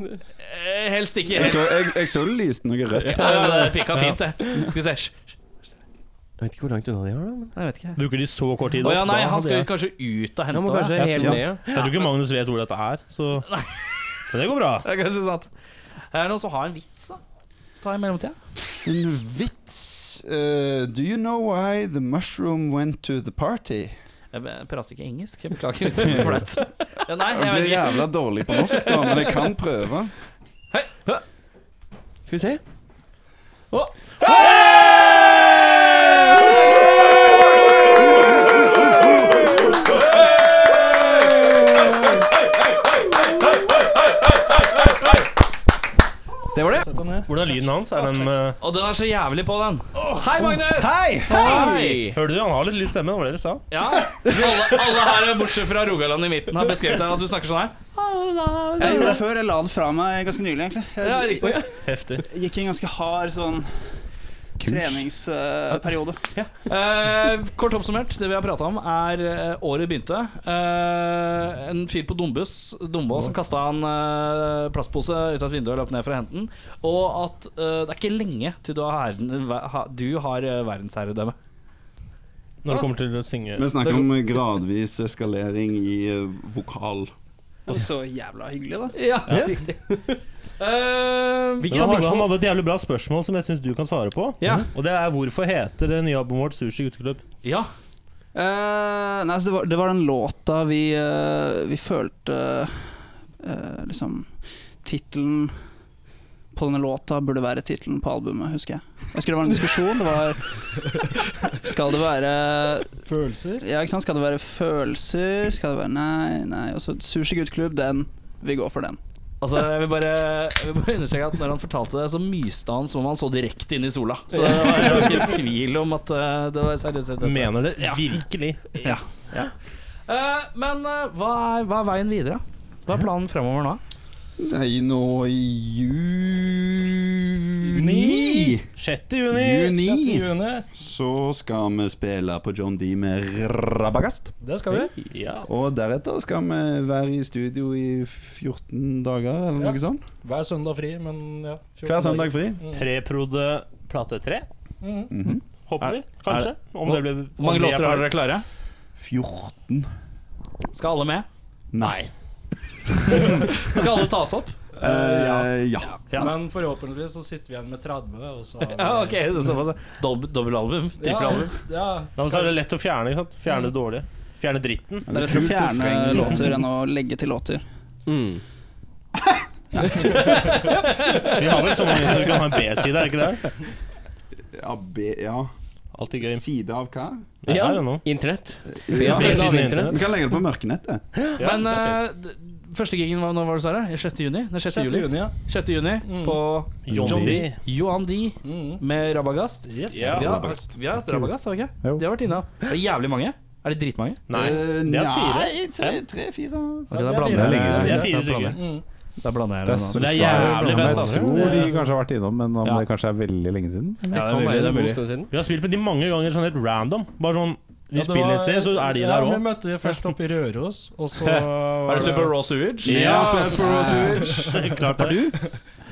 Speaker 3: Eh, Helst ikke.
Speaker 7: Jeg
Speaker 3: Helst.
Speaker 7: så, jeg, jeg så det lyste noe rødt.
Speaker 3: Ja, ja, det pika fint, det. Skal vi se Hysj, hysj.
Speaker 9: Jeg vet ikke hvor langt unna de har, da.
Speaker 3: Nei, Jeg vet ikke.
Speaker 6: Bruker de så kort tid
Speaker 3: Å ja,
Speaker 6: opp,
Speaker 3: nei,
Speaker 6: da
Speaker 3: han
Speaker 6: hadde
Speaker 3: skal
Speaker 6: jeg-
Speaker 3: kanskje ut og
Speaker 9: Jeg
Speaker 3: hente
Speaker 9: må
Speaker 3: det.
Speaker 9: kanskje helt
Speaker 7: Ja.
Speaker 9: ned.
Speaker 6: Jeg tror ikke Magnus vet hvor dette er, så Så det går bra.
Speaker 3: Det er kanskje sant. Er det noen som har en vits, da? Ta i mellomtida.
Speaker 7: En vits. Uh, do you know why the mushroom went to the party?
Speaker 3: Jeg be- prater ikke engelsk. Jeg beklager. Utrolig flaut. Ja, nei,
Speaker 7: Jeg
Speaker 3: jeg
Speaker 7: blir
Speaker 3: vet ikke.
Speaker 7: jævla dårlig på norsk, da, men jeg kan prøve.
Speaker 3: Hei. Hø.
Speaker 9: Skal vi se.
Speaker 3: Å.
Speaker 9: Det var det.
Speaker 8: Sett deg ned.
Speaker 6: Hvordan er lyden hans? Er den eh,
Speaker 3: Og den er så jævlig på, den.
Speaker 10: oh,
Speaker 3: Hei, Magnus!
Speaker 7: Hei!
Speaker 3: Hei!
Speaker 6: Hører du? Han har litt lys stemme, det var det dere sa.
Speaker 3: Ja, alle, alle her bortsett fra Rogaland i midten har beskrevet deg at du snakker sånn her.
Speaker 10: Jeg gjorde det før. Jeg la det fra meg ganske nylig, egentlig.
Speaker 3: Ja, riktig.
Speaker 6: Heftig.
Speaker 10: Jeg gikk i en ganske hard sånn treningsperiode.
Speaker 3: Eh, kort oppsummert, det vi har prata om, er eh, året begynte. Eh, en fyr på Dombus Dombås som kasta en eh, plastpose ut av et vindu og løp ned for å hente den. Og at eh, det er ikke lenge til du har, herden, ha, du har eh, verdensherredømme.
Speaker 6: Når det kommer til å synge
Speaker 7: Vi snakker om gradvis eskalering i eh, vokal.
Speaker 10: Så jævla hyggelig, da.
Speaker 3: Ja, riktig. Eh,
Speaker 6: Men han, hadde, han hadde et jævlig bra spørsmål som jeg syns du kan svare på.
Speaker 10: Ja.
Speaker 6: Og det er hvorfor heter det nye albumet vårt Sushi Gutteklubb?
Speaker 3: ja.
Speaker 10: Eh, nei, så det, var, det var den låta vi, eh, vi følte eh, Liksom Tittelen på denne låta burde være tittelen på albumet, husker jeg. Jeg husker det var en diskusjon. Det var Skal det være
Speaker 8: Følelser.
Speaker 10: Ja, ikke sant? Skal det være følelser? Skal det være Nei, nei. Og så Sushi Gutteklubb, den. Vi går for den.
Speaker 3: Altså, jeg vil, bare, jeg vil bare understreke at når han fortalte det, så myste han som om han så direkte inn i sola. Så det var, det var ikke tvil om at eh, det var seriøst. dette.
Speaker 6: Mener det virkelig?
Speaker 3: Eh, men eh, hva, er, hva er veien videre? Hva er planen fremover nå?
Speaker 7: Nei, nå i juni
Speaker 6: 6. juni.
Speaker 7: Juni
Speaker 8: Juni.
Speaker 7: så skal vi spille på John D med Rabagast.
Speaker 8: Det skal vi.
Speaker 6: Ja.
Speaker 7: Og deretter skal vi være i studio i 14 dager, eller noe sånt.
Speaker 8: Hver søndag fri, men ja. 14
Speaker 7: Hver søndag
Speaker 8: dager.
Speaker 7: fri.
Speaker 6: Mm. Preprode plate tre,
Speaker 8: Mhm.
Speaker 6: håper vi. Kanskje. Om det blir
Speaker 3: Hvor mange låter har dere klare?
Speaker 7: 14
Speaker 3: Skal alle med?
Speaker 7: Nei.
Speaker 3: Skal alle tas opp?
Speaker 7: Eh, ja.
Speaker 3: Ja.
Speaker 8: Men forhåpentligvis så sitter vi igjen med 30, og så har vi-
Speaker 3: Ja, ok, sånn så såpass. ja. Dobb, Dobbelalbum? Trippelalbum?
Speaker 8: Ja,
Speaker 6: Da er det lett å fjerne. ikke sant? Fjerne det dårlige. Fjerne dritten.
Speaker 10: Det er lettere å fjerne låter enn å legge til låter.
Speaker 9: Mm.
Speaker 6: Vi har vel så mange som kan ha en B-side, er det ikke det?
Speaker 7: Ja, B, ja.
Speaker 6: Alltid gøy.
Speaker 7: Side av hva?
Speaker 6: Jeg
Speaker 9: Ja,
Speaker 6: har det nå.
Speaker 9: internett.
Speaker 7: Ja.
Speaker 6: B-siden av
Speaker 7: Vi
Speaker 6: internett.
Speaker 7: kan legge det på mørkenettet.
Speaker 6: Ja,
Speaker 3: Men
Speaker 6: det er
Speaker 3: eh, d- første gigen var, når var det, Sara? 6. juni? Nei, 6.
Speaker 8: 6.
Speaker 3: juli.
Speaker 8: juni, ja.
Speaker 3: 6. juni
Speaker 8: Mm.
Speaker 3: på
Speaker 6: John
Speaker 3: John
Speaker 6: D.
Speaker 3: D. Johan D.
Speaker 8: Mhm.
Speaker 3: med Rabagast.
Speaker 8: Yes.
Speaker 6: Ja.
Speaker 3: Vi har, vi har hatt Rabagast, har vi ikke?
Speaker 2: Jo.
Speaker 3: De har vært innom. Det er jævlig mange. Er det dritmange?
Speaker 6: Nei.
Speaker 7: Eh,
Speaker 6: Det er fire.
Speaker 7: Nei, tre, tre fire.
Speaker 3: Ok,
Speaker 8: Ja,
Speaker 3: da
Speaker 8: det er
Speaker 3: blander
Speaker 8: fire.
Speaker 3: jeg lenge siden.
Speaker 6: Det er fire
Speaker 3: Da blander jeg-
Speaker 8: Mhm.
Speaker 3: Da blander jeg det. nå.
Speaker 6: det er jævlig fett, altså.
Speaker 2: Jeg tror de kanskje har vært innom, men om
Speaker 3: Ja.
Speaker 2: det kanskje er veldig lenge siden?
Speaker 3: Ja, det er mulig, det er
Speaker 9: God
Speaker 3: mulig.
Speaker 9: stund siden.
Speaker 6: Vi har spilt med de mange ganger sånn helt random. Bare sånn Vi
Speaker 8: Ja, det
Speaker 6: spiller
Speaker 8: var-
Speaker 6: et sted, så er de
Speaker 8: ja,
Speaker 6: der
Speaker 8: Vi
Speaker 6: òg.
Speaker 8: møtte de først oppe i Røros, og så
Speaker 3: Er
Speaker 8: var
Speaker 3: det slutt på Raw Sewage?
Speaker 7: Ja, spill for Rosevich.
Speaker 6: Klart det.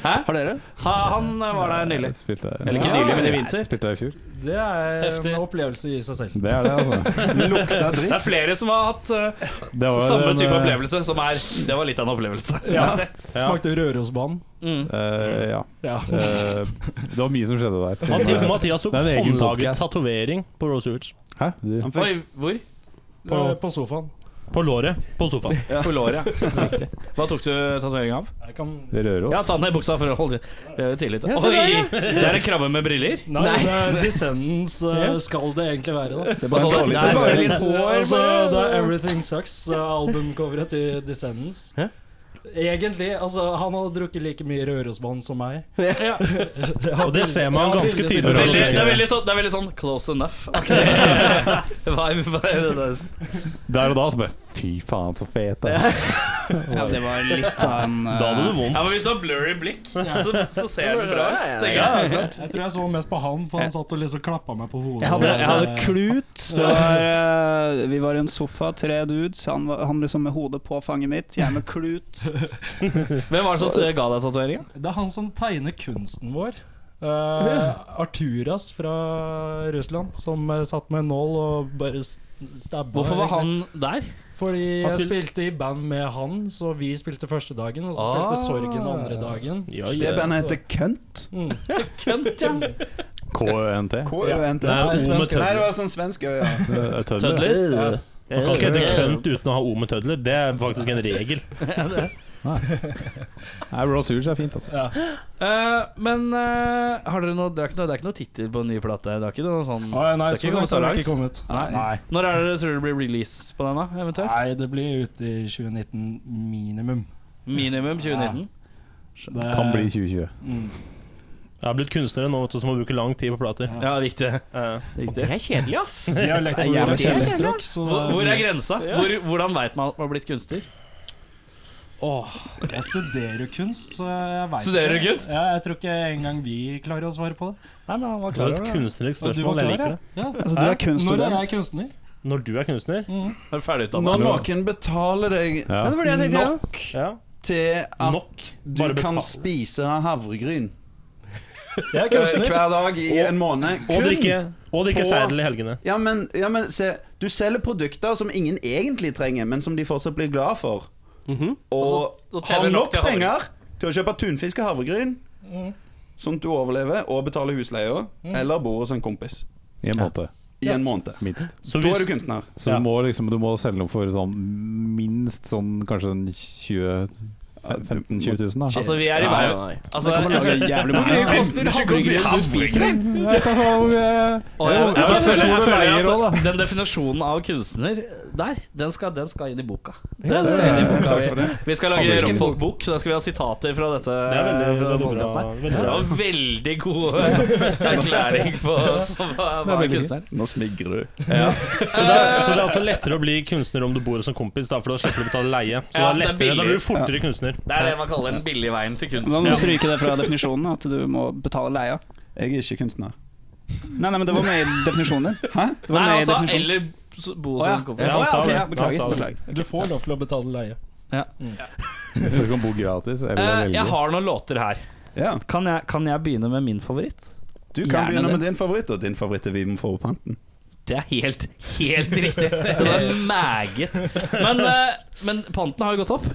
Speaker 3: Hæ?
Speaker 10: Har dere?
Speaker 3: Ha, han eh, var der nylig.
Speaker 2: Spilte
Speaker 3: Eller ikke
Speaker 8: Ja.
Speaker 3: nylig, men i vinter.
Speaker 2: Spilte der i fjor.
Speaker 8: Det er
Speaker 3: Heftig.
Speaker 8: en opplevelse i seg selv.
Speaker 2: Det er det, altså.
Speaker 7: Lukta
Speaker 3: Det er
Speaker 7: dritt.
Speaker 3: flere som har hatt eh,
Speaker 2: Det var
Speaker 3: samme
Speaker 2: en,
Speaker 3: type
Speaker 2: eh,
Speaker 3: opplevelse, som er Det var litt av en opplevelse.
Speaker 8: Smakte Rørosbanen.
Speaker 3: Mm.
Speaker 2: eh, ja.
Speaker 8: Ja.
Speaker 2: Eh, det var mye som skjedde der.
Speaker 6: Mathi- Mathias tok
Speaker 2: Det er en egen
Speaker 6: håndlaget
Speaker 2: podcast.
Speaker 6: tatovering på Rose Woods.
Speaker 2: Hæ? Du,
Speaker 7: Han
Speaker 3: Oi,
Speaker 7: fikk,
Speaker 3: hvor?
Speaker 8: På, på sofaen.
Speaker 6: På låret på sofaen.
Speaker 3: På låret. ja. Riktig. Hva tok du tatovering av?
Speaker 8: Jeg kan
Speaker 2: det rører oss.
Speaker 3: Ja, ta den ned i buksa for å holde eh, tillit.
Speaker 4: Ja, se der, ja.
Speaker 3: Oi! Det er en krabbe med briller?
Speaker 8: Nei, det er Descendants eh, skal det egentlig være, da.
Speaker 7: det er
Speaker 3: Hva sa
Speaker 7: bare
Speaker 3: du?
Speaker 7: en dårlig
Speaker 3: Nei,
Speaker 7: tatovering.
Speaker 4: Bare litt hår
Speaker 8: Altså, det er Everything Sucks, eh, albumcoveret til Descendants.
Speaker 4: Hæ?
Speaker 8: Egentlig. Altså, han hadde drukket like mye Rørosbanen som meg.
Speaker 3: Ja.
Speaker 6: Og det ser man
Speaker 8: Ja,
Speaker 6: ganske
Speaker 8: veldig
Speaker 6: tydelig.
Speaker 3: Det
Speaker 6: på Rose
Speaker 3: er veldig, det er
Speaker 6: Woods.
Speaker 3: veldig sånn, det er veldig sånn close enough-aktig vibe. vibe, det er-
Speaker 2: Der og da så bare Fy faen, så fet, ass.
Speaker 10: Ja, det var litt av en
Speaker 6: Da hadde du vondt.
Speaker 3: Ja, men Hvis du har blurry blikk, så, så ser den bra ut. tenker
Speaker 8: Ja,
Speaker 3: jeg.
Speaker 8: klart. Jeg tror jeg så mest på han, for han satt og liksom klappa meg på hodet.
Speaker 10: Jeg hadde, jeg hadde
Speaker 8: Eh,
Speaker 10: klut. Det var, eh, vi var i en sofa, tre dudes. Han, var, han liksom med hodet på fanget mitt, jeg med klut.
Speaker 3: Hvem var det som eh, ga deg tatoveringa?
Speaker 8: Det er han som tegner kunsten vår. Eh, Arturas fra Russland, som eh, satt med en nål og bare s- stabba.
Speaker 3: Hvorfor var han der?
Speaker 8: Fordi
Speaker 6: Han
Speaker 8: jeg
Speaker 6: spil-
Speaker 8: spilte i band med han, så vi spilte første dagen, og så
Speaker 3: Ah.
Speaker 8: spilte Sorgen andre dagen.
Speaker 6: Ja,
Speaker 7: Det
Speaker 6: ja.
Speaker 7: bandet heter Kønt.
Speaker 8: Mm.
Speaker 3: Kønt, ja.
Speaker 2: KØNT.
Speaker 7: K-Ø-N-T.
Speaker 6: Det er
Speaker 7: Nei,
Speaker 6: O med
Speaker 7: svensk- Nei, det
Speaker 6: tødler.
Speaker 7: var sånn svensk øya.
Speaker 2: Tødler.
Speaker 3: Tødler?
Speaker 6: Man kan ikke hete kønt uten å ha O med tødler. Det er faktisk en regel.
Speaker 2: Nei, Rose Hughes er fint, altså.
Speaker 3: Eh, men eh, har dere noe, det, er ikke noe, det er ikke noe tittel på en ny plate? Det er ikke noe sånn
Speaker 8: Å, ja, nei,
Speaker 3: Det er
Speaker 8: så
Speaker 3: ikke kommet
Speaker 8: langt
Speaker 3: så
Speaker 8: har det
Speaker 3: langt.
Speaker 8: ikke kommet.
Speaker 7: Nei.
Speaker 3: Når er det, tror du det blir release på den, da? eventuelt?
Speaker 8: Nei, det blir ute i 2019 minimum.
Speaker 3: Minimum 2019?
Speaker 8: Det
Speaker 2: Kan bli 2020.
Speaker 8: Mm.
Speaker 6: Jeg har blitt kunstnere nå, vet du, så må bruke lang tid på plater.
Speaker 3: Ja, riktig.
Speaker 6: Eh,
Speaker 3: riktig.
Speaker 4: Det er kjedelig, altså. ass.
Speaker 8: De har lekt
Speaker 10: Det er jævla
Speaker 8: med kjellerstrøk, så
Speaker 3: Hvor, hvor er grensa? Hvor, hvordan veit man at man har blitt kunstner?
Speaker 8: Åh, jeg studerer jo kunst, så jeg vet
Speaker 3: Studerer du
Speaker 8: ikke.
Speaker 3: kunst?
Speaker 8: Ja, jeg tror ikke engang vi klarer å svare på det.
Speaker 3: Nei, men han var
Speaker 6: Det er
Speaker 3: klar
Speaker 6: jo et
Speaker 3: over det.
Speaker 6: kunstnerisk
Speaker 8: Og du var
Speaker 6: spørsmål. Jeg liker
Speaker 8: klar,
Speaker 6: det.
Speaker 8: ja. Ja.
Speaker 10: Altså, du er
Speaker 8: Når er jeg
Speaker 10: kunststudent.
Speaker 8: kunstner?
Speaker 6: Når du er kunstner
Speaker 3: Er du ferdigutdanna?
Speaker 7: Når noen betaler deg
Speaker 2: Ja.
Speaker 4: det var det jeg tenkte, ja.
Speaker 7: nok
Speaker 6: ja.
Speaker 7: til at
Speaker 6: Nok.
Speaker 7: du
Speaker 6: Bare
Speaker 7: kan
Speaker 6: betal.
Speaker 7: spise havregryn
Speaker 8: Jeg er
Speaker 7: eh,
Speaker 8: kunstner.
Speaker 7: hver dag i en måned
Speaker 6: Og drikke, og drikke
Speaker 7: på-
Speaker 6: seidel i helgene.
Speaker 7: Ja, men, ja, men se, du selger produkter som ingen egentlig trenger, men som de fortsatt blir glad for. Og,
Speaker 3: Og så- og tjener
Speaker 7: har
Speaker 3: nok
Speaker 7: nok
Speaker 3: til havregryn.
Speaker 7: penger til å kjøpe tunfisk og havregryn, sånn at du overlever og betaler husleia, eller bor hos en kompis
Speaker 2: I en måte,
Speaker 7: i en måned.
Speaker 2: minst.
Speaker 6: Så
Speaker 7: Da er
Speaker 6: hvis,
Speaker 7: du kunstner.
Speaker 2: Så
Speaker 6: Ja.
Speaker 2: du, må liksom, du må selge noe for sånn minst sånn kanskje en 20 15 000-20 000, da.
Speaker 3: Altså, vi er i veien. Altså,
Speaker 10: Kommer til å lage jævlig mange
Speaker 3: Det koster havregryn du spiser. Og jeg, jeg, jeg, føler, jeg føler at Den definisjonen av kunstner der, den skal, den skal inn i boka. Den skal inn i boka Vi, vi skal lage
Speaker 2: Hvilken
Speaker 3: Rockfolk-bok. Da skal vi ha sitater fra dette.
Speaker 6: det er veldig,
Speaker 3: fra
Speaker 6: veldig,
Speaker 3: podcasten
Speaker 6: bra,
Speaker 3: her.
Speaker 6: veldig
Speaker 3: Det
Speaker 6: bra.
Speaker 3: var veldig god eh, erklæring på, på hva hva er kunstner.
Speaker 7: Nå smigrer du.
Speaker 6: Så det, er, så det er altså lettere å bli kunstner om du bor hos en kompis, da, for da slipper du å betale leie. Så det er
Speaker 3: Ja, det er
Speaker 6: lettere, da
Speaker 3: billig.
Speaker 6: blir du fortere kunstner.
Speaker 3: Det er det man kaller den billige veien til
Speaker 10: Da må du
Speaker 3: kunsten.
Speaker 10: stryke det fra definisjonen, at du må betale leia.
Speaker 7: Jeg er ikke kunstner.
Speaker 10: Nei, nei, men det var med i definisjonen din.
Speaker 7: Hæ?
Speaker 10: Det var
Speaker 3: Nei,
Speaker 10: med i
Speaker 3: altså,
Speaker 10: definisjonen.
Speaker 3: eller s-
Speaker 10: Å,
Speaker 3: bo hos
Speaker 10: ja.
Speaker 3: en
Speaker 10: Ja,
Speaker 3: kompis.
Speaker 6: han
Speaker 10: ja,
Speaker 6: sa
Speaker 10: ok,
Speaker 6: det.
Speaker 10: ja,
Speaker 6: Han sa
Speaker 10: beklager.
Speaker 6: det.
Speaker 10: beklager.
Speaker 8: Du får lov til å betale leie.
Speaker 2: Du kan bo gratis eller
Speaker 3: Eh,
Speaker 2: velge.
Speaker 3: Jeg har noen låter her.
Speaker 7: Ja.
Speaker 3: Kan jeg, kan jeg begynne med min favoritt?
Speaker 7: Du kan
Speaker 10: Gjerne
Speaker 7: begynne
Speaker 10: det.
Speaker 7: med din favoritt, og din favoritt er Viben Forpanten.
Speaker 3: Det er helt, helt riktig. Det var meget. Men, eh, men panten har jo gått opp.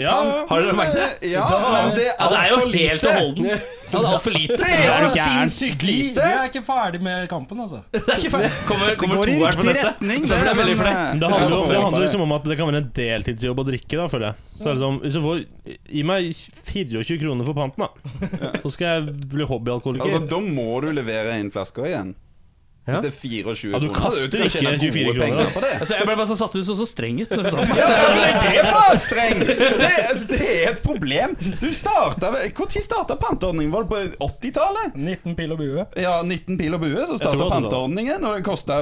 Speaker 6: Ja,
Speaker 3: Har dere merket det?
Speaker 7: Ja, men det er
Speaker 3: Ja, det er jo
Speaker 7: altfor
Speaker 3: helt å
Speaker 7: lite.
Speaker 3: holde den. Ja, det er altfor lite.
Speaker 7: Det er så
Speaker 6: Det er gærent.
Speaker 7: sinnssykt
Speaker 8: Vi vi
Speaker 7: lite!
Speaker 8: er ikke ferdig med kampen, altså.
Speaker 3: Det er ikke feil. Kommer, kommer
Speaker 10: Går i
Speaker 3: toeren på
Speaker 10: riktig
Speaker 3: neste.
Speaker 10: retning.
Speaker 3: Så blir jeg veldig
Speaker 10: men,
Speaker 3: fornøyd.
Speaker 10: eh,
Speaker 6: Men Det handler, jo- det handler liksom om at det kan være en deltidsjobb å drikke, da, føler jeg. Så er det sånn, hvis du får Gi meg 24 kroner for panten, da. Så skal jeg bli
Speaker 7: Altså,
Speaker 6: hobbyalkoholiker.
Speaker 7: da må du levere inn flasker igjen. Hvis det er 24
Speaker 6: Ja, du
Speaker 7: kroner,
Speaker 6: kaster
Speaker 7: kan
Speaker 6: ikke
Speaker 7: tjene
Speaker 6: 24
Speaker 7: gode
Speaker 6: kroner,
Speaker 7: penger på det.
Speaker 3: Altså, jeg ble bare så satt ut og så streng ut. Når vi sa
Speaker 7: Ja,
Speaker 3: det. sånn.
Speaker 7: men det er det faen streng! Det, altså, det er et problem. Du starta Når starta panteordningen? Var det på 80-tallet?
Speaker 8: 19 pil og bue.
Speaker 7: Ja, 19 pil og bue, så
Speaker 6: Jeg tror
Speaker 7: starta
Speaker 6: det var
Speaker 7: panteordningen. Og det kosta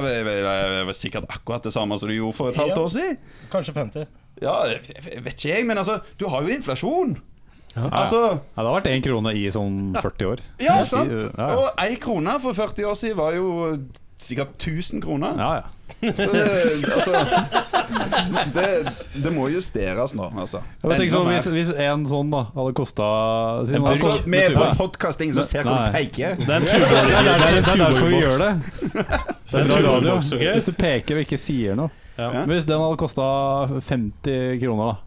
Speaker 7: sikkert akkurat det samme som du gjorde for et halvt år siden.
Speaker 8: Kanskje 50.
Speaker 7: Ja, jeg vet ikke jeg, men altså, du har jo inflasjon. Altså
Speaker 2: Ja, det har vært én krone i sånn 40 år.
Speaker 7: Ja, sant.
Speaker 2: Ja, ja.
Speaker 7: Og ei krone for 40 år siden var jo sikkert 1000 kroner.
Speaker 2: Ja, ja.
Speaker 7: Så det, altså, det, det må justeres nå, altså.
Speaker 2: Jeg tenker sånn,
Speaker 7: Enda
Speaker 2: hvis,
Speaker 7: mer.
Speaker 2: hvis en sånn da hadde kosta sin
Speaker 7: Altså, vi er på en podkast, ingen som ser hvor
Speaker 2: Nei.
Speaker 7: du peker.
Speaker 6: Det er en tuborg.
Speaker 2: Det er derfor- det er derfor
Speaker 6: Tuborg-boks.
Speaker 2: vi gjør det. Det er
Speaker 6: en
Speaker 2: bra
Speaker 6: tuborg
Speaker 2: radio.
Speaker 6: boks, ok?
Speaker 2: Hvis du peker og ikke sier noe.
Speaker 6: Ja.
Speaker 2: Men Hvis den hadde kosta 50 kroner, da.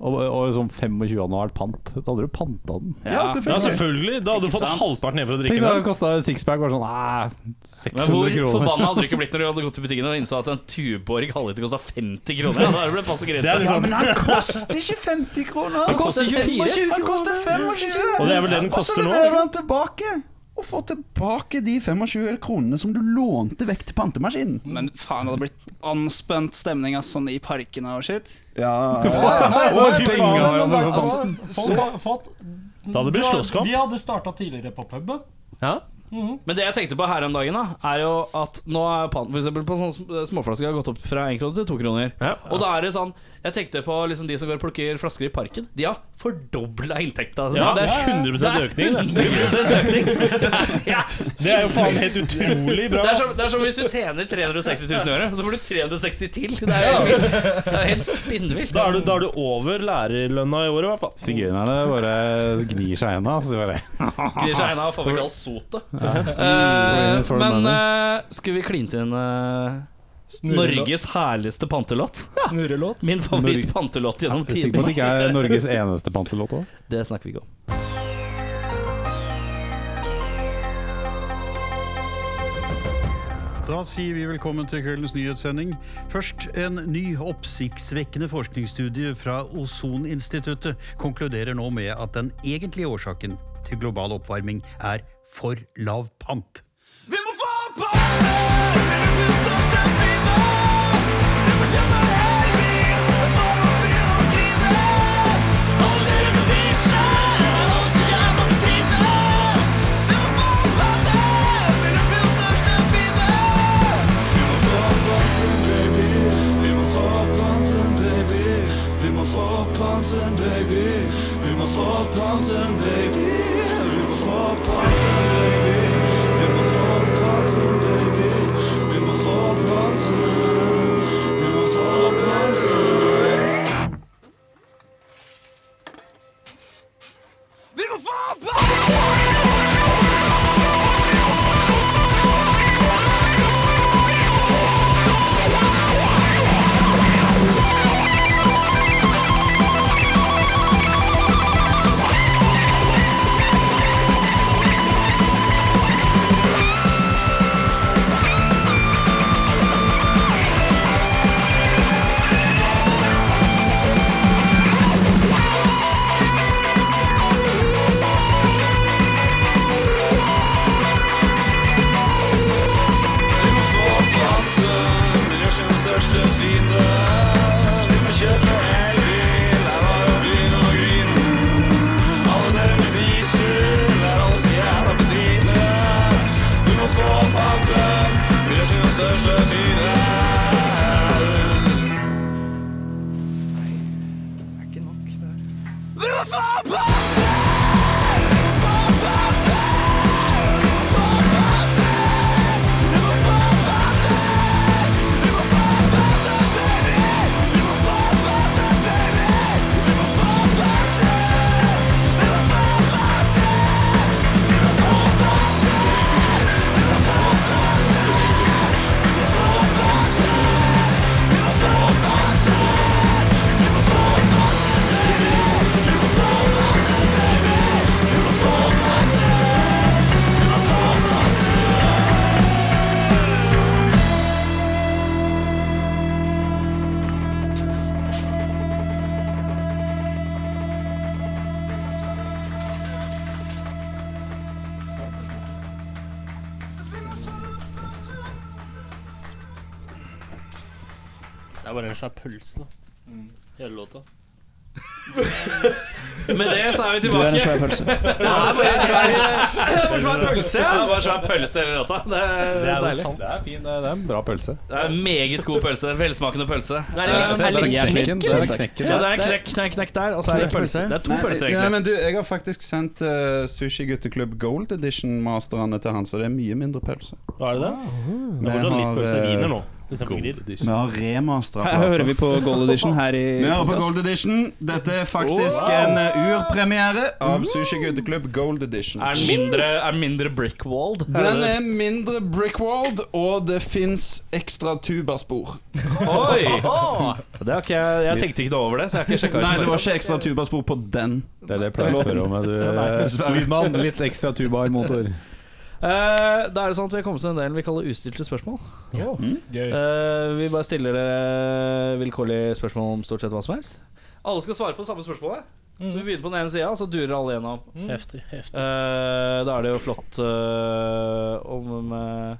Speaker 2: Og, og liksom 25 hadde vært pant. Da hadde du panta den.
Speaker 7: Ja,
Speaker 6: Ja,
Speaker 7: selvfølgelig.
Speaker 6: selvfølgelig. Da hadde du
Speaker 10: Ikke
Speaker 6: fått
Speaker 10: sant?
Speaker 6: halvparten ned for å
Speaker 2: Tenk
Speaker 6: drikke
Speaker 2: deg det
Speaker 6: den.
Speaker 2: hadde kosta sixpack bare sånn eh,
Speaker 3: Men hvor
Speaker 2: 600 kroner.
Speaker 3: forbanna hadde du ikke blitt når du hadde gått til butikken og innså at en Tuborg halvliter kosta 50 kroner? Ja, Da ble det passe greit.
Speaker 6: Det er
Speaker 7: Ja,
Speaker 6: liksom,
Speaker 7: men han koster ikke 50 kroner! altså. Han
Speaker 3: koster 24.
Speaker 7: Han koster 25!
Speaker 6: Og det er vel det den
Speaker 7: Og så
Speaker 6: koster nå,
Speaker 7: leverer
Speaker 6: ikke?
Speaker 7: han tilbake! Og får tilbake de 25 kronene som du lånte vekk til pantemaskinen.
Speaker 10: Men faen, det hadde blitt anspent stemning ass, sånn i parkene og shit.
Speaker 7: Ja,
Speaker 2: fy faen, har han det for
Speaker 8: Altså, folk har fått
Speaker 6: da hadde det blitt slåsskamp.
Speaker 8: Vi hadde starta tidligere på puben.
Speaker 3: Men det jeg tenkte på her om dagen, da er jo at nå er panten For eksempel på sånne sm- småflasker har gått opp fra 1 krone til 2 kroner. Og da er det sånn Jeg tenkte på liksom de som går og plukker flasker i parken. De har fordobla inntekta. altså.
Speaker 6: Ja, det
Speaker 3: det
Speaker 6: er 100 økning. Det.
Speaker 3: er 100 økning. Yes.
Speaker 6: det er jo faen helt utrolig bra.
Speaker 3: Det er, som, det er som hvis du tjener 360 000 i året, og så får du 360 til. Det er jo helt vilt. Det er helt spinnvilt.
Speaker 6: Da er du, da er du over lærerlønna i året, i hvert fall.
Speaker 2: Sigøynerne bare gnir seg ennå. Så de bare
Speaker 3: Gnir seg hendene og får vekk all sotet.
Speaker 2: Mm,
Speaker 3: Eh,
Speaker 2: for
Speaker 3: men
Speaker 2: money.
Speaker 3: eh, skal vi kline til en eh,
Speaker 8: Snurrelå-
Speaker 3: Norges herligste pantelåt?
Speaker 8: Snurrelåt.
Speaker 3: Min favoritt-pantelåt gjennom
Speaker 2: Jeg er sikker på
Speaker 3: tidene.
Speaker 2: at det ikke er Norges eneste pantelåt òg.
Speaker 3: Det snakker vi ikke om.
Speaker 11: Da sier vi velkommen til kveldens nyhetssending. Først en ny oppsiktsvekkende forskningsstudie fra Ozoninstituttet konkluderer nå med at den egentlige årsaken til global oppvarming er for lav pant.
Speaker 6: Det er bare en svær pølse, da. Hele låta.
Speaker 3: Med det så er vi
Speaker 10: Du er
Speaker 3: tilbake.
Speaker 10: en svær pølse.
Speaker 3: Det er bare en svær, det er bare en svær pølse.
Speaker 2: ja.
Speaker 3: Det er bare en svær pølse hele natta. Det er,
Speaker 2: Det er jo
Speaker 3: deilig.
Speaker 2: sant. Det er fin, det er en bra pølse.
Speaker 3: Det er en meget god pølse. Velsmakende pølse.
Speaker 2: Nei, det
Speaker 3: Eh,
Speaker 2: er- det er- det er knekken.
Speaker 3: Det er
Speaker 2: Det er knekken.
Speaker 3: Ja, det er en knekk, knekk, knekk der, og så er det pølse. Det er to
Speaker 7: Nei,
Speaker 3: pølser,
Speaker 7: Nei,
Speaker 3: egentlig.
Speaker 7: men du, jeg har faktisk sendt eh, Sushi Gutteklubb Gold Edition-masterne til han, så det er mye mindre pølse.
Speaker 6: Hva er det det? Det
Speaker 7: Vi
Speaker 6: er fortsatt litt
Speaker 7: har,
Speaker 6: pølse
Speaker 7: eh,
Speaker 6: wiener nå. for eksempel grill.
Speaker 7: Vi har remastera
Speaker 10: Her hører vi på Gold Edition her i
Speaker 7: Vi hører på
Speaker 10: podcast.
Speaker 7: Gold Edition. Dette er faktisk en eh, urpremiere av Sushi Gutteklubb Gold Edition.
Speaker 3: Er den mindre, er den mindre brickwalled?
Speaker 7: Den er mindre brickwalled, og det fins ekstra tubaspor.
Speaker 3: Oi! Det har ikke jeg, jeg tenkte ikke noe over det, så jeg har ikke sjekka ut.
Speaker 7: Nei, det var ikke ekstra tubaspor på den.
Speaker 2: Det er det jeg pleier å spørre om. Er du eh,
Speaker 7: Dessverre.
Speaker 2: lydmann? Litt ekstra tuba-motor.
Speaker 3: Eh, da er det sånn at vi har kommet til den delen vi kaller ustilte spørsmål. Eh, vi bare stiller dere vilkårlige spørsmål om stort sett hva som helst. Alle skal svare på samme spørsmålet. Så vi begynner på den ene sida, så durer alle gjennom.
Speaker 6: Heftig. heftig
Speaker 3: Eh, da er det jo flott eh, om eh,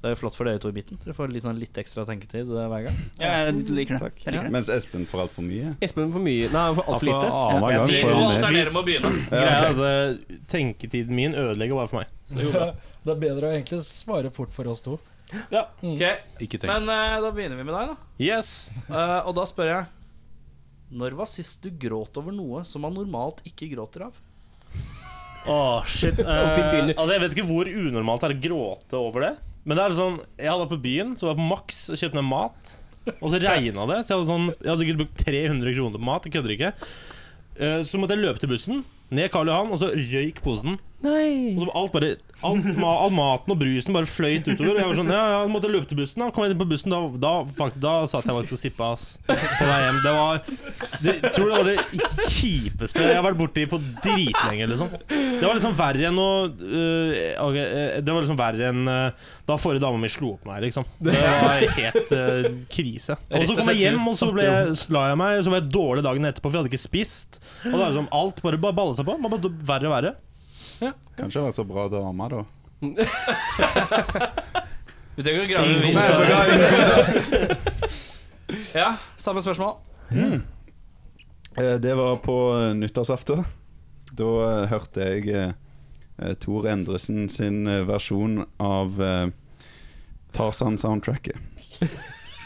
Speaker 3: Det er jo flott for dere to i midten. Dere får litt, sånn, litt ekstra tenketid eh, hver gang.
Speaker 10: Ja, jeg liker det. Jeg liker det.
Speaker 7: Mens Espen får altfor mye.
Speaker 4: Espen for mye Nei, for altfor
Speaker 2: Altså,
Speaker 4: lite.
Speaker 2: annenhver gang
Speaker 3: De
Speaker 2: får
Speaker 3: to
Speaker 2: han mer.
Speaker 3: alternerer med å begynne.
Speaker 6: Greia er at, eh, Tenketiden min ødelegger bare for meg.
Speaker 8: Det er bedre å egentlig svare fort for oss to.
Speaker 3: Ok,
Speaker 2: Ikke tenk.
Speaker 3: Men eh, da begynner vi med deg, da.
Speaker 6: Yes
Speaker 3: Eh, og da spør jeg Når var sist du gråt over noe som man normalt ikke gråter av?
Speaker 6: Åh, shit eh,
Speaker 4: vi begynner.
Speaker 6: Altså Jeg vet ikke hvor unormalt det er å gråte over det. Men det er sånn Jeg hadde vært på byen, så var jeg på Max og kjøpte meg mat. Og så regna det, så jeg hadde, sånn, jeg hadde sikkert brukt 300 kroner på mat. Jeg kødder ikke. Eh, Så måtte jeg løpe til bussen, ned Karl Johan, og så røyk posen. Og
Speaker 4: Nei.
Speaker 6: så alt bare all, ma, all maten og brusen bare fløyt utover. Og jeg var sånn Ja, ja, så måtte jeg løpe til bussen. Da kom jeg inn på bussen, da, da, fakt, da satt jeg faktisk og sippa, ass. På vei hjem. Det var det, Tror det var det kjipeste jeg har vært borti på dritlenge, liksom. Det var liksom verre enn å øh, ok, eh, Det var liksom verre enn øh, da forrige dama mi slo opp meg, liksom. Det var helt øh, krise. Og så kom jeg hjem, og så ble jeg, la jeg meg, og så var jeg dårlig dagen etterpå, for jeg hadde ikke spist. Og det var liksom alt bare bare balla seg på. Bare ble verre og verre.
Speaker 7: Kanskje det har vært så bra dame, da.
Speaker 3: Vi trenger ikke å grave
Speaker 6: Ingen
Speaker 3: videre.
Speaker 7: Nei, men da-
Speaker 3: Ja, samme spørsmål.
Speaker 7: Eh, Det var på eh, nyttårsaften. Da eh, hørte jeg eh, eh, Tor Endresen sin eh, versjon av eh, Tarzan-soundtracket.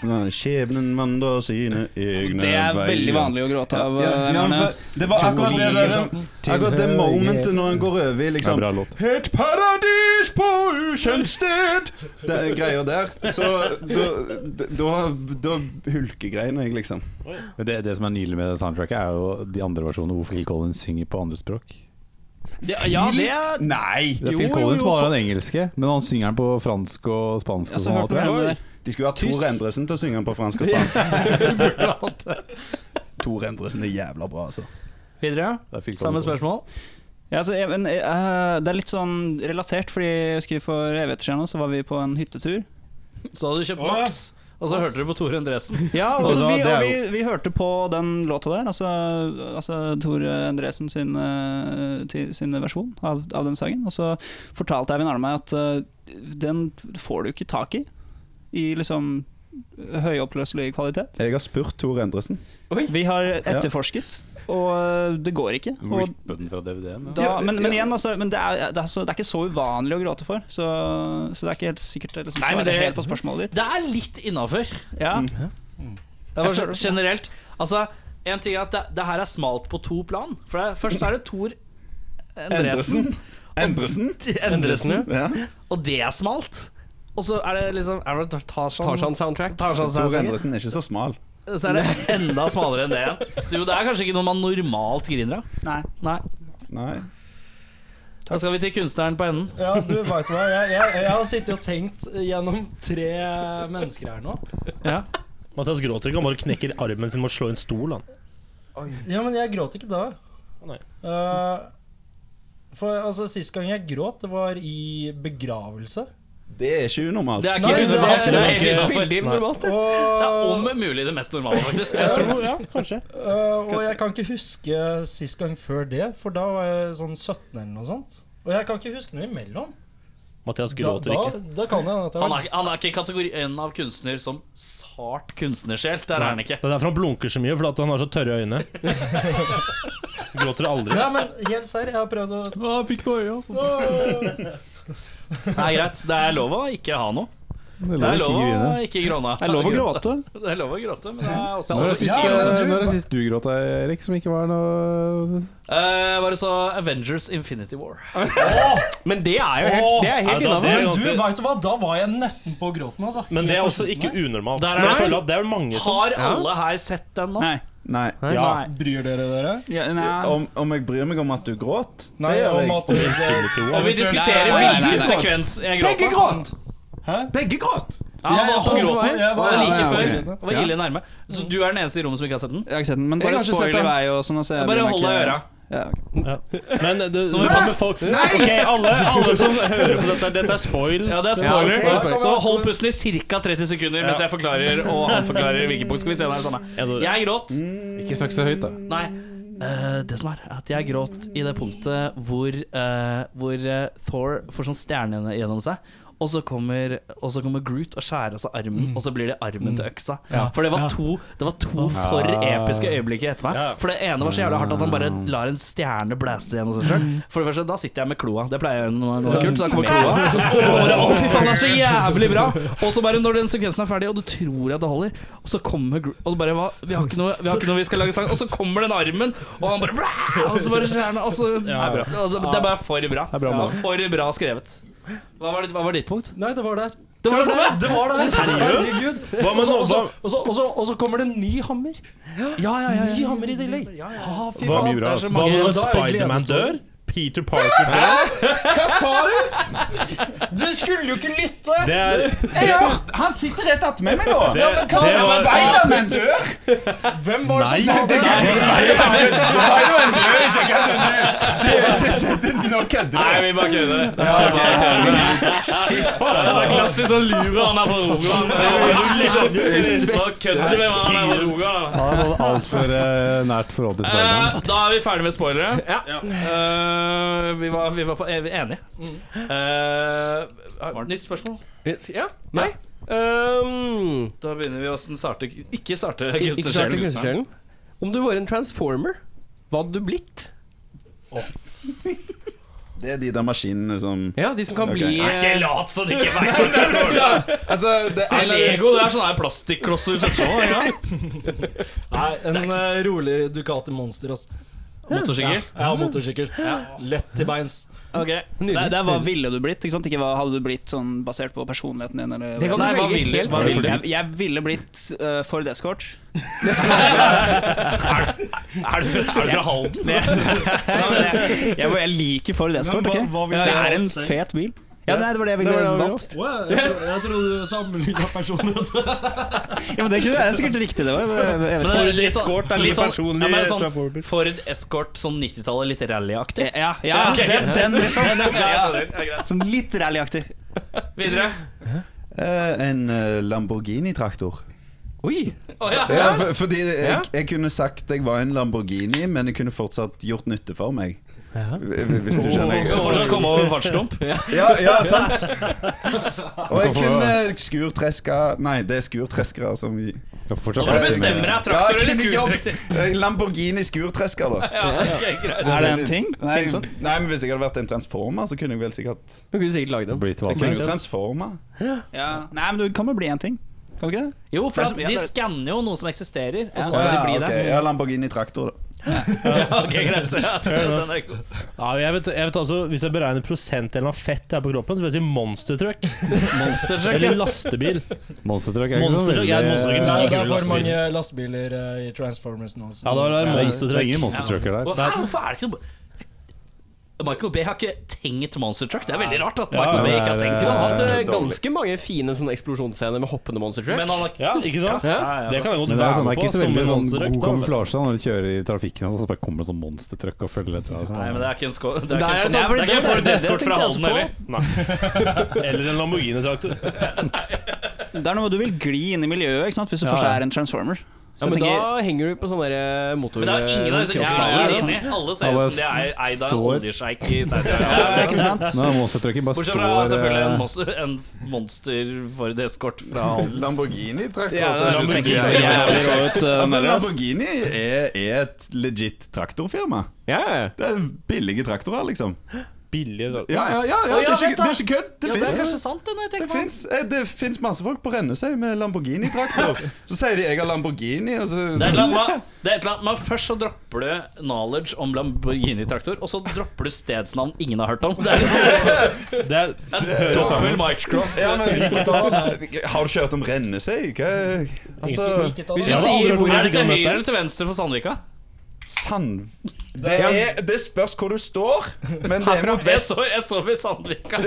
Speaker 7: Nei, Skjebnen vandrer sine egne
Speaker 10: Det er veldig vanlig å gråte av.
Speaker 7: Ja,
Speaker 10: eh,
Speaker 7: ja,
Speaker 10: Erne.
Speaker 7: for det var akkurat det der eh, Akkurat det momentet når han går over i liksom
Speaker 2: Det er en bra låt.
Speaker 7: Et paradis på ukjent sted Det er greier der. Så da, da, da- da hulkegrein jeg, liksom.
Speaker 2: Men det, det som er nydelig med det soundtracket, er jo de andre versjonene hvor Phil Collins synger på andre språk.
Speaker 10: Det, ja, det er
Speaker 7: Nei!
Speaker 2: Det er Phil Collins som har den engelske, men han synger den på fransk og spansk.
Speaker 10: Ja,
Speaker 2: Og
Speaker 10: så
Speaker 2: sånn,
Speaker 10: hørte vi
Speaker 2: tror
Speaker 10: henne
Speaker 2: jeg.
Speaker 10: der.
Speaker 7: De skulle ha Tor Endresen til å synge den på fransk og spansk. Tor Endresen er jævla bra, altså.
Speaker 3: Videre.
Speaker 2: Det er Phil
Speaker 3: Samme
Speaker 2: Collins.
Speaker 3: spørsmål.
Speaker 10: Ja, altså, jeg, men, jeg, eh, det er litt sånn relatert, fordi jeg husker for evigheter siden nå, så var vi på en hyttetur.
Speaker 3: Så hadde du kjøpt Max, og så hørte du på Tore Endresen.
Speaker 10: Ja, og,
Speaker 3: Og
Speaker 10: så
Speaker 3: da-
Speaker 10: vi,
Speaker 3: det er
Speaker 10: og vi, vi hørte på den låta der, altså, altså Tor Endresen sin, eh, til- sin versjon av, av den sangen. Og så fortalte Eivind Arne meg at eh, den får du ikke tak i, i liksom høyoppløselig kvalitet.
Speaker 7: Jeg har spurt Tor Endresen.
Speaker 10: Vi har etterforsket, og eh, det går ikke. Og
Speaker 2: Rippe den fra DVD-en. Ja.
Speaker 10: da, men, men igjen, altså, men det, er, det, er så, det er ikke så uvanlig å gråte for, så, så det er ikke helt sikkert det liksom,
Speaker 3: Nei, men
Speaker 10: svarer
Speaker 3: det-
Speaker 10: helt på spørsmålet ditt.
Speaker 3: Det er litt innafor.
Speaker 10: Ja,
Speaker 3: Generelt. Altså, en ting er at det, det her er smalt på to plan. For det, er- Først er det Tor Endresen.
Speaker 7: Endresen?
Speaker 3: Endresen.
Speaker 7: Ja.
Speaker 3: Og det er smalt. Og så er det liksom Er det Tarzan?
Speaker 4: Tarzan-soundtrack.
Speaker 7: Tor
Speaker 3: Tarzan-soundtracket?
Speaker 7: Endresen er ikke så smal.
Speaker 3: så er det enda smalere enn det igjen. Så jo, det er kanskje ikke noe man normalt griner av.
Speaker 10: nei.
Speaker 3: Nei.
Speaker 7: Nei.
Speaker 3: Da skal vi til kunstneren på enden.
Speaker 8: Ja, du vet hva, jeg, jeg, jeg har sittet og tenkt gjennom tre mennesker her nå.
Speaker 3: Ja.
Speaker 6: Mathias gråter ikke, han bare knekker armen sin med å slå en stol. Han.
Speaker 8: Ja, men jeg gråt ikke da.
Speaker 6: Nei.
Speaker 8: Eh, for altså, Sist gang jeg gråt, det var i begravelse.
Speaker 7: Det er ikke unormalt.
Speaker 3: Det er
Speaker 8: Nei,
Speaker 3: ikke
Speaker 8: det er-
Speaker 3: unormalt. Det er helt innenfor.
Speaker 4: Veldig normalt.
Speaker 8: Og,
Speaker 3: Det er om mulig det mest normale, faktisk. Jeg tror, ja.
Speaker 8: Eh, og jeg kan ikke huske sist gang før det, for da var jeg sånn 17 eller noe sånt. Og jeg kan ikke huske noe imellom.
Speaker 6: Mathias
Speaker 3: Da-
Speaker 6: gråter
Speaker 3: da-
Speaker 6: ikke.
Speaker 12: Da kan jeg dette.
Speaker 3: Han er, han er ikke i kategorien av kunstner som sart kunstnersjel. Der er han
Speaker 6: Nei,
Speaker 3: ikke.
Speaker 6: Det er derfor han blunker så mye, fordi at han har så tørre øyne. Gråter aldri.
Speaker 12: Nei, men helt serr, jeg har prøvd å Å, fikk du øya, sånn.
Speaker 3: Det er greit. Det er lov å ikke ha noe.
Speaker 7: Det
Speaker 3: Det er lov å ikke gråne.
Speaker 7: Det er lov å gråte.
Speaker 3: Det er lov å gråte, men det er også,
Speaker 7: Når er sist,
Speaker 3: ikke
Speaker 7: eh, når er sist du gråt, Erik, som ikke var noe
Speaker 3: Eh, Var det så Avengers Infinity War?
Speaker 9: Men det er
Speaker 12: Åh,
Speaker 6: helt
Speaker 12: det-
Speaker 6: innenfor.
Speaker 12: men Du, vet du hva, da var jeg nesten på gråten, altså.
Speaker 6: Men det er
Speaker 12: Helt
Speaker 6: også
Speaker 12: på slutten
Speaker 6: ikke
Speaker 12: der.
Speaker 6: unormalt.
Speaker 12: Der er
Speaker 6: Men jeg
Speaker 12: det-
Speaker 6: føler at det er mange som
Speaker 3: Har
Speaker 6: Ja.
Speaker 3: alle her sett den nå?
Speaker 7: Nei. Nei.
Speaker 6: Ja.
Speaker 12: Bryr dere dere?
Speaker 7: om, om jeg bryr meg om at du gråt?
Speaker 12: Nei,
Speaker 7: det
Speaker 12: om
Speaker 7: gjør jeg.
Speaker 12: at- Infinity
Speaker 3: Og vi
Speaker 7: Nei,
Speaker 3: diskuterer
Speaker 7: nei, nei,
Speaker 3: hvilken
Speaker 7: nei.
Speaker 3: sekvens jeg gråt
Speaker 7: Begge
Speaker 3: av.
Speaker 7: gråt!
Speaker 12: Hæ?
Speaker 7: Begge gråt!
Speaker 3: Ja, han
Speaker 12: Jeg
Speaker 3: var på
Speaker 12: kom på
Speaker 3: gråten.
Speaker 12: vei, jeg var-
Speaker 3: Han var like
Speaker 12: Ja, ja,
Speaker 3: før.
Speaker 12: ok.
Speaker 3: Han var
Speaker 12: Ja.
Speaker 3: ille nærme. Så du er den eneste i rommet som ikke har sett den?
Speaker 10: Jeg har ikke sett den, men
Speaker 3: Jeg har
Speaker 10: bare
Speaker 3: ikke sett
Speaker 10: spoil i
Speaker 3: den.
Speaker 10: vei og sånn. Altså, jeg
Speaker 3: Bare
Speaker 10: bryr meg
Speaker 3: hold deg i øra.
Speaker 10: ikke- Ja, ok.
Speaker 6: Men det,
Speaker 3: Så
Speaker 6: må
Speaker 3: vi
Speaker 6: passe
Speaker 3: passer
Speaker 6: folk Ok, alle, alle som hører på dette, dette er spoil.
Speaker 3: Ja, det er spoiler.
Speaker 6: Ja, ok.
Speaker 3: Så hold pusten i ca. 30 sekunder mens jeg forklarer og han forklarer hvilken bok. Skal vi se om det er det samme. Jeg gråt.
Speaker 7: Ikke snakk så høyt, da.
Speaker 3: Nei. Eh, det som er, er at jeg gråt i det punktet hvor, eh, hvor eh, Thor får sånn stjerne gjennom seg. Og så, kommer, og så kommer Groot og skjærer av seg armen, og så blir det armen til øksa.
Speaker 12: Mm. Ja.
Speaker 3: For det var
Speaker 12: Ja.
Speaker 3: to, det var to for
Speaker 12: Ja.
Speaker 3: episke øyeblikk etter meg.
Speaker 12: Ja.
Speaker 3: For det ene var så jævlig hardt at han bare lar en stjerne blæste gjennom seg sjøl.
Speaker 12: Mm.
Speaker 3: For det første, da sitter jeg med kloa. Det pleier jeg å gjøre når det er kult. Så da kommer kloa. Så, Å, fy faen, det er så jævlig bra! Og så bare når den sekvensen er ferdig, og du tror at det holder, og så kommer Gro- Og det bare hva, vi, har ikke noe, vi har ikke noe vi skal lage sang Og så kommer den armen, og han bare blæ, Og så bare skjærne Og så det er bra. Altså, Det er bare for bra.
Speaker 2: er bra
Speaker 3: Det
Speaker 2: mål.
Speaker 3: er for bra skrevet. Hva var, ditt- hva var ditt punkt?
Speaker 12: Nei, det var der.
Speaker 3: Det var det samme!
Speaker 12: der, Det var der.
Speaker 3: Seriøst?
Speaker 12: Herregud.
Speaker 6: Hva med
Speaker 12: Og så- og så-
Speaker 6: nå-
Speaker 12: og så- og så- Og så kommer det en ny hammer.
Speaker 3: Ja, ja, ja, ja.
Speaker 12: Ny hammer i tillegg. Ha, fy
Speaker 6: Hva
Speaker 12: faen.
Speaker 6: med
Speaker 12: det er så mange-
Speaker 6: når
Speaker 12: Da er det
Speaker 6: Spiderman
Speaker 12: gledesstår.
Speaker 6: dør? Peter Parker dør?
Speaker 12: Hva sa du? Du skulle jo ikke lytte!
Speaker 6: Det er
Speaker 12: Jeg har
Speaker 7: Han sitter rett attmed meg nå!
Speaker 6: Det-
Speaker 12: ja, men hva sa
Speaker 6: det var-
Speaker 12: Spiderman dør? Hvem var det som sa
Speaker 6: Nei,
Speaker 12: det?
Speaker 6: det er ikke
Speaker 12: Spiderman
Speaker 6: Spider-Man.
Speaker 12: dør ikke! Hvem er det som dør? Det- det- det- Nå kødder
Speaker 3: Nei, vi bare kødder. Det er bare kødder. Shit, altså, det er klassisk sånn lure han er fra Rogaland. Bare kødder vi med han er fra Rogaland.
Speaker 7: Han hadde altfor uh, nært forhold til
Speaker 3: Eh,
Speaker 7: Spiderman.
Speaker 3: da er vi ferdig med spoilere. Eh, vi, var, vi var på, er vi enige. Eh, har- nytt spørsmål?
Speaker 9: Ja? Nei? Um,
Speaker 3: Da begynner vi åssen starte Ikke starte
Speaker 9: ikke starte
Speaker 3: kunstnersjelen.
Speaker 9: kunstnerskjellen. Om du var en transformer, hva hadde du blitt?
Speaker 7: Det er de der maskinene som
Speaker 9: Ja, de som kan
Speaker 7: Ok.
Speaker 9: bli
Speaker 3: Nei, Ikke lat som du ikke vet
Speaker 7: Altså, det
Speaker 3: Det er Lego, det er sånne her plastikklosser som sånn, ja.
Speaker 12: Nei, en eh, rolig Ducati Monster, ass.
Speaker 3: Motorsykkel.
Speaker 12: Ja, motorsykkel. Lett til beins.
Speaker 3: Ok.
Speaker 10: Det, det er hva ville du blitt, ikke sant? Ikke hva hadde du blitt sånn basert på personligheten din? Eller,
Speaker 9: Det kan du
Speaker 3: Nei, hva
Speaker 9: velge
Speaker 3: vil du?
Speaker 9: helt
Speaker 3: Hva
Speaker 9: selv.
Speaker 3: vil du?
Speaker 10: jeg, jeg ville blitt eh, Ford Escort.
Speaker 3: Er du fra, er du fra Halden?
Speaker 10: Det, jeg, jeg liker Ford Escort,
Speaker 12: hva-
Speaker 10: ok?
Speaker 12: hva ville
Speaker 10: Det
Speaker 12: du
Speaker 10: er en
Speaker 12: valgt selv?
Speaker 10: fet bil. Ja, nei, det var det jeg ville valgt.
Speaker 12: Wow, jeg, jeg trodde du sammenligna personer. altså.
Speaker 10: Ja, men det, kunne, det er sikkert riktig, det òg. Jeg, jeg vet
Speaker 3: Men
Speaker 10: ikke.
Speaker 3: det er litt sånn-
Speaker 6: Escort er litt
Speaker 3: sånn-
Speaker 6: personlig
Speaker 3: ja, men det er
Speaker 6: fra
Speaker 3: sånn
Speaker 6: Ford.
Speaker 3: Ford Escort, sånn 90-tallet, litt rallyaktig.
Speaker 10: Ja, ja,
Speaker 3: Ok.
Speaker 10: den, den liksom.
Speaker 3: Ja, jeg skjønner. Ja, greit.
Speaker 10: Sånn litt rallyaktig.
Speaker 3: Videre.
Speaker 7: Eh, en eh, Lamborghini-traktor.
Speaker 9: Oi!
Speaker 3: Å ja.
Speaker 7: Ja, for, fordi jeg, jeg kunne sagt jeg var en Lamborghini, men jeg kunne fortsatt gjort nytte for meg. Hvis du skjønner.
Speaker 3: Kan fortsatt komme over fartsdump.
Speaker 7: Ja, ja, sant. Og jeg kunne skurtreska Nei, det er skurtreskere som vi
Speaker 3: Og da bestemmer jeg traktor eller skurtrekter.
Speaker 7: Eh, Lamborghini skurtresker, da.
Speaker 3: Ja, ok, greit.
Speaker 10: Er det en ting?
Speaker 7: Nei,
Speaker 10: Finnes det?
Speaker 7: nei, men hvis jeg hadde vært en transformer, så kunne jeg vel sikkert
Speaker 9: Du kunne sikkert lage den.
Speaker 2: Blir til hva
Speaker 7: Jeg
Speaker 2: som
Speaker 7: kunne
Speaker 2: helst.
Speaker 7: jo transforma.
Speaker 10: Ja. Nei, men du kan jo bli en ting. Kan du ikke det?
Speaker 3: Jo,
Speaker 10: Det er
Speaker 3: for at
Speaker 10: som- ja,
Speaker 3: de
Speaker 10: det er-
Speaker 3: skanner jo noe som eksisterer, og så
Speaker 7: Å,
Speaker 3: skal de
Speaker 7: ja,
Speaker 3: bli
Speaker 7: ok.
Speaker 3: det.
Speaker 7: ja, Lamborghini traktor, da.
Speaker 3: Ja, ok, greit. Ja, den er god.
Speaker 6: Ja, jeg vet, jeg vet altså, Hvis jeg beregner prosentdelen av fett jeg har på kroppen, så vil jeg si monstertruck.
Speaker 3: Monstertruck.
Speaker 6: Eller lastebil.
Speaker 2: Monstertruck er ikke sånn så
Speaker 6: Monstertruck
Speaker 2: veldig
Speaker 6: er monstertruck.
Speaker 12: Nei, det er
Speaker 6: Det
Speaker 12: for
Speaker 6: lastebil.
Speaker 12: mange lastebiler eh, i Transformers nå. så-
Speaker 6: Ja, det var
Speaker 2: Det er ingen
Speaker 6: monstertruck.
Speaker 2: monstertrucker der.
Speaker 3: Og Hæ, hvorfor er det ikke noe Michael Bay har ikke tenkt monstertruck. Det er veldig rart at
Speaker 6: Ja,
Speaker 3: Michael
Speaker 6: men
Speaker 3: Bay ikke har
Speaker 2: det er-
Speaker 3: tenkt
Speaker 9: Du har hatt eh,
Speaker 3: monstertruck.
Speaker 9: ganske mange fine sånne eksplosjonsscener med hoppende monster truck.
Speaker 3: Men han har
Speaker 6: Ja, ikke sant? Det kan jeg godt
Speaker 2: Men det er, sånn, det
Speaker 6: være
Speaker 2: er
Speaker 6: på.
Speaker 2: ikke så
Speaker 6: som
Speaker 2: veldig
Speaker 6: en
Speaker 2: sånn
Speaker 6: monstertruck,
Speaker 2: god
Speaker 6: da.
Speaker 2: kamuflasje da, når du kjører i trafikken, og så bare kommer det sånn monstertruck og følger etter deg.
Speaker 3: Nei, men
Speaker 2: sånn.
Speaker 3: det er ikke en sko... Det er
Speaker 9: Der er
Speaker 3: ikke
Speaker 9: det
Speaker 3: en
Speaker 9: sånn-
Speaker 3: sånn- det er ikke en Ford
Speaker 9: det- det
Speaker 3: Escort fra
Speaker 9: tenkte jeg
Speaker 3: Halden
Speaker 9: også på.
Speaker 3: heller.
Speaker 6: Eller en Lamborghini-traktor.
Speaker 10: Det er noe med at du vil gli inn i miljøet ikke sant? hvis du
Speaker 6: Ja,
Speaker 10: først
Speaker 6: ja.
Speaker 10: er en transformer.
Speaker 9: Ja, men da henger du på sånn derre motor...
Speaker 3: Men det er jo ingen av disse
Speaker 9: kiosken.
Speaker 3: jeg er enig. Alle ser ut som de er eid av en
Speaker 2: Står.
Speaker 3: oljesjeik i Saudi-Arabia.
Speaker 2: Ja, ikke sant? Nei, monstertrucken bare
Speaker 3: Bortsett fra
Speaker 2: står,
Speaker 3: selvfølgelig en,
Speaker 2: eh,
Speaker 3: monster, en monster Ford Escort fra
Speaker 7: Lamborghini-traktor.
Speaker 3: Ja,
Speaker 7: altså,
Speaker 3: Lamborghini
Speaker 7: jeg synes
Speaker 3: ser
Speaker 7: ikke
Speaker 3: jævlig
Speaker 7: det er-
Speaker 3: rå ut, eh,
Speaker 7: Altså,
Speaker 3: med det, ass.
Speaker 7: Lamborghini er, er et legit traktorfirma. Det er billige traktorer, liksom.
Speaker 2: Billige traktorer?
Speaker 7: Ja, ja, ja, ja, det,
Speaker 3: Å, ja,
Speaker 7: er ikke,
Speaker 3: vent
Speaker 7: det
Speaker 3: da.
Speaker 7: er ikke kødd. Det
Speaker 3: Ja, det er kanskje
Speaker 7: fins.
Speaker 3: sant, det, når jeg
Speaker 7: Det
Speaker 3: tenker meg om.
Speaker 7: finnes, eh, det finnes masse folk på Rennesøy med Lamborghini-traktor. Så sier de 'jeg har Lamborghini', og så
Speaker 3: Det er et eller annet med- det er et eller annet med- Først så dropper du knowledge om Lamborghini-traktor, og så dropper du stedsnavn ingen har hørt om. Det er liksom
Speaker 6: Det er
Speaker 3: en dobbel micro.
Speaker 7: Ja, men da- Har du ikke hørt om Rennesøy? Hva Altså
Speaker 3: Hvis du sier Er det til høyre eller til venstre for Sandvika?
Speaker 7: Sand... Det, er, det spørs hvor du står, men det er
Speaker 3: Herfra-
Speaker 7: mot vest.
Speaker 3: Jeg så, jeg så ved Sandvika.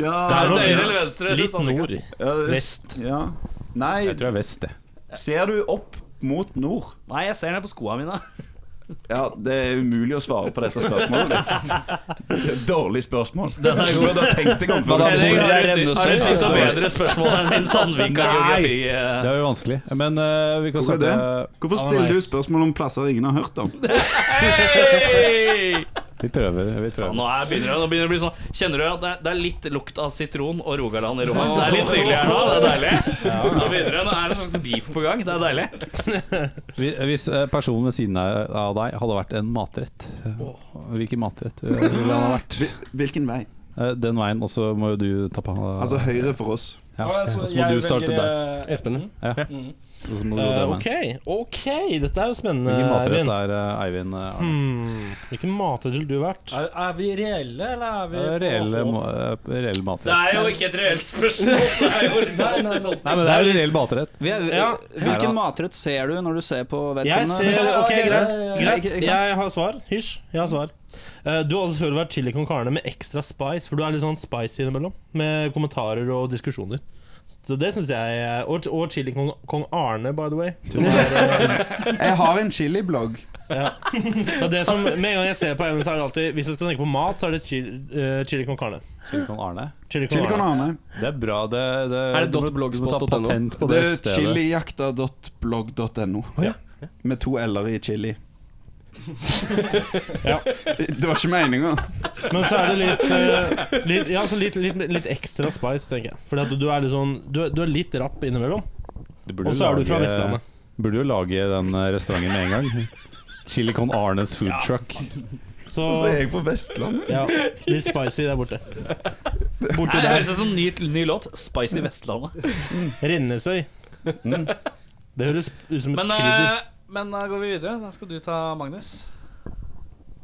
Speaker 7: Ja.
Speaker 3: Er det til høyre eller venstre? eller
Speaker 2: sånn
Speaker 3: Sandvika?
Speaker 7: Ja, det er- Ja. Nei Jeg tror
Speaker 2: det er vest, det.
Speaker 7: Ser du opp mot nord?
Speaker 3: Nei, jeg ser ned på skoene mine.
Speaker 7: Ja, det er umulig å svare på dette spørsmålet ditt. Det er et dårlig spørsmål.
Speaker 3: Den er god.
Speaker 7: Du burde ha tenkt deg om før du
Speaker 3: Henning,
Speaker 7: svarer.
Speaker 3: har du- har du et nytt og bedre spørsmål enn din Sandvika-geografi? eh?
Speaker 2: Det er jo vanskelig. Men eh, vi kan
Speaker 7: Hvorfor,
Speaker 2: starte
Speaker 7: det? Hvorfor stiller du spørsmål om plasser ingen har hørt om?
Speaker 3: Hei!
Speaker 2: Vi prøver. Vi prøver.
Speaker 3: Nå er, begynner, det, nå begynner det å bli sånn Kjenner du at det, det er litt lukt av sitron og Rogaland i rommet? Det er litt syrlig her nå, det er deilig. Nå begynner det, nå er det en slags beef på gang. Det er deilig.
Speaker 2: Hvis, hvis eh, personen ved siden av av deg hadde vært en matrett, eh, hvilken matrett eh, ville han ha vært?
Speaker 7: Hvilken vei?
Speaker 2: Den veien, og så må jo du ta på
Speaker 7: Altså høyre for oss.
Speaker 2: Ja,
Speaker 6: Å, ja, så
Speaker 2: så må
Speaker 6: jeg
Speaker 2: du starte
Speaker 6: velger,
Speaker 2: der.
Speaker 6: eh, Espen.
Speaker 2: Ja.
Speaker 6: Mm.
Speaker 2: Og så må du gå
Speaker 6: Eh,
Speaker 2: den veien.
Speaker 6: ok, ok, dette er jo spennende.
Speaker 2: Hvilken matrett
Speaker 6: Eivind.
Speaker 2: er eh, Eivind?
Speaker 3: Mm.
Speaker 2: eh, Arne?
Speaker 6: Hmm. Hvilken matrett ville du vært?
Speaker 8: Er, er vi reelle, eller er vi
Speaker 2: Eh, Reell ma- eh, reell
Speaker 3: Det
Speaker 2: matrett.
Speaker 3: er jo ikke et reelt spørsmål. Det er jo litt sånn- litt sånn-
Speaker 2: Nei, men det er jo reell matrett.
Speaker 10: Vi er,
Speaker 6: Ja.
Speaker 10: Hvilken matrett ser du når du ser på
Speaker 6: Jeg
Speaker 10: vedkommende?
Speaker 6: ser, ok, greit,
Speaker 10: Ikke-
Speaker 6: greit.
Speaker 10: ikke sant?
Speaker 6: Jeg har svar. Hysj, jeg har svar. Eh, Du har også selvfølgelig vært chili con carne med ekstra spice, for du er litt sånn spicy innimellom. Med kommentarer og diskusjoner. Så det syns jeg er- Og, og chili con kong Arne, by the way. Som er,
Speaker 7: Jeg har en chiliblogg.
Speaker 6: ja. det er det som, med en gang jeg ser på Even, så er det alltid Hvis jeg skal tenke på mat, så er det chili, eh, chili con carne.
Speaker 2: Chili con Arne.
Speaker 6: Chili con
Speaker 7: Chili con
Speaker 6: Arne.
Speaker 7: Arne.
Speaker 2: Det er bra. Det, det,
Speaker 9: Er det
Speaker 2: du må-
Speaker 9: dot blogspot
Speaker 2: du må ta
Speaker 9: punktum no?
Speaker 2: patent på
Speaker 7: Det
Speaker 2: det
Speaker 7: er
Speaker 2: stedet.
Speaker 7: chilijakta.blogg.no.
Speaker 6: ja.
Speaker 7: Med to l-er i chili.
Speaker 6: Ja.
Speaker 7: Det var ikke meninga.
Speaker 6: Men så er det litt, eh, litt, ja, så litt, litt, litt ekstra spice, tenker jeg. Fordi at du er litt sånn Du, er- du er litt rapp innimellom.
Speaker 2: Du burde
Speaker 6: Og
Speaker 2: jo
Speaker 6: så er du fra
Speaker 2: lage-
Speaker 6: Vestlandet.
Speaker 2: Burde jo lage den eh, restauranten med en gang. Chili con Arnes food truck.
Speaker 6: Så,
Speaker 7: Så er jeg på Vestlandet.
Speaker 6: Ja, litt spicy der borte. Borte
Speaker 3: Nei, det
Speaker 6: der.
Speaker 3: høres ut som en ny, ny låt. Spicy Vestlandet.
Speaker 6: Rennesøy. Det høres ut som et
Speaker 3: Men,
Speaker 6: krydder.
Speaker 3: eh, men da går vi videre. Da skal du ta Magnus.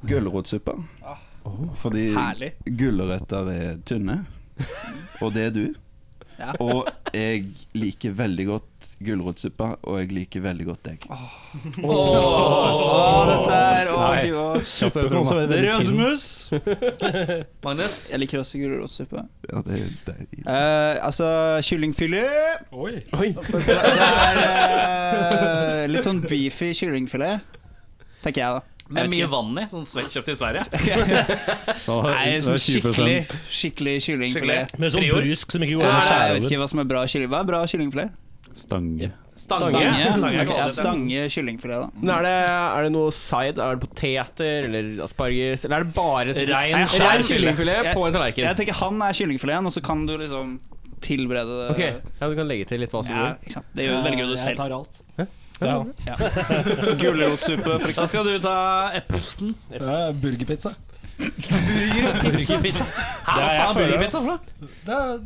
Speaker 7: Gulrotsuppe.
Speaker 10: Ah.
Speaker 7: Oh. Fordi
Speaker 3: Herlig.
Speaker 7: gulrøtter er tynne, og det er du.
Speaker 10: Ja.
Speaker 7: Og jeg liker veldig godt gulrotsuppe, og jeg liker veldig godt deg.
Speaker 10: Ah. Å, dette er å,
Speaker 2: Nei.
Speaker 10: du, å.
Speaker 6: Suppe kan også være veldig tynn.
Speaker 8: Rødmus!
Speaker 3: Magnus.
Speaker 10: Jeg liker også gulrotsuppe.
Speaker 7: Ja, det er deilig.
Speaker 10: Eh, altså, kyllingfilet
Speaker 8: Oi.
Speaker 10: Det er eh, litt sånn beefy kyllingfilet, tenker jeg, da.
Speaker 3: Med
Speaker 10: Jeg vet
Speaker 3: mye
Speaker 10: ikke.
Speaker 3: vann i. Sånn svett kjøpt i Sverige.
Speaker 10: Nei, sånn skikkelig, skikkelig kyllingfilet.
Speaker 6: Med sånn
Speaker 3: Prior.
Speaker 6: brusk som ikke går an å
Speaker 10: Jeg
Speaker 6: skjære
Speaker 10: vet
Speaker 6: over.
Speaker 10: ikke hva som er bra kylling. Hva er bra kyllingfilet?
Speaker 2: Stange.
Speaker 3: Stange.
Speaker 10: Stange.
Speaker 3: Stange er
Speaker 10: Ok, ja,
Speaker 3: godt, det.
Speaker 10: stange kyllingfilet, da.
Speaker 9: Men er det, er det noe side? Er det poteter eller asparges? Eller er det bare sånn-
Speaker 3: Rein
Speaker 9: Nei,
Speaker 3: skjær
Speaker 9: rein kyllingfilet
Speaker 10: Jeg-
Speaker 9: på en tallerken?
Speaker 10: Jeg tenker han er kyllingfileten, og så kan du liksom tilberede det.
Speaker 9: Ok, ja, Du kan legge til litt hva som
Speaker 10: Ja,
Speaker 9: går.
Speaker 10: ikke sant? Det gjør- velger jo du
Speaker 8: Jeg
Speaker 10: selv.
Speaker 8: tar alt.
Speaker 6: Ja.
Speaker 10: Gulrotsuppe, for
Speaker 3: Da
Speaker 10: eksempel.
Speaker 3: skal du ta Epson.
Speaker 8: Ja, Burgerpizza.
Speaker 3: Burgerpizza. Hæ,
Speaker 6: Det er
Speaker 3: Hva
Speaker 6: jeg
Speaker 3: faen er
Speaker 6: føler.
Speaker 3: burgerpizza for noe?
Speaker 8: Det er,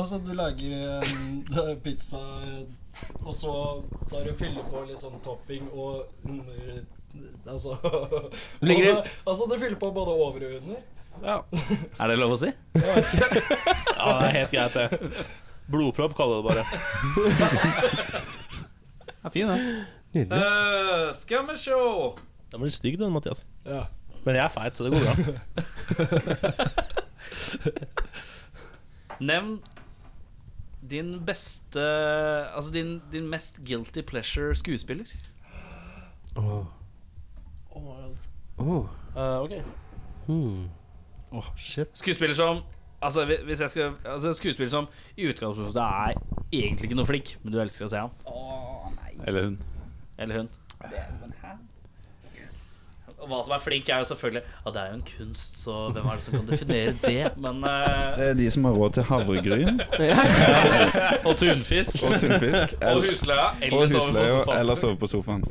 Speaker 8: altså, du lager em, det er pizza, eh, og så tar du fyller på litt sånn topping og under Altså,
Speaker 9: Ligger
Speaker 8: både, altså du fyller på både over og under.
Speaker 3: Er det lov å si?
Speaker 6: Ja, det er helt greit, det. Blodpropp kaller du det bare.
Speaker 3: Eh, skal vi sjå.
Speaker 6: Den blir stygg, den, Mathias.
Speaker 8: Ja.
Speaker 6: Men jeg er feit, så det går bra.
Speaker 3: Nevn din beste Altså din, din mest guilty pleasure skuespiller.
Speaker 8: Oh
Speaker 6: ok
Speaker 8: Eh, Åh, shit.
Speaker 3: Skuespiller som Altså hvi- hvis jeg skal Altså Skuespiller som i utgangspunktet er egentlig ikke noe flink, men du elsker å se han.
Speaker 10: Å, nei.
Speaker 2: Eller hun.
Speaker 3: Eller hun. Hva som er flink, er jo selvfølgelig Ja, det er jo en kunst, så hvem er det som kan definere det? Men eh,
Speaker 7: Det er de som har råd til havregryn.
Speaker 3: Og tunfisk.
Speaker 7: Og tunfisk.
Speaker 3: Og husleia, eller
Speaker 7: Og
Speaker 3: sove på
Speaker 7: husleia,
Speaker 3: sofaen.
Speaker 7: Eller sove på sofaen.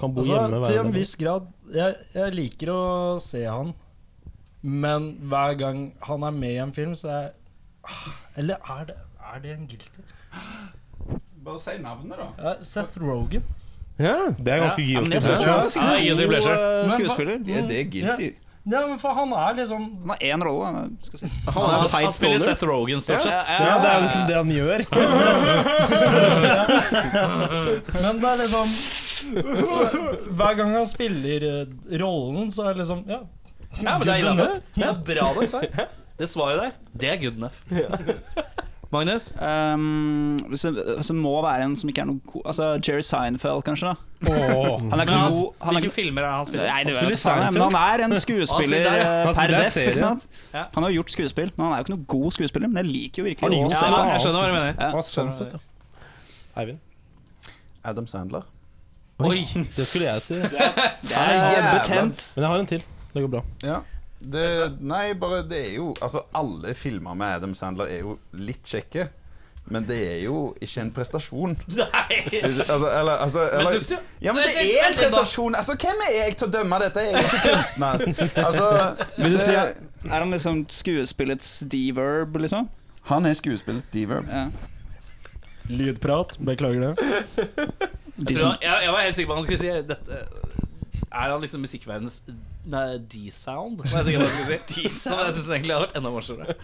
Speaker 6: Kan bo hjemme
Speaker 8: Altså,
Speaker 6: hver
Speaker 8: til en
Speaker 6: dag.
Speaker 8: viss grad jeg, jeg liker å se han, men hver gang han er med i en film, så er jeg ah, Eller er det, er det en guilty?
Speaker 7: Bare si navnet, da.
Speaker 8: Ja, Seth Rogan.
Speaker 4: Ja,
Speaker 6: det er ganske guilty pleasure.
Speaker 7: Ah,
Speaker 8: Ja,
Speaker 3: guilty pleasure.
Speaker 8: Men hva-
Speaker 10: Skuespiller. Ja, det er guilty.
Speaker 8: Ja, ja, men for han er liksom
Speaker 10: Han har én rolle. Han, er- skal jeg si.
Speaker 3: Han, han, spiller Seth Rogen, stort sett.
Speaker 6: Ja, det er jo liksom det han gjør.
Speaker 8: Men det er liksom så, Hver gang han spiller eh, rollen, så er det liksom Ja,
Speaker 3: Ja, men det er
Speaker 8: good
Speaker 3: innenfor.
Speaker 8: enough.
Speaker 3: Ja, bra det, svar. Det svaret der, det er good enough. Magnus?
Speaker 10: Um, så, så må være en som ikke er noe god Altså Jerry Seinfeld, kanskje. da Han er ikke
Speaker 3: Men
Speaker 10: noe
Speaker 3: han-
Speaker 10: god han er
Speaker 3: Hvilke filmer er det han spiller?
Speaker 10: Nei, det
Speaker 3: Han
Speaker 10: vet jeg
Speaker 3: spiller
Speaker 10: faen, jeg, men han er en
Speaker 3: Han spiller
Speaker 10: skuespiller
Speaker 3: der, ja.
Speaker 10: eh, per
Speaker 3: Han spiller
Speaker 10: def.
Speaker 3: serie.
Speaker 10: ikke sant?
Speaker 3: Ja.
Speaker 10: Han har jo gjort skuespill, men han er jo ikke noe god skuespiller. Men jeg liker jo
Speaker 6: Han
Speaker 10: virkelig
Speaker 6: gjorde
Speaker 10: å se
Speaker 6: seg
Speaker 10: på
Speaker 6: bra.
Speaker 10: han.
Speaker 3: Jeg skjønner hva du mener.
Speaker 10: Ja.
Speaker 6: Hva sånn sett, ja. Eivind.
Speaker 7: Adam Sandler.
Speaker 3: Oi,
Speaker 6: Det skulle jeg si.
Speaker 10: Det er betent.
Speaker 6: Men jeg har en til. Det går bra.
Speaker 7: Ja. Det, nei, bare det er jo Altså, alle filmer med Adam Sandler er jo litt kjekke. Men det er jo ikke en prestasjon.
Speaker 3: Nei!
Speaker 7: Altså, eller, altså,
Speaker 3: Men
Speaker 7: eller,
Speaker 3: synes du-
Speaker 7: Ja, men
Speaker 3: Vent,
Speaker 7: det
Speaker 3: vent,
Speaker 7: er en
Speaker 3: vent litt da.
Speaker 7: prestasjon! Altså, hvem er jeg til å dømme dette? Jeg er ikke kunstner. Altså,
Speaker 10: Vil du si
Speaker 7: det-
Speaker 10: at- Er han liksom skuespillets deverb, liksom?
Speaker 7: Han er skuespillers D-verb.
Speaker 10: Ja.
Speaker 8: Lydprat. Beklager det.
Speaker 10: De
Speaker 3: Jeg,
Speaker 10: som,
Speaker 3: tror han- jeg, jeg var helt sikker på at han skulle si dette. Er han liksom musikkverdenens nei, D-sound? Var jeg sikker på at han skulle si. Som jeg syns egentlig hadde vært enda morsommere.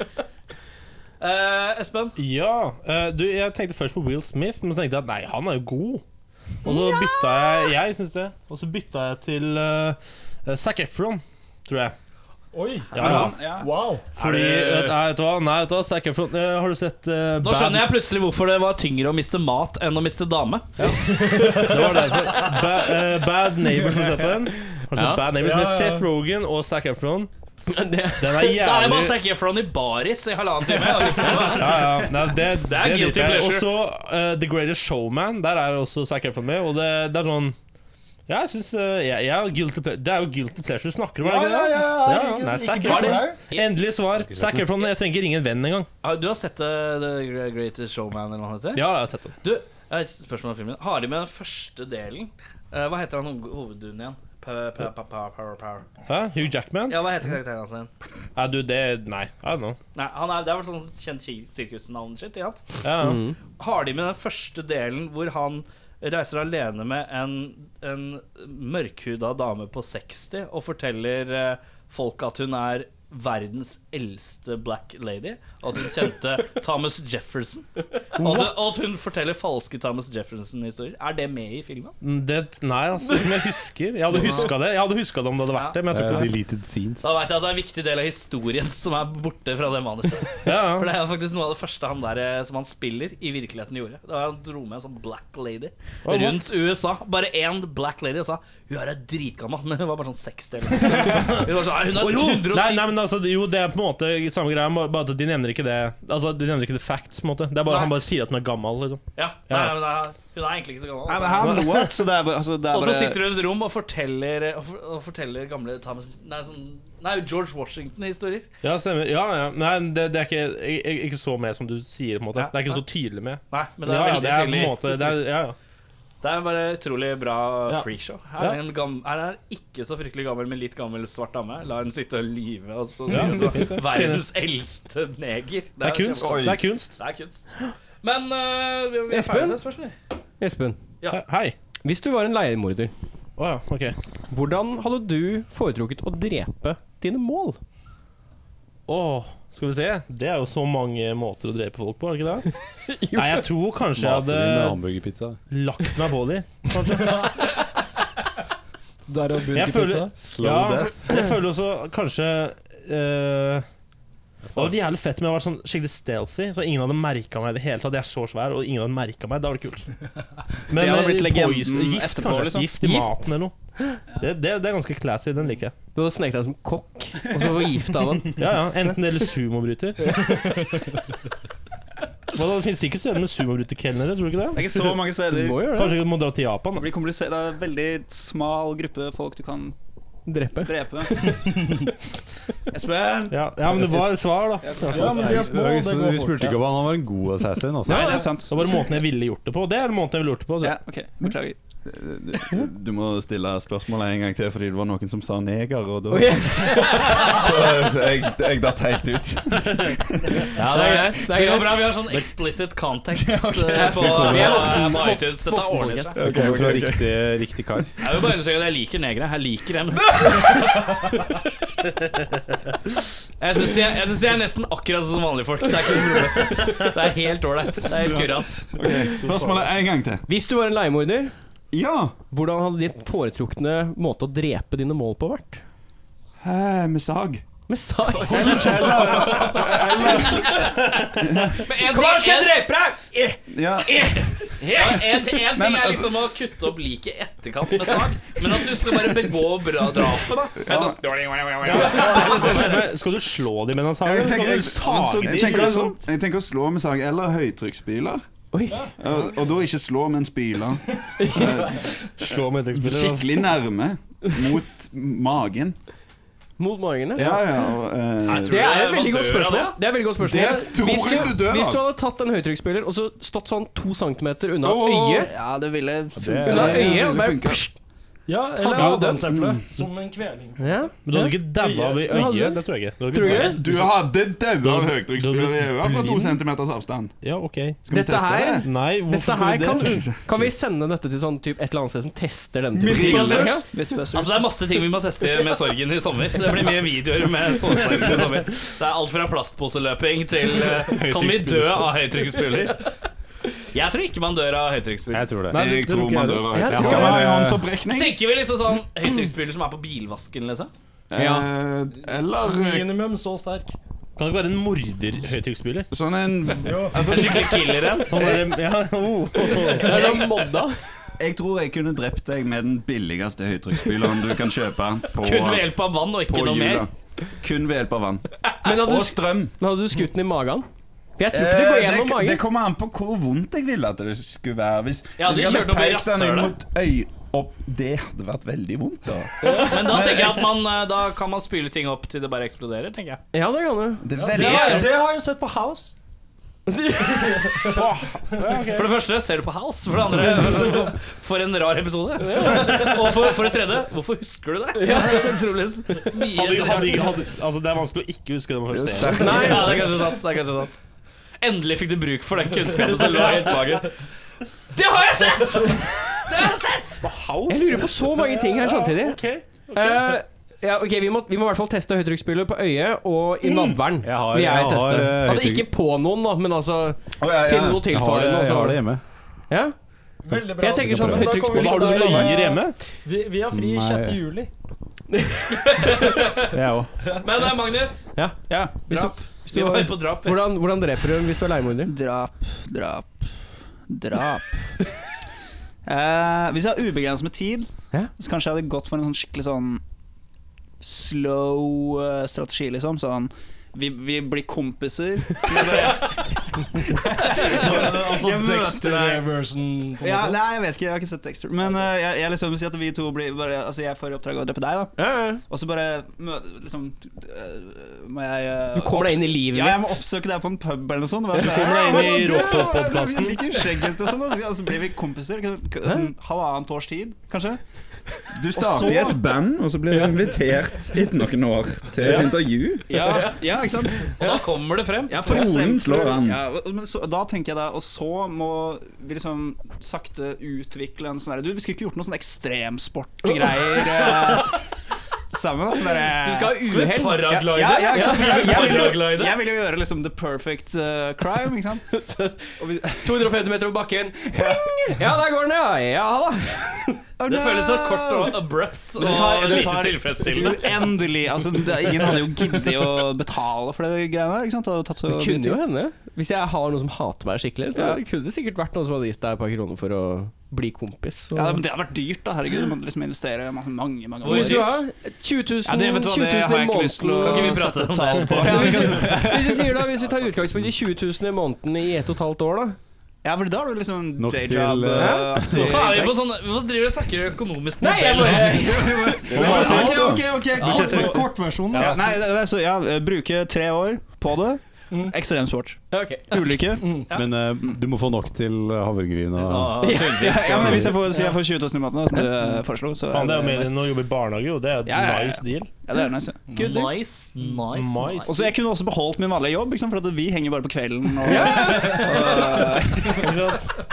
Speaker 3: Eh, Espen?
Speaker 6: Ja. eh, du, jeg tenkte først på Will Smith, men så tenkte jeg at nei, han er jo god. Og så bytta jeg Jeg synes det. Og så bytta jeg til uh, Zac Efron, tror jeg.
Speaker 8: Oi.
Speaker 6: Ja, ja.
Speaker 10: ja.
Speaker 8: Wow.
Speaker 6: Fordi
Speaker 3: Er det-
Speaker 6: Nei, vet du hva? Nei, vet du hva? Zac Efron eh, Har du sett eh,
Speaker 3: Nå
Speaker 6: Bad-
Speaker 3: skjønner jeg plutselig hvorfor det var tyngre å miste mat enn å miste dame.
Speaker 6: Det var derfor. Ba, eh, Bad Neighbors har du sett på den? Har du sett
Speaker 3: Ja.
Speaker 6: Bad Neighbors
Speaker 8: Ja,
Speaker 6: med
Speaker 8: ja.
Speaker 6: Seth Rogen og Zac Efron?
Speaker 9: Det,
Speaker 6: Den er
Speaker 3: Da er jeg
Speaker 6: jævlig
Speaker 3: bare Zac Efron i baris i halvannen time.
Speaker 6: ja, ja. Nei, det, det,
Speaker 3: er guilty
Speaker 6: driter jeg i.
Speaker 3: pleasure.
Speaker 6: Også eh, The Greatest Showman. Der er også Zac Efron med. Og det, det er sånn ja, jeg synes, eh, jeg, jeg har guilty ple Det er jo guilty pleasure vi snakker om. er det ikke det? ja, nei, Zac
Speaker 8: Ikke bra
Speaker 6: Efron.
Speaker 8: der.
Speaker 6: Endelig svar. Zac Efron, jeg trenger ingen venn engang.
Speaker 3: Ja, Du har sett eh, The Greatest Showman, eller hva han heter?
Speaker 6: Ja, jeg har sett den.
Speaker 3: Du, jeg har et spørsmål om filmen. Har de med den første delen? Eh, hva heter han ho- hoveddunen igjen? Power, power, power, power, power.
Speaker 6: Hæ? Hugh Jackman?
Speaker 3: Ja, hva heter karakteren hans igjen?
Speaker 6: Nei, du, det Nei, I don't know.
Speaker 3: Nei, han er, Det er vel sånn kjent ki- sirkusnavn shit, ikke sant?
Speaker 6: Ja, ja.
Speaker 3: Har de med den første delen hvor han reiser alene med en, en mørkhuda dame på 60 og forteller eh, folk at hun er verdens eldste black lady, og at hun kjente Thomas Jefferson? Og at, og at hun forteller falske Thomas Jefferson-historier? Er det med i filmen?
Speaker 6: Det, nei, altså, som jeg husker. Jeg hadde huska det Jeg hadde husket det om det hadde vært det. Men jeg tror ikke det.
Speaker 2: deleted scenes.
Speaker 3: Da vet jeg at det er en viktig del av historien som er borte fra det manuset.
Speaker 6: Ja,
Speaker 3: For
Speaker 6: ja.
Speaker 3: det er faktisk noe av det første han der eh, som han spiller, i virkeligheten gjorde. Det var Han dro med en sånn black lady
Speaker 6: what?
Speaker 3: rundt USA. Bare én black lady og sa 'Hun her er dritgammal', men hun var bare sånn 60 eller noe. Hun var sånn, «Nei,
Speaker 6: Å, jo!
Speaker 3: Hun er
Speaker 6: Nei,
Speaker 3: 110
Speaker 6: nei, men altså, jo, det er på en måte samme greia, bare bare at de nevner ikke det Altså, De nevner ikke the facts. på en måte Det er bare
Speaker 3: Nei.
Speaker 6: Han bare sier at hun er gammel. liksom
Speaker 3: Ja, nei, nei, men det er- hun er egentlig ikke så gammel.
Speaker 10: Nei,
Speaker 3: Altså.
Speaker 10: men her lo jeg, så det er bare, altså, det er
Speaker 3: Og så
Speaker 10: bare
Speaker 3: sitter hun i et rom og forteller, og for- og forteller gamle Thomas Nei, sånn, nei George Washington-historier.
Speaker 6: Ja, stemmer. Ja, ja. Nei, det, det er ikke, jeg- jeg- ikke så med som du sier. på en måte
Speaker 3: Ja.
Speaker 6: Det er ikke så tydelig med.
Speaker 3: Nei, men det er
Speaker 6: ja, ja,
Speaker 3: veldig
Speaker 6: det er på
Speaker 3: tidlig.
Speaker 6: en måte det er, ja, ja.
Speaker 3: Det er bare et utrolig bra
Speaker 6: Ja.
Speaker 3: freakshow. Her er en gam- her er en ikke så fryktelig gammel, men litt gammel svart dame. La henne sitte og lyve. Og så sier
Speaker 6: Ja,
Speaker 3: hun
Speaker 6: det er
Speaker 3: at
Speaker 6: fint, det.
Speaker 3: verdens eldste neger.
Speaker 6: Det er kunst.
Speaker 3: kjempe-
Speaker 6: Det er kunst.
Speaker 3: Det er kunst. Men eh, vi, vi er
Speaker 4: Espen?
Speaker 3: ferdig med spørsmål.
Speaker 4: Espen,
Speaker 6: Hei.
Speaker 4: hvis du var en leiemorder,
Speaker 6: Å ja, ok.
Speaker 4: hvordan hadde du foretrukket å drepe dine mål?
Speaker 6: Åh, skal vi se. Det er jo så mange måter å drepe folk på, er det ikke det? Nei, jeg tror kanskje jeg hadde
Speaker 2: hamburgerpizza.
Speaker 6: lagt meg på dem.
Speaker 8: Der er
Speaker 6: Jeg føler-
Speaker 8: burgerpizza.
Speaker 6: Ja, jeg føler også kanskje eh, Det hadde vært jævlig fett om jeg var sånn skikkelig stealthy, så ingen hadde merka meg i det hele tatt. Jeg er så svær, og ingen hadde merka meg. Det hadde vært kult. Men,
Speaker 10: Det hadde
Speaker 6: eh,
Speaker 10: blitt legenden
Speaker 6: poison- gift,
Speaker 10: etterpå,
Speaker 6: kanskje.
Speaker 10: liksom.
Speaker 6: Gift i maten eller noe. Det, det, det er ganske classy. Den liker jeg.
Speaker 4: Du hadde sneket deg som kokk, og så forgifta den.
Speaker 6: Ja, ja. Enten det eller sumobryter. Hva da, Det finnes ikke steder med sumobrutterkelnere, tror du ikke det?
Speaker 10: Det er ikke så mange steder.
Speaker 6: Du må gjøre det. Kanskje du må dra til Japan?
Speaker 10: Det blir komplisert. Det er en veldig smal gruppe folk du kan
Speaker 13: drepe.
Speaker 10: Espen!
Speaker 6: Ja, ja, men det var et svar, da.
Speaker 10: Ja, men de er små,
Speaker 2: Vi
Speaker 10: det går
Speaker 2: vi spurte
Speaker 10: fort,
Speaker 2: ikke om han var en god assassin. Altså.
Speaker 6: Nei, det er sant. Det var måten jeg ville gjort det på. Det er måten jeg ville gjort det på.
Speaker 10: Ja, ok, Beklager.
Speaker 7: Du må stille spørsmålet en gang til, fordi det var noen som sa neger, og da
Speaker 10: Ok.
Speaker 7: Da- Jeg, jeg datt helt ut.
Speaker 3: Ja, det er greit. Det går bra. Vi har sånn explicit context eh, på,
Speaker 2: Vi er voksen-
Speaker 3: på iTunes. Dette ordner seg.
Speaker 2: Det kommer fra riktig, riktig kar.
Speaker 3: Jeg vil bare understreke at jeg liker negere. Jeg liker dem. Jeg syns de, er- jeg synes de er nesten akkurat sånn som vanlige folk. Det er ikke noe problem. Det er helt ålreit. Det er helt kurant.
Speaker 7: Spørsmålet en gang til.
Speaker 4: Hvis du var en leiemorder,
Speaker 7: ja.
Speaker 4: hvordan hadde din foretrukne måte å drepe dine mål på vært?
Speaker 7: Hæ, med sag.
Speaker 4: Med sag?
Speaker 3: Hva skjer, dreper
Speaker 10: deg?
Speaker 7: Ja.
Speaker 3: Ja, en, en ting er liksom å kutte opp liket i etterkant med sag, men at du skal bare begå bra drapet, da. Det er sånn-
Speaker 6: Men Skal du slå dem med den sagen?
Speaker 7: Jeg
Speaker 6: eller
Speaker 7: tenker, jeg,
Speaker 6: Skal du
Speaker 7: jeg,
Speaker 6: sage
Speaker 7: tenker, sånn-
Speaker 6: dem?
Speaker 7: også- jeg tenker å slå med sag eller høytrykksspyler. Ja, Og da ikke slå med en spyler.
Speaker 6: Slå med høytrykksspyler, da.
Speaker 7: Skikkelig nærme. Mot magen.
Speaker 4: Mot magen,
Speaker 7: ja? ja, og, eh,
Speaker 4: Det er et veldig godt spørsmål. Det er et veldig godt spørsmål.
Speaker 7: Det tror
Speaker 4: hvis,
Speaker 7: jeg du
Speaker 4: du,
Speaker 7: dør av.
Speaker 4: hvis du hadde tatt en høytrykksspyler og så stått sånn to centimeter unna
Speaker 10: Åh,
Speaker 4: øyet
Speaker 10: Ja, det ville funket.
Speaker 4: Unna
Speaker 7: sånn
Speaker 4: øyet og bare
Speaker 8: Ja, eller
Speaker 4: Hadde du dødd?
Speaker 8: adamseplet. Som en kveling.
Speaker 4: Ja.
Speaker 6: Men du hadde ikke daua av i
Speaker 4: Du hadde-
Speaker 6: øyet? Det tror jeg ikke.
Speaker 4: Tror du ikke det?
Speaker 7: Du hadde daua av
Speaker 6: Du-
Speaker 7: høytrykksspyler i øyet fra to
Speaker 6: blind.
Speaker 7: centimeters avstand.
Speaker 6: Ja, ok.
Speaker 7: Skal vi
Speaker 4: Dette
Speaker 7: teste
Speaker 4: her-
Speaker 7: det?
Speaker 6: Nei,
Speaker 4: Dette
Speaker 6: hvorfor
Speaker 4: her
Speaker 6: skulle
Speaker 4: kan,
Speaker 6: vi det?
Speaker 4: kan vi sende dette til sånn typ et eller annet sted som tester denne
Speaker 3: Mythbusters.
Speaker 4: typen
Speaker 3: Altså Det er masse ting vi må teste med sorgen i sommer. Det blir mye videoer med sorgsorgen i sommer. Det er alt fra plastposeløping til eh, Kan vi dø av høytrykksspyler? Jeg tror ikke man dør av høytrykksspyler.
Speaker 2: Jeg tror det.
Speaker 7: Jeg tror man dør av
Speaker 2: Jeg
Speaker 7: høytrykksspyler.
Speaker 2: tror
Speaker 7: Skal vi ha en
Speaker 3: Men
Speaker 7: håndsopprekning?
Speaker 3: Tenker vi liksom sånn høytrykksspyler som er på bilvasken, liksom?
Speaker 7: Eh, eller
Speaker 8: Minimum så sterk.
Speaker 6: Kan det ikke være en morder-høytrykksspyler?
Speaker 7: sånn en
Speaker 3: En skikkelig killer en?
Speaker 6: Sånn der, ja, oh.
Speaker 7: Jeg tror jeg kunne drept deg med den billigste høytrykksspyleren du kan kjøpe på,
Speaker 3: Kun ved hjelp av vann og
Speaker 7: på
Speaker 3: ikke noe mer?
Speaker 7: jula. Kun ved hjelp av vann.
Speaker 4: Men hadde,
Speaker 7: Og
Speaker 4: du,
Speaker 7: strøm.
Speaker 4: men hadde du skutt den i magen? For jeg tror ikke det går
Speaker 7: Eh,
Speaker 4: gjennom
Speaker 7: det
Speaker 4: magen.
Speaker 7: kommer an på hvor vondt jeg ville at det skulle være. Hvis,
Speaker 3: Ja,
Speaker 7: hvis
Speaker 3: du
Speaker 7: jeg
Speaker 3: kjørte opp i
Speaker 7: pekt den inn
Speaker 3: rasshølet.
Speaker 7: mot øy... Opp, det hadde vært veldig vondt, da.
Speaker 3: Men da tenker jeg at man eh, Da kan man spyle ting opp til det bare eksploderer, tenker jeg.
Speaker 4: Ja, det kan du.
Speaker 7: Det er
Speaker 8: Det,
Speaker 7: veldig
Speaker 8: har-
Speaker 7: skummelt.
Speaker 8: det har jeg sett på House.
Speaker 3: For det første, ser du på House? For det andre, for en rar episode. Og for, for det tredje, hvorfor husker du det? Ja, utrolig mye
Speaker 6: Hadde, hadde,
Speaker 3: rart.
Speaker 6: hadde, altså, det er vanskelig å ikke huske det man først ser.
Speaker 3: Nei, ja, det er kanskje sant. Det er kanskje sant. Endelig fikk du bruk for den kunnskapen som lå helt bak. Det har jeg sett! Det har jeg sett!
Speaker 4: Jeg lurer på så mange ting her samtidig. Eh, ja, ok, Vi må, vi må i hvert fall teste høytrykksspyler på øyet og i nadveren.
Speaker 2: Jeg har-
Speaker 4: vil jeg
Speaker 2: jeg har,
Speaker 4: teste.
Speaker 2: eh,
Speaker 4: altså
Speaker 2: høytrykk-
Speaker 4: ikke på noen, da, men altså
Speaker 7: Å, ja, ja.
Speaker 4: til noe
Speaker 2: Jeg har det,
Speaker 4: tilsvarende.
Speaker 2: jeg har det
Speaker 4: Altså.
Speaker 2: hjemme.
Speaker 4: Ja?
Speaker 8: Veldig
Speaker 4: Jeg tenker sånn
Speaker 2: Men da
Speaker 4: høytrykksspyler
Speaker 6: Har du noen øyer hjemme?
Speaker 8: Vi, vi har fri
Speaker 2: Nei.
Speaker 8: 6. juli.
Speaker 2: Jeg òg.
Speaker 3: Men eh, Magnus,
Speaker 10: Ja.
Speaker 4: Hvis du- hvis du-
Speaker 3: vi var på drap. vi.
Speaker 4: hvordan, hvordan dreper du hvis du er leiemorder?
Speaker 10: Drap, drap, drap. Eh, hvis jeg har ubegrenset med tid,
Speaker 4: Ja.
Speaker 10: så kanskje jeg hadde gått for en sånn skikkelig sånn slow eh, strategi, liksom. Sånn vi, vi blir kompiser. Så jeg bare-
Speaker 8: Altså
Speaker 10: Jeg møter
Speaker 8: Dexter-versen. på en
Speaker 10: ja,
Speaker 8: måte.
Speaker 10: nei, jeg vet ikke, jeg har ikke sett Dexter. Men eh, jeg, jeg liksom sier at vi to blir bare, Altså, jeg får i oppdrag å drepe deg, da.
Speaker 4: Ja, ja.
Speaker 10: Og så bare mø- liksom eh, Må jeg eh,
Speaker 4: Du kommer deg inn i
Speaker 10: oppsø-
Speaker 4: livet
Speaker 10: Ja, jeg må
Speaker 4: mitt.
Speaker 10: oppsøke deg på en pub eller noe sånt. og være
Speaker 6: Du
Speaker 10: sånn,
Speaker 6: kommer deg inn i
Speaker 10: «Hva da, du?
Speaker 6: Råflot-podcasten.
Speaker 10: Jeg liker skjegget og sånn,
Speaker 7: altså.
Speaker 10: og så- og så blir vi kompiser. kan- kan- Sånn halvannet års tid, kanskje.
Speaker 7: Du starter i et band, og så blir du invitert etter noen år til et intervju.
Speaker 10: Ja, ja ikke sant?
Speaker 3: Og da kommer det frem.
Speaker 10: Ja, for
Speaker 7: Tronen
Speaker 10: eksempel-
Speaker 7: slår an.
Speaker 10: Ja, og- men så, da tenker jeg da Og så må vi liksom sakte utvikle en sånn derre Du, vi skulle ikke gjort noe sånn ekstremsportgreier eh, sammen. da, Sånn derre
Speaker 4: Du skal ha
Speaker 3: Skal vi
Speaker 4: uhell.
Speaker 3: paraglide?
Speaker 10: ja, ja, ikke sant? Jeg, jeg, vil jo,
Speaker 3: Paraglide?
Speaker 10: jeg vil jo gjøre liksom the perfect eh, crime, ikke sant?
Speaker 4: 250 meter over bakken. Ja, der går den, ja. Ja da.
Speaker 3: Det føles så kort og abrupt og
Speaker 10: Men det tar- det
Speaker 3: lite
Speaker 10: tar-
Speaker 3: tilfredsstillende.
Speaker 10: Endelig! Altså, det, ingen hadde jo giddet å betale for det greiene der. Ikke sant? Det hadde jo tatt så
Speaker 4: Det kunne jo hende. Hvis jeg har noen som hater meg skikkelig, så
Speaker 10: Ja.
Speaker 4: kunne det sikkert vært noen som hadde gitt deg et par kroner for å
Speaker 9: bli kompis.
Speaker 10: Ja, men Det hadde vært dyrt, da. Herregud, du måtte liksom investere masse, mange mange
Speaker 9: Hvor mye skal du ha? 20 000,
Speaker 10: Ja, det, vet du hva,
Speaker 9: 20
Speaker 10: det
Speaker 9: 000
Speaker 10: har jeg
Speaker 9: i
Speaker 10: ikke lyst til å
Speaker 9: måneden.
Speaker 10: sette tall på.
Speaker 9: Ja,
Speaker 10: Ja,
Speaker 9: hvis,
Speaker 10: vi
Speaker 9: vi-
Speaker 10: kan-
Speaker 9: hvis vi sier da, hvis vi tar utgangspunkt i 20 000 i måneden i ett og et halvt år, da?
Speaker 10: Ja, for da er du liksom
Speaker 9: Nok
Speaker 10: day
Speaker 9: til,
Speaker 10: job,
Speaker 9: eh,
Speaker 10: eh, aktiv
Speaker 9: Hvorfor
Speaker 3: er vi på
Speaker 10: inntekt.
Speaker 3: sånn Hvorfor driver du og snakker økonomisk
Speaker 10: Nei, jeg
Speaker 3: modell?
Speaker 10: bare-
Speaker 3: Ok, ok, ok.
Speaker 10: Alt for kortversjonen. Ja, nei, det, det er så, ja, bruke tre år på det. Mm. Ekstremsport. Ulykke.
Speaker 2: Men eh, du må få nok til havregryn og
Speaker 10: Ja, ja, Mm. men hvis jeg får, si jeg får 20 000 i måneden, da, som du eh, foreslo så
Speaker 6: Faen, det er jo mer
Speaker 10: nice.
Speaker 6: enn å jobbe i barnehage, jo. Det er jo
Speaker 10: Ja, ja, ja.
Speaker 6: nice deal.
Speaker 10: Ja, det er nice. ja.
Speaker 6: Good deal.
Speaker 3: Nice, nice, nice.
Speaker 10: Og så Jeg kunne også beholdt min vanlige jobb, ikke sant, for at vi henger bare på kvelden. Og,
Speaker 6: Ikke sant?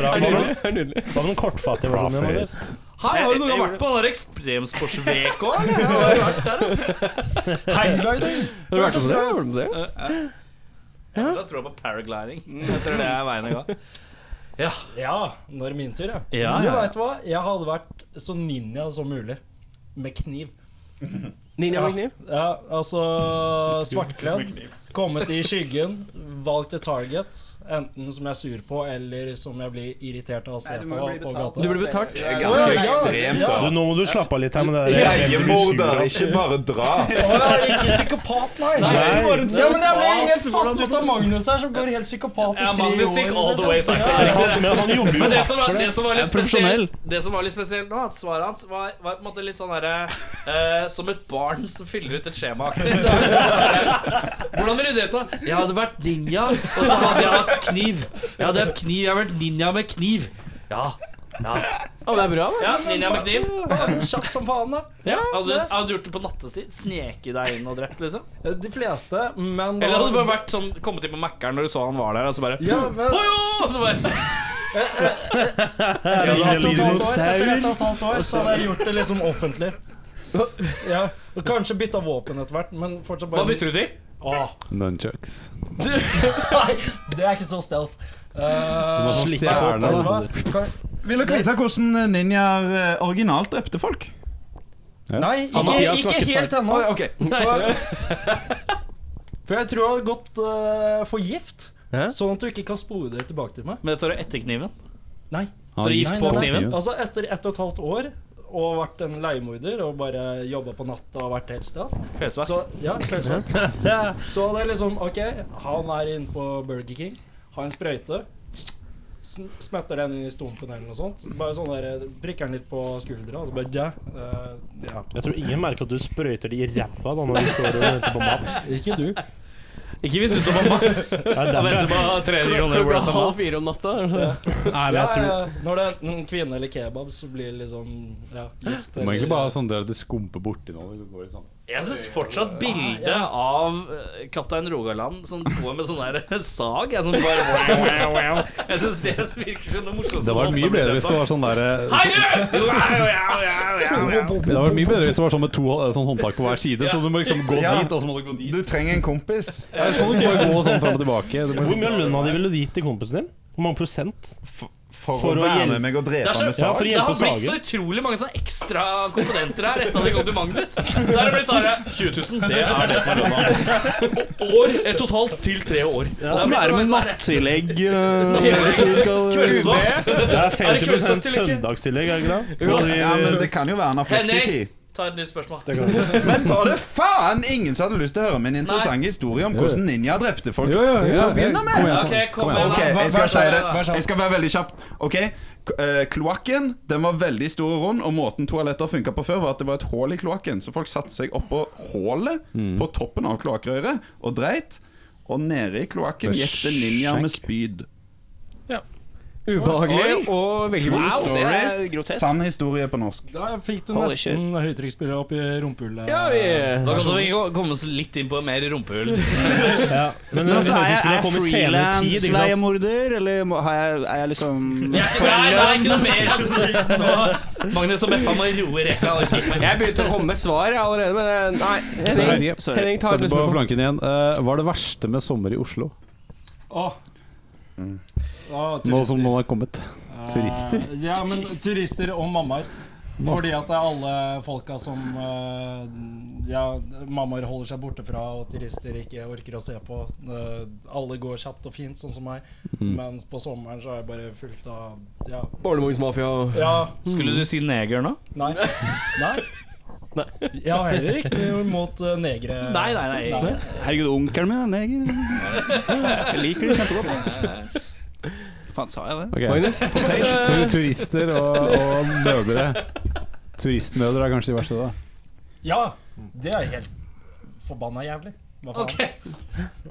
Speaker 6: Bra. Hva med den kortfattige versjonen? Johannes?
Speaker 3: Hei, har du noen gang vært på den der ekstremsportsveka, eller? Jeg har jo vært der, altså.
Speaker 9: Paragliding. Har du vært hos dere? Gjorde du det?
Speaker 3: Ja. Eh, Jeg fortsatt tror på paragliding. Jeg tror det er veien å gå. Ja.
Speaker 8: Eh, ja, nå er det min tur, ja.
Speaker 3: Ja,
Speaker 8: Du
Speaker 3: ja.
Speaker 8: veit hva? Jeg hadde vært så ninja som mulig. Med kniv.
Speaker 9: Ninja
Speaker 8: ja.
Speaker 9: med kniv?
Speaker 8: Ja, altså svartkledd. Kommet i skyggen, valgt et target. Enten som jeg er sur på, eller som jeg blir irritert av å se
Speaker 9: Nei, du
Speaker 8: på
Speaker 9: må bli
Speaker 8: på
Speaker 9: betalt.
Speaker 8: gata.
Speaker 9: Du blir betalt? Det er
Speaker 8: Ja,
Speaker 9: ganske
Speaker 8: ja, ja,
Speaker 6: ekstremt,
Speaker 8: ja.
Speaker 6: Du, nå må du slappe av litt her med det der.
Speaker 14: Leiemorder, ikke bare drap.
Speaker 8: Ikke psykopat, nei!
Speaker 6: Nei,
Speaker 8: Ja,
Speaker 6: du var en
Speaker 8: men jeg ble
Speaker 6: psykopat.
Speaker 8: helt satt ut av Magnus her, som går helt psykopat i
Speaker 3: Ja,
Speaker 8: tre år.
Speaker 3: Magnus gikk all the way
Speaker 8: liksom.
Speaker 3: psycho.
Speaker 8: Ja.
Speaker 3: Riktig det. Men det som var,
Speaker 8: for
Speaker 3: det som var litt
Speaker 8: Jeg er profesjonell.
Speaker 3: spesielt Det som var litt spesielt nå, at svaret hans var, var på en måte litt sånn herre eh, Som et barn som fyller ut et skjema. aktig. Det er liksom sånn herre, Hvordan ville du delta? Jeg hadde vært ninja, og så hadde jeg hatt kniv. Jeg hadde hatt kniv, jeg hadde vært ninja med kniv. Ja. Ja.
Speaker 9: det er bra, da.
Speaker 3: Ja, ninja med kniv.
Speaker 8: Faen, Kjapp som faen, da.
Speaker 3: Ja, hadde, du,
Speaker 8: det.
Speaker 3: hadde du gjort det på nattestid? Sneket deg inn og drept, liksom?
Speaker 8: De fleste, men
Speaker 3: Eller hadde du bare vært sånn, kommet inn på Mækkern når du så han var der, og så bare
Speaker 8: Ja, men
Speaker 3: «Oi, oi», og så bare
Speaker 8: Etter ett og et halvt år, etter ett og et halvt år så hadde jeg gjort det liksom offentlig. Ja, og Kanskje bytta våpen etter hvert, men fortsatt bare
Speaker 3: Hva bytter du til?
Speaker 8: Åh,
Speaker 2: nunchucks.
Speaker 8: nei, det er ikke så stealth.
Speaker 7: Du må
Speaker 8: Uh,
Speaker 7: ha sånn stjerne, da. Vil dere vite hvordan ninjaer eh, originalt drepte folk?
Speaker 8: Nei,
Speaker 7: Han
Speaker 8: ikke,
Speaker 7: Mathias
Speaker 8: ikke
Speaker 7: snakket
Speaker 8: helt
Speaker 7: feil.
Speaker 8: ennå.
Speaker 7: Oi, ok.
Speaker 8: For- For jeg tror jeg hadde gått eh, for gift,
Speaker 3: Hæ?
Speaker 8: sånn at du ikke kan spore det tilbake til meg.
Speaker 3: Men tar du etter kniven?
Speaker 8: Nei.
Speaker 3: Tar du gift
Speaker 8: Nei,
Speaker 3: på
Speaker 8: nei, nei.
Speaker 3: kniven?
Speaker 8: Altså Etter ett og et halvt år og vært en leiemorder og bare jobba på natta og vært helt stealth
Speaker 3: Kveldsvakt.
Speaker 8: Så, ja, kveldsvakt. så det er liksom OK, han er inne på Burger King, har en sprøyte. sm- Smetter den inn i stumpen eller noe sånt. Bare sånn der, Prikker den litt på skuldra, og så bare ja. eh, ja.
Speaker 6: Jeg tror ingen merker at du sprøyter de i ræva da når de står og venter på mat.
Speaker 8: Ikke du.
Speaker 3: Ikke hvis du står på maks og venter på 300 kroner worth
Speaker 9: Klokka
Speaker 3: av
Speaker 9: halv
Speaker 3: mat.
Speaker 9: fire om natta.
Speaker 8: Nei,
Speaker 9: men jeg tror-
Speaker 8: Når det er enten kvinne eller kebab, så blir det liksom ja, gift.
Speaker 2: Du må egentlig
Speaker 8: eller-
Speaker 2: bare ha sånn der du skumper borti noe. Det går litt sånn.
Speaker 3: Jeg syns fortsatt bildet av eh, kaptein Rogaland som går med sånn der sag Jeg, som bare, wow, wow, wow. jeg syns det virker som det morsomste.
Speaker 2: Det var mye bedre hvis det var sånn der
Speaker 3: Hei, du! Wow, wow, wow, wow, wow.
Speaker 2: Det var mye bedre hvis det var sånn med to eh, sånn håndtak på hver side, så du må liksom gå
Speaker 14: Ja.
Speaker 2: dit, og så må du gå dit.
Speaker 14: Du trenger en kompis.
Speaker 2: Ja, så må du bare gå sånn fram og tilbake. Du må-
Speaker 6: Hvor mye av lønna di ville du gitt til kompisen din? Hvor mange prosent? For,
Speaker 14: å være med meg og
Speaker 3: Det,
Speaker 14: drepe
Speaker 3: er så,
Speaker 6: Ja, for å
Speaker 3: det
Speaker 6: hjelpe
Speaker 3: har
Speaker 6: å
Speaker 3: blitt så
Speaker 6: sage.
Speaker 3: utrolig mange sånne ekstra komponenter her etter at det kom til Magnus. Der har det blitt sånn her, 20 000, det er det som er lønna. År, et totalt til tre år.
Speaker 10: Åssen er det med nattillegg? eh, hvis du skal-
Speaker 3: Kveldsvakt.
Speaker 6: Det er
Speaker 3: Er det
Speaker 6: 50
Speaker 3: kveldsvakt eller ikke?
Speaker 6: søndagstillegg, er det ikke det?
Speaker 14: Ja, men det kan jo være en
Speaker 3: Henning,
Speaker 14: afleksitid.
Speaker 3: ta et nytt spørsmål.
Speaker 14: Men var det faen ingen som hadde lyst til å høre min interessante historie om
Speaker 7: Jo, jo.
Speaker 14: hvordan ninja drepte folk?
Speaker 7: Jo, jo, jo.
Speaker 14: Til å begynne med.
Speaker 7: Kom igjen, kom igjen,
Speaker 14: Ok,
Speaker 7: kom igjen.
Speaker 14: Ok,
Speaker 7: Vær-
Speaker 14: jeg
Speaker 7: vær
Speaker 14: skal
Speaker 7: så
Speaker 14: si det.
Speaker 7: snill, vær så snill.
Speaker 14: Jeg skal være veldig kjapp. Ok, k- eh, Kloakken den var veldig stor og rund, og måten toaletter funka på før, var at det var et hull i kloakken. Så folk satte seg oppå hullet
Speaker 7: Mm.
Speaker 14: på toppen av kloakkrøret og dreit. Og nede i kloakken
Speaker 2: Med
Speaker 14: gikk det ninja med spyd.
Speaker 9: Ubehagelig
Speaker 14: Oi.
Speaker 9: og veldig
Speaker 14: True
Speaker 9: Wow, det er
Speaker 14: story.
Speaker 9: grotesk.
Speaker 14: Sann historie på norsk.
Speaker 8: Da fikk du
Speaker 14: Holy
Speaker 8: nesten høytrykksspiller opp i rumpehullet.
Speaker 9: Ja, vi-
Speaker 3: Da kan vi komme oss litt inn på mer rumpehull.
Speaker 10: Men altså, er jeg, er jeg frilansleiemorder, eller må- har jeg, er jeg liksom
Speaker 3: Nei, det er ikke noe mer. Altså. Nå, Magnus og Beffa må roe rekka.
Speaker 9: Jeg begynte å komme med svar jeg, allerede, men eh, nei. Henning, Henning tar et
Speaker 2: Starte på
Speaker 9: spørsmål.
Speaker 2: flanken igjen. Eh, hva er det verste med sommer i Oslo?
Speaker 8: Åh. Åh,
Speaker 2: Nå
Speaker 8: turister.
Speaker 2: som noen har kommet.
Speaker 8: Eh,
Speaker 2: Turister?
Speaker 8: Ja, men turister og mammaer. Fordi at det er alle folka som eh, ja, mammaer holder seg borte fra, og turister ikke orker å se på. Eh, alle går kjapt og fint, sånn som meg.
Speaker 2: Mm.
Speaker 8: Mens på sommeren så er jeg bare fullt av ja.
Speaker 4: Barnevognsmafia.
Speaker 8: Ja.
Speaker 3: Skulle du si neger nå?
Speaker 8: Nei. Nei. Jeg har heller ikke noe imot eh, negre.
Speaker 3: Nei, nei, nei.
Speaker 8: Herregud, onkelen min er
Speaker 10: Jeg liker det kjempegodt. jeg. Faen, sa jeg det?
Speaker 2: Ok. Tu- Turister og, og mødre. Turistmødre er kanskje de verste, da.
Speaker 8: Ja, det er helt forbanna jævlig. Hva faen?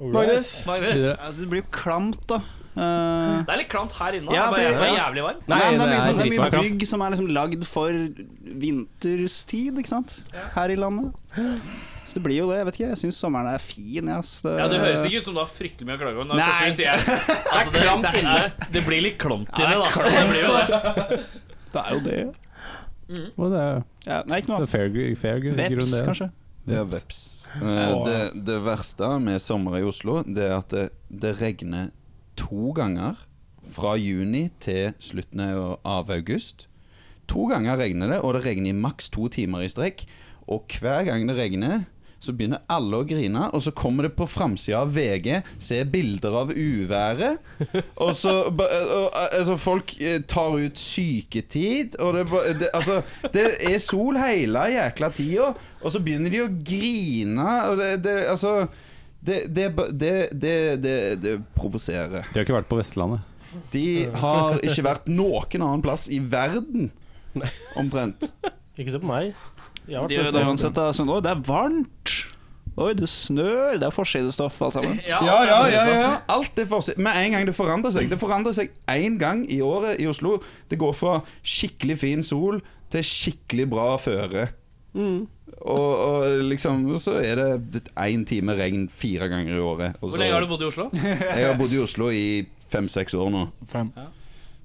Speaker 8: Alright.
Speaker 10: Magnus.
Speaker 3: Videre.
Speaker 10: Altså, det blir jo klamt, da.
Speaker 3: Det er litt klamt her inne.
Speaker 10: Ja,
Speaker 3: det
Speaker 10: fordi-
Speaker 3: er bare jeg som er
Speaker 10: ja.
Speaker 3: jævlig varm.
Speaker 10: Nei, men det er mye, sånn, det er mye
Speaker 3: dritvarmt.
Speaker 10: bygg som er liksom lagd for vinterstid, ikke sant? Her i landet. Så det blir jo det. Jeg vet ikke, jeg syns sommeren er fin. jeg, ass.
Speaker 3: Ja, Det høres ikke ut som du har fryktelig mye å klage over. Når
Speaker 10: Nei.
Speaker 3: Nei. Sier, jeg, altså, det,
Speaker 10: klamt
Speaker 3: det,
Speaker 10: inne.
Speaker 3: er, det blir litt klamt
Speaker 10: Ja, det
Speaker 3: inne,
Speaker 10: er
Speaker 3: da.
Speaker 10: klamt.
Speaker 3: Det blir jo det.
Speaker 10: Det er jo det.
Speaker 4: Mm.
Speaker 2: Og det er
Speaker 10: Ja, nei, ikke noe
Speaker 2: det er fair, gr- fair gr-
Speaker 10: Veps,
Speaker 2: grunn, det.
Speaker 10: kanskje?
Speaker 7: Ja, veps. Eh, det, det verste med sommer i Oslo, det er at det, det regner to ganger fra juni til slutten av august. To ganger regner det, og det regner i maks to timer i strekk. Og hver gang det regner, så begynner alle å grine, og så kommer det på framsida av VG, ser bilder av uværet. Og så ba- og, altså, Folk eh, tar ut syketid, og det, ba- det Altså, det er sol hele jækla tida, og så begynner de å grine, og det, det Altså det, det, ba- det, det, det, det provoserer.
Speaker 2: De har ikke vært på Vestlandet.
Speaker 7: De har ikke vært noen annen plass i verden, omtrent.
Speaker 6: Ikke se på meg. Jeg har vært
Speaker 10: De gjør
Speaker 6: på
Speaker 10: det
Speaker 6: Vestlandet.
Speaker 10: uansett. da, sånn, Oi, det er varmt! Oi, det snør! Det er forsidestoff, alt sammen.
Speaker 7: Ja, ja, ja, ja. Alt er forsi- Med en gang det forandrer seg. Det forandrer seg én gang i året i Oslo. Det går fra skikkelig fin sol til skikkelig bra føre.
Speaker 10: Mm.
Speaker 7: Og, og liksom så er det én time regn fire ganger i året. og så-
Speaker 3: Hvor lenge har du bodd i Oslo?
Speaker 7: Jeg har bodd i Oslo i fem-seks år nå.
Speaker 10: Fem.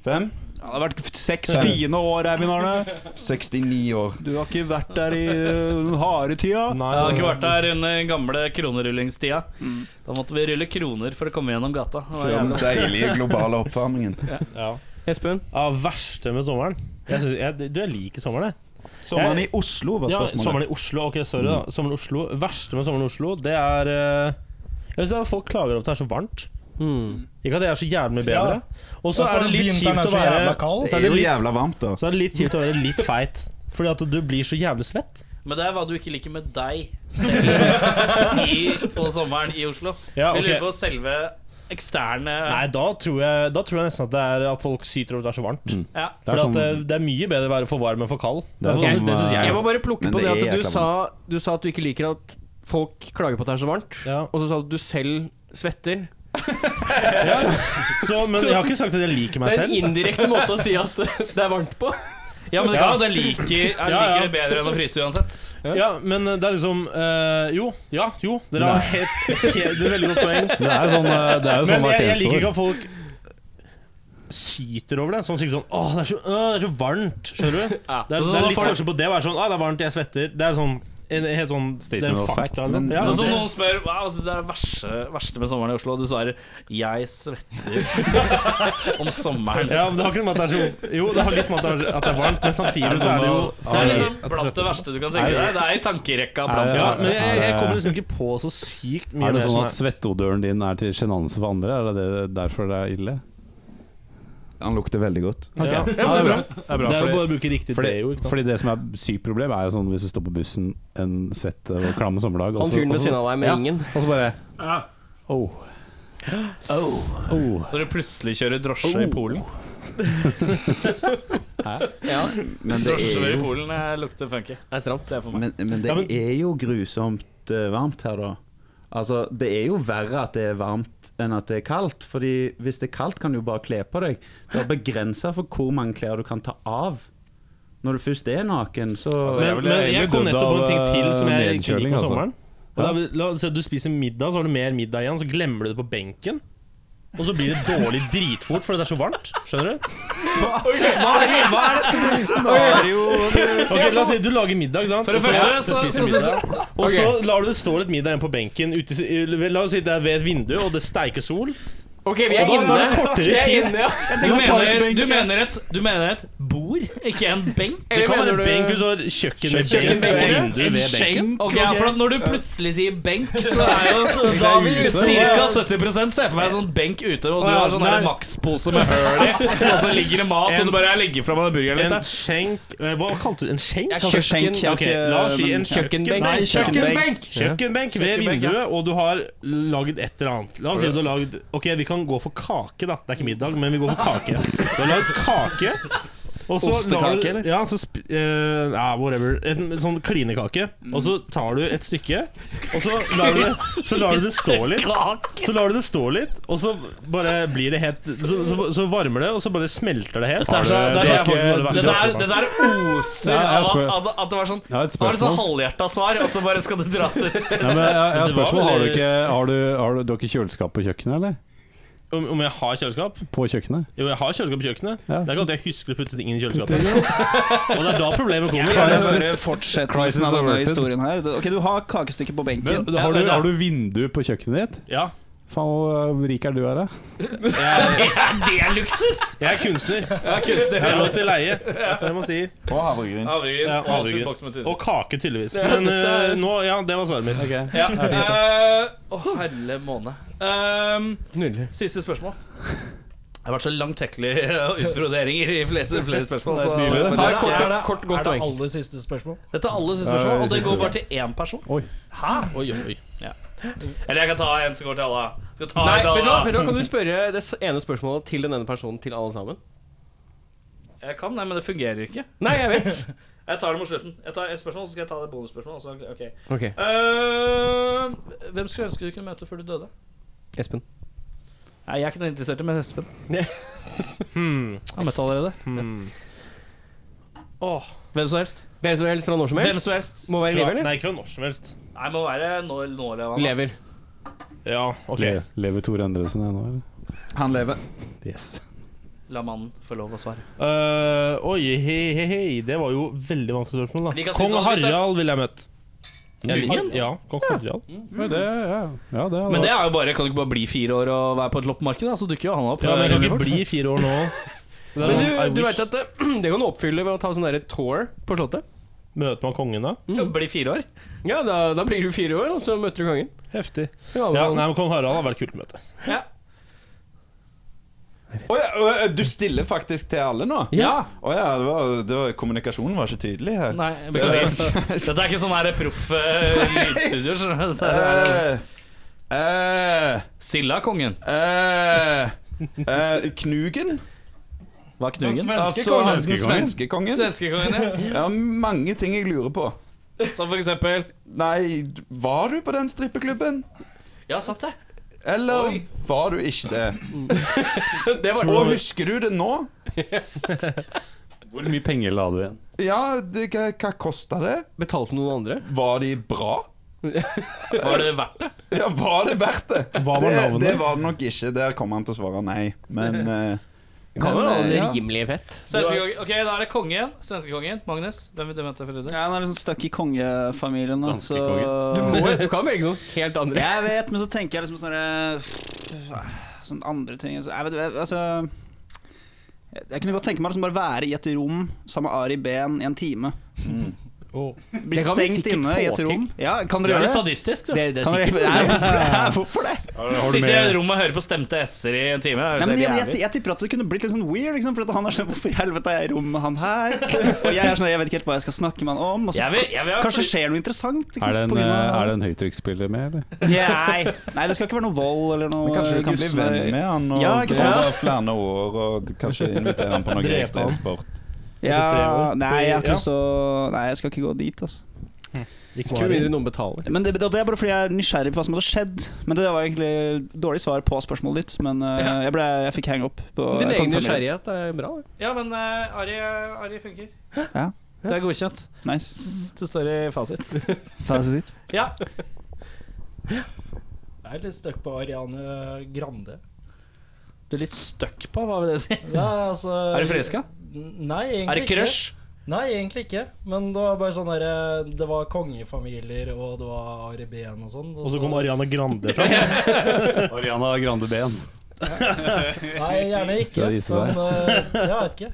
Speaker 7: Fem?
Speaker 10: Ja, det har vært seks fine år, Eivind Arne.
Speaker 7: 69 år.
Speaker 10: Du har ikke vært der i uh, harde tida.
Speaker 3: Jeg har ikke vært der under den gamle kronerullingstida.
Speaker 10: Mm.
Speaker 3: Da måtte vi rulle kroner for å komme gjennom gata. Det var
Speaker 7: Før den
Speaker 3: jævlig.
Speaker 7: deilige globale oppvarmingen.
Speaker 6: Espen? Ja, verste med sommeren. Jeg synes, jeg, du, jeg liker sommeren, jeg.
Speaker 7: Sommeren
Speaker 6: Jeg-
Speaker 7: i Oslo var
Speaker 6: Ja,
Speaker 7: spørsmålet.
Speaker 6: sommeren i Oslo. Ok, sorry, da. Sommeren i Oslo. Verste med sommeren i Oslo, det er eh, Jeg synes at folk klager over at det er så varmt. Ikke at det er så jævlig mye bedre. Og så
Speaker 8: Ja, for
Speaker 6: er det litt
Speaker 8: vinteren
Speaker 6: kjipt
Speaker 8: er
Speaker 6: å
Speaker 8: så
Speaker 6: være
Speaker 8: jævla kald.
Speaker 6: så
Speaker 8: Det er jo
Speaker 6: litt-
Speaker 8: jævla varmt, da.
Speaker 6: Så er det litt kjipt å være litt feit. Fordi at du blir så jævlig svett.
Speaker 3: Men det er hva du ikke liker med deg selv i, på sommeren i Oslo.
Speaker 6: Ja,
Speaker 3: Vi lurer
Speaker 6: ok.
Speaker 3: på selve eksterne
Speaker 6: Nei, da tror, jeg, da tror jeg nesten at det er at folk syter over at det er så varmt.
Speaker 3: Ja.
Speaker 6: For
Speaker 2: Det er
Speaker 6: at
Speaker 2: sånn-
Speaker 6: eh, det er mye bedre å være for varm enn for kald.
Speaker 2: Det er
Speaker 6: Det
Speaker 2: sånn,
Speaker 6: synes- det synes
Speaker 2: eh,
Speaker 6: jeg.
Speaker 2: Jeg
Speaker 4: må bare plukke
Speaker 6: Men
Speaker 4: på det
Speaker 6: det er
Speaker 4: at du
Speaker 6: jækla
Speaker 4: sa, du sa at du ikke liker at folk klager på at det er så varmt, og så sa du at du selv svetter.
Speaker 6: Så, men jeg har ikke sagt at jeg liker meg selv.
Speaker 4: Det er en indirekte måte å si at det er varmt på.
Speaker 3: Ja, men det
Speaker 6: Ja.
Speaker 3: kan jo at jeg liker, jeg liker
Speaker 6: Ja, ja.
Speaker 3: det bedre enn å fryse uansett.
Speaker 6: Ja. men eh, det er liksom eh, Jo, ja, jo. Dere har
Speaker 3: Nei.
Speaker 6: helt, helt det er veldig godt poeng.
Speaker 2: Det er jo sånn, eh, det er jo sånn
Speaker 6: men jeg,
Speaker 2: hvert
Speaker 6: jeg
Speaker 2: eneste
Speaker 6: liker ikke
Speaker 2: år.
Speaker 6: at folk syter over det. Sånn sikkert sånn Å, det er så, å, det er så varmt. Skjønner du?
Speaker 3: Ja.
Speaker 6: Det er,
Speaker 3: Sånn
Speaker 6: det
Speaker 3: at
Speaker 6: er litt
Speaker 3: folk-
Speaker 6: forskjell på det å være sånn Å, det er varmt, jeg svetter. Det er sånn en helt sånn Det er
Speaker 2: Statement
Speaker 6: en
Speaker 2: of fact,
Speaker 6: fakta.
Speaker 2: men-
Speaker 6: liksom. Ja.
Speaker 3: Sånn som noen spør hva synes du er det verste, verste med sommeren i Oslo, og du svarer 'jeg svetter om sommeren'.
Speaker 6: Ja, men det har ikke noe med at det er så Jo, det har litt med at det er- at det er varmt, men samtidig så er det jo
Speaker 3: Det er liksom blant det verste du kan tenke deg. Det er i tankerekka blant det
Speaker 6: Ja, men
Speaker 3: verste.
Speaker 6: jeg, jeg kommer liksom ikke på så sykt mye
Speaker 2: Er det
Speaker 6: mer
Speaker 2: sånn
Speaker 6: som
Speaker 2: at svetteodøren din er til sjenanse for andre? Er det det derfor det er ille?
Speaker 7: Han lukter veldig godt.
Speaker 2: Ok.
Speaker 6: Ja.
Speaker 2: Ja, det er bra. Det er bra
Speaker 6: Det er jo
Speaker 2: fordi-
Speaker 6: bare å bruke riktig
Speaker 2: fordi,
Speaker 6: deo, ikke sant?
Speaker 2: Fordi det som er sykt problem, er jo sånn hvis du står på bussen en svett og klam sommerdag og
Speaker 4: Han
Speaker 2: så-
Speaker 4: fyren ved
Speaker 2: og så-
Speaker 4: siden av deg med
Speaker 2: Ja,
Speaker 4: ringen.
Speaker 2: Og så bare
Speaker 3: Ja.
Speaker 2: Oh. Oh.
Speaker 3: Når du plutselig kjører drosje i Polen. Hæ?
Speaker 4: Ja.
Speaker 7: Men det er
Speaker 3: Drosjer i
Speaker 7: jo-
Speaker 3: Polen eh, lukter
Speaker 4: Det
Speaker 3: funky.
Speaker 4: er stramt.
Speaker 3: Ser jeg for meg.
Speaker 7: Men, men det er jo grusomt eh, varmt her, da. Altså, Det er jo verre at det er varmt enn at det er kaldt. Fordi hvis det er kaldt, kan du jo bare kle på deg. Det er begrensa for hvor mange klær du kan ta av. Når du først er naken, så
Speaker 3: Altså,
Speaker 6: men, men jeg kom nettopp på en ting til som
Speaker 2: eh,
Speaker 6: jeg ikke liker
Speaker 2: sånn.
Speaker 6: på sommeren. Og
Speaker 7: Ja.
Speaker 6: da, vil- la oss si at du spiser middag, så har du mer middag igjen, så glemmer du det på benken. Og så blir det dårlig dritfort fordi det er så varmt. Skjønner du?
Speaker 10: Hva er- hva er sånn dette for et scenario?
Speaker 6: Ok, La oss si du lager middag, sant?
Speaker 3: For det
Speaker 6: Og så-
Speaker 3: første, så-
Speaker 6: spiser
Speaker 3: så- så-
Speaker 6: middag.
Speaker 3: så-
Speaker 6: Og så
Speaker 3: Ok.
Speaker 6: lar du det stå litt middag igjen på benken. Ute, i- la oss si det er ved et vindu, og det steiker sol.
Speaker 4: Ok, vi er
Speaker 6: Og da- da er det
Speaker 4: inne.
Speaker 6: kortere
Speaker 4: Vi er
Speaker 6: tid.
Speaker 4: inne, ja.
Speaker 3: Du mener, du, mener et, du mener et bord? bord? Ikke en benk?
Speaker 6: Det kan være en benk hvis du har kjøkkenbenk og vindu ved benken.
Speaker 3: Ok, ja, for at Når du plutselig sier benk, så er jo Da vil jo ca. 70 se for meg sånn benk ute, og du har sånn der makspose med høl i, og så ligger det mat, og du bare legger fra deg burgeren litt.
Speaker 6: En skjenk eh, Hva kalte du en skjenk?
Speaker 3: Jeg kalte det skjenk, jeg
Speaker 6: Ok,
Speaker 3: vet
Speaker 6: La oss
Speaker 3: ikke,
Speaker 6: si
Speaker 3: men-
Speaker 6: en kjøkkenbenk.
Speaker 3: Nei, kjøkkenbenk.
Speaker 6: Kjøkkenbenk, kjøkkenbenk ved
Speaker 3: Kjøkkenbenk,
Speaker 6: vinduet,
Speaker 3: ja.
Speaker 6: og du har lagd et eller annet. La oss si at du har lagd Ok, vi kan gå for kake, da. Det er ikke middag, men vi går for kake. Du har lagd kake. og så
Speaker 5: Ostekake,
Speaker 6: lager du-
Speaker 5: eller?
Speaker 6: Ja, så sp eh, ja, whatever. En sånn klinekake.
Speaker 3: Mm.
Speaker 6: Og så tar du et stykke, og så lar du det, så lar du det stå litt. Så lar du det stå litt, og så bare blir det helt Så, så, så varmer det, og så bare smelter det helt.
Speaker 3: Dette er så, det er så,
Speaker 6: Har du- det
Speaker 3: det
Speaker 6: er
Speaker 3: der, det
Speaker 6: ikke-
Speaker 3: der, det der oser
Speaker 2: Ja, jeg
Speaker 3: av at,
Speaker 2: spør-
Speaker 3: at, at det var sånn
Speaker 2: Ja, et
Speaker 3: Det var et sånn
Speaker 2: spørsmål.
Speaker 3: halvhjerta svar, og så bare skal det dras ut.
Speaker 2: Nei, men jeg, jeg har
Speaker 6: Det var
Speaker 2: spørsmål. Har du
Speaker 6: vel-
Speaker 2: ikke, har du, har du, du har ikke kjøleskap på kjøkkenet, eller?
Speaker 6: Om, om jeg har kjøleskap?
Speaker 2: På kjøkkenet?
Speaker 6: Jo, jeg har kjøleskap på kjøkkenet.
Speaker 2: Ja.
Speaker 6: Det er ikke alltid jeg husker å putte ting inn i kjøleskapet. Og det er da problemet
Speaker 10: Jeg
Speaker 6: kommer.
Speaker 10: vil gjerne høre fortsettelsen av denne historien her. Ok, Du har kakestykket på benken.
Speaker 2: Men, har, du, har du vindu på kjøkkenet ditt?
Speaker 6: Ja.
Speaker 2: Faen, hvor rik er du her, da?
Speaker 3: Det er, det er luksus!
Speaker 6: Jeg er kunstner.
Speaker 3: Ja, kunstner,
Speaker 6: Jeg har
Speaker 3: ja.
Speaker 6: lov til leie. Det er det man sier.
Speaker 7: Og havregryn.
Speaker 3: Havregryn,
Speaker 6: Ja,
Speaker 3: og alltid boks med
Speaker 6: havregryn.
Speaker 3: tun.
Speaker 6: Og kake, tydeligvis.
Speaker 3: Ja,
Speaker 6: Men
Speaker 3: dette er-
Speaker 6: eh, nå Ja, det var svaret mitt.
Speaker 3: Ja. eh, Å, herre måne. Ehm,
Speaker 6: Nydelig.
Speaker 3: siste spørsmål. Det har vært så langtekkelig eh, utbroderinger i flere, flere spørsmål. Så
Speaker 8: Det er
Speaker 3: Faktisk,
Speaker 8: kort,
Speaker 3: er det-
Speaker 8: kort, godt
Speaker 3: er det
Speaker 8: poeng.
Speaker 3: aller siste spørsmål? Dette er alle siste spørsmål, og det går bare til én person.
Speaker 2: Oi.
Speaker 3: Hæ?
Speaker 6: Oi, oi, oi.
Speaker 3: Ja. Eller jeg kan ta en som går til alle. Skal ta
Speaker 4: Nei,
Speaker 3: en til
Speaker 4: vet du, hva,
Speaker 3: alle.
Speaker 4: vet du hva, Kan du spørre det s- ene spørsmålet til den ene personen til alle sammen?
Speaker 3: Jeg kan det, men det fungerer ikke.
Speaker 4: Nei, jeg vet.
Speaker 3: Jeg tar det mot slutten. Jeg tar et spørsmål, så skal jeg ta det bonusspørsmålet. og så- ok.
Speaker 4: Ok.
Speaker 3: Eh, hvem skulle ønske du kunne møte før du døde?
Speaker 4: Espen.
Speaker 3: Nei, Jeg er ikke noe interessert i men Espen.
Speaker 6: Hmm.
Speaker 3: Han møtte allerede.
Speaker 6: Hmm.
Speaker 3: Åh, hvem som helst.
Speaker 4: Hvem som helst fra når som helst?
Speaker 3: Hvem som helst.
Speaker 4: Må være
Speaker 6: Fra-
Speaker 4: lever, eller?
Speaker 6: Nei, ikke fra når som helst.
Speaker 3: Nei, må være nå, nålevende.
Speaker 4: Lever.
Speaker 6: Ja, ok.
Speaker 2: Le, lever Tor Endresen her nå, eller?
Speaker 7: Han lever.
Speaker 2: Yes.
Speaker 3: La mannen få lov å svare.
Speaker 6: Eh, oi, hei, hei, hei. Det var jo veldig vanskelig spørsmål,
Speaker 3: Vi
Speaker 6: da.
Speaker 3: kan si
Speaker 6: Kong
Speaker 3: sånn, hvis det-
Speaker 6: Harald ville jeg møtt.
Speaker 3: Kongen?
Speaker 6: Ja, kong Harald.
Speaker 3: Mm.
Speaker 2: Men det, ja. Ja, det
Speaker 3: Men det er jo bare, kan du ikke bare bli fire år og være på et loppemarked, da? Så dukker jo han opp.
Speaker 6: Ja, men jeg kan ikke bli fire år nå. Det er
Speaker 4: Men
Speaker 6: sånn, I
Speaker 4: du, du
Speaker 6: wish.
Speaker 4: vet at det, det kan du oppfylle ved å ta sånn derre tour på Slottet.
Speaker 6: Møter man kongen da?
Speaker 3: Bli fire år?
Speaker 4: Ja, da, da blir du fire år, og så møter du kongen.
Speaker 6: Heftig.
Speaker 4: Ja,
Speaker 6: Ja,
Speaker 4: men-
Speaker 6: nei, men Kong Harald har vært kult møte.
Speaker 3: Ja.
Speaker 7: Å ja, å ja, du stiller faktisk til alle nå?
Speaker 3: Ja.
Speaker 7: Å ja, det var, det var, kommunikasjonen var ikke tydelig her.
Speaker 3: Nei, jeg beklager. Dette er ikke sånn her proff eh, lydstudio. skjønner du? Dette er-
Speaker 7: Eh, eh,
Speaker 3: Silla er kongen.
Speaker 7: eh, eh, Knugen?
Speaker 3: Hva er Knugen?
Speaker 7: Altså, han, den svenske kongen.
Speaker 3: Svenskekongen, ja.
Speaker 7: Ja, mange ting jeg lurer på.
Speaker 3: Som for eksempel
Speaker 7: Nei, var du på den strippeklubben?
Speaker 3: Ja, sant det.
Speaker 7: Eller
Speaker 3: Oi.
Speaker 7: var du ikke det?
Speaker 4: det var
Speaker 7: Og husker du det nå?
Speaker 2: Hvor mye penger la du igjen?
Speaker 7: Ja, det, hva, hva kosta det?
Speaker 4: Betalte noen andre?
Speaker 7: Var de bra?
Speaker 3: Var det verdt det?
Speaker 7: Ja, var det verdt det?
Speaker 6: var
Speaker 7: det,
Speaker 6: navnet?
Speaker 7: det var det nok ikke. Der kom han til å svare nei. Men eh,
Speaker 4: Kan
Speaker 7: men,
Speaker 4: være
Speaker 7: eh,
Speaker 4: alle
Speaker 7: ja.
Speaker 4: rimelig fett.
Speaker 3: Svenskekongen. Ok, da er det kongen. Svenskekongen. Magnus. Hvem vil du møte for det?
Speaker 10: Ja, Han er liksom stuck i kongefamilien. Da, så
Speaker 4: Du, må, du kan velge noe helt andre.
Speaker 10: Jeg vet, men så tenker jeg liksom sånne, sånne andre ting altså, jeg, vet, jeg, altså, jeg, jeg kunne godt tenke meg å liksom bare være i et rom sammen med Ari Behn i en time. Bli
Speaker 4: Det kan vi
Speaker 10: stengt
Speaker 4: sikkert
Speaker 10: inne i et
Speaker 4: få
Speaker 10: rom. Ja, kan
Speaker 3: Du
Speaker 10: dere gjøre
Speaker 3: er
Speaker 10: det?
Speaker 3: litt sadistisk, du.
Speaker 4: Det, det er
Speaker 10: Kan dere,
Speaker 4: sikkert
Speaker 10: Nei, hvorfor, nei, hvorfor det?
Speaker 3: Sitter i et rom og hører på stemte s-er i en time.
Speaker 10: Nei, men jeg, jeg, jeg tipper at det kunne blitt litt sånn weird. Liksom, for at han er sånn, Hvorfor i helvete er jeg i rom med han her? Og jeg er sånn, jeg vet ikke helt hva jeg skal snakke med han om. Og så,
Speaker 3: Jeg vil- jeg vil ha-
Speaker 10: Altså, kanskje det skjer noe interessant. Ikke sant,
Speaker 2: Er det en,
Speaker 10: på grunn
Speaker 2: eh,
Speaker 10: av-
Speaker 2: er det en høytrykksspiller med, eller?
Speaker 10: Nei, nei, det skal ikke være noe vold eller noe
Speaker 7: Men kanskje du kan bli
Speaker 10: gusle-
Speaker 7: venn med han og
Speaker 10: Ja, ikke sant?
Speaker 7: over flere år, og kanskje invitere han på noe
Speaker 6: Drepe han.
Speaker 7: ekstremsport.
Speaker 6: Etter tre
Speaker 10: Ja,
Speaker 6: år.
Speaker 10: nei, jeg har ikke
Speaker 6: Ja.
Speaker 10: lyst til å Nei, jeg skal ikke gå dit, altså.
Speaker 6: Ikke
Speaker 4: Ikke
Speaker 6: bare-
Speaker 4: mindre noen betaler.
Speaker 10: Men det, det er bare fordi jeg er nysgjerrig på hva som hadde skjedd. Men det var egentlig dårlig svar på spørsmålet ditt, men eh,
Speaker 3: Ja.
Speaker 10: jeg, ble, jeg fikk hang up på
Speaker 4: Din egen
Speaker 10: kongefamilien.
Speaker 4: nysgjerrighet er bra. det.
Speaker 3: Ja, men eh, Ari, Ari funker.
Speaker 10: Ja.
Speaker 3: Det er godkjent.
Speaker 10: Nice.
Speaker 3: Det står i fasit.
Speaker 10: Fasit.
Speaker 3: Ja.
Speaker 8: Jeg er litt stuck på Ariane Grande.
Speaker 3: Du er litt stuck på, hva vil det si?
Speaker 8: Ja, altså,
Speaker 3: Er du forelska?
Speaker 8: Nei,
Speaker 3: Er
Speaker 8: egentlig
Speaker 3: det crush?
Speaker 8: ikke. Nei, egentlig ikke. Men det var bare sånn derre Det var kongefamilier, og det var Ari Behn og sånn.
Speaker 6: Og så kom Ariana Grande fram.
Speaker 2: Ariana Grande Ben.
Speaker 8: Nei, gjerne
Speaker 2: Det
Speaker 8: ikke.
Speaker 2: viste seg.
Speaker 8: Men eh, jeg vet ikke.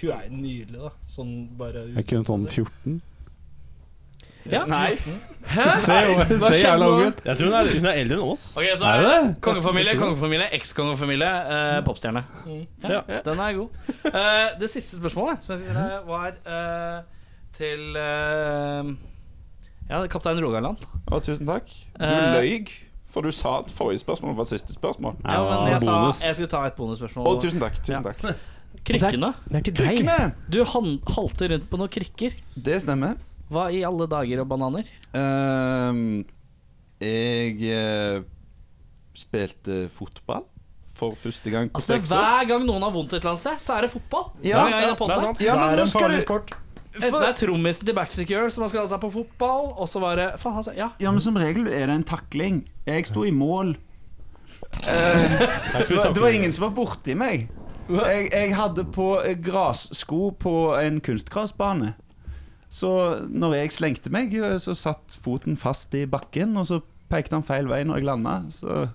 Speaker 8: Hun er nydelig, da. Sånn bare
Speaker 2: Er ikke hun sånn 14?
Speaker 3: Ja.
Speaker 8: Nei.
Speaker 3: Hæ?
Speaker 2: Se jo-
Speaker 3: Hva
Speaker 2: se
Speaker 3: skjedde
Speaker 2: jævla
Speaker 3: nå?
Speaker 2: ung ut.
Speaker 6: Jeg tror hun er, hun er eldre enn oss.
Speaker 3: Ok, så
Speaker 6: Er
Speaker 3: er det
Speaker 6: det?
Speaker 3: Kongefamilie,
Speaker 6: Jeg tror det.
Speaker 3: kongefamilie, ekskongefamilie, eh, popstjerne.
Speaker 7: Mm.
Speaker 3: Ja, Den er god. Eh, det siste spørsmålet som jeg skulle stille, var eh, til eh, Ja, kaptein Rogaland.
Speaker 7: Å, tusen takk. Du
Speaker 3: Eh.
Speaker 7: løy, for du sa at forrige spørsmål var siste spørsmål.
Speaker 3: Ja, men jeg sa jeg skulle ta et bonusspørsmål.
Speaker 7: Å, tusen takk. Tusen
Speaker 3: Ja.
Speaker 7: takk.
Speaker 3: Krykkene.
Speaker 7: Det er til deg. Krykkene!
Speaker 3: Du han halter rundt på noen krykker.
Speaker 7: Det stemmer.
Speaker 3: Hva i alle dager og bananer?
Speaker 7: Ehm, jeg eh, spilte fotball for første gang på
Speaker 3: Altså,
Speaker 7: seks år.
Speaker 3: hver gang noen har vondt et eller annet sted, så er det fotball.
Speaker 7: Ja,
Speaker 3: Hver gang jeg er på
Speaker 7: det er
Speaker 3: den.
Speaker 7: sant. Ja, men Det er nå en skal farlig du- sport.
Speaker 3: Enten det er trommisen til Backstreet Girls som har skada seg på fotball, og så var det Faen, han sa ja.
Speaker 7: Ja, men som regel er det en takling. Jeg sto i mål. Eh, det, var, det var ingen som var borti meg. Jeg, jeg hadde på eh, grassko på en kunstgrasbane. Så når jeg slengte meg, eh, så satt foten fast i bakken, og så pekte han feil vei når jeg landa. Så,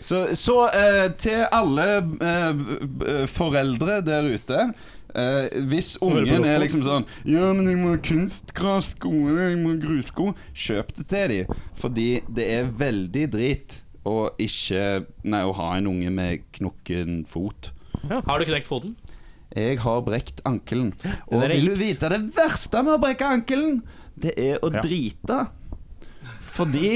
Speaker 7: så, så eh, til alle eh, b- b- foreldre der ute eh, Hvis
Speaker 15: hører på
Speaker 7: ungen
Speaker 15: dere.
Speaker 7: er liksom sånn 'Ja, men jeg må ha kunstgrassko, jeg må ha grussko', kjøp det til dem. Fordi det er veldig drit å ikke Nei, å ha en unge med knokken fot.
Speaker 3: Har du knekt foten?
Speaker 7: Jeg har brekt ankelen. Og
Speaker 3: er
Speaker 7: vil du
Speaker 3: gitt.
Speaker 7: vite det verste med å brekke ankelen? Det er å drite. Fordi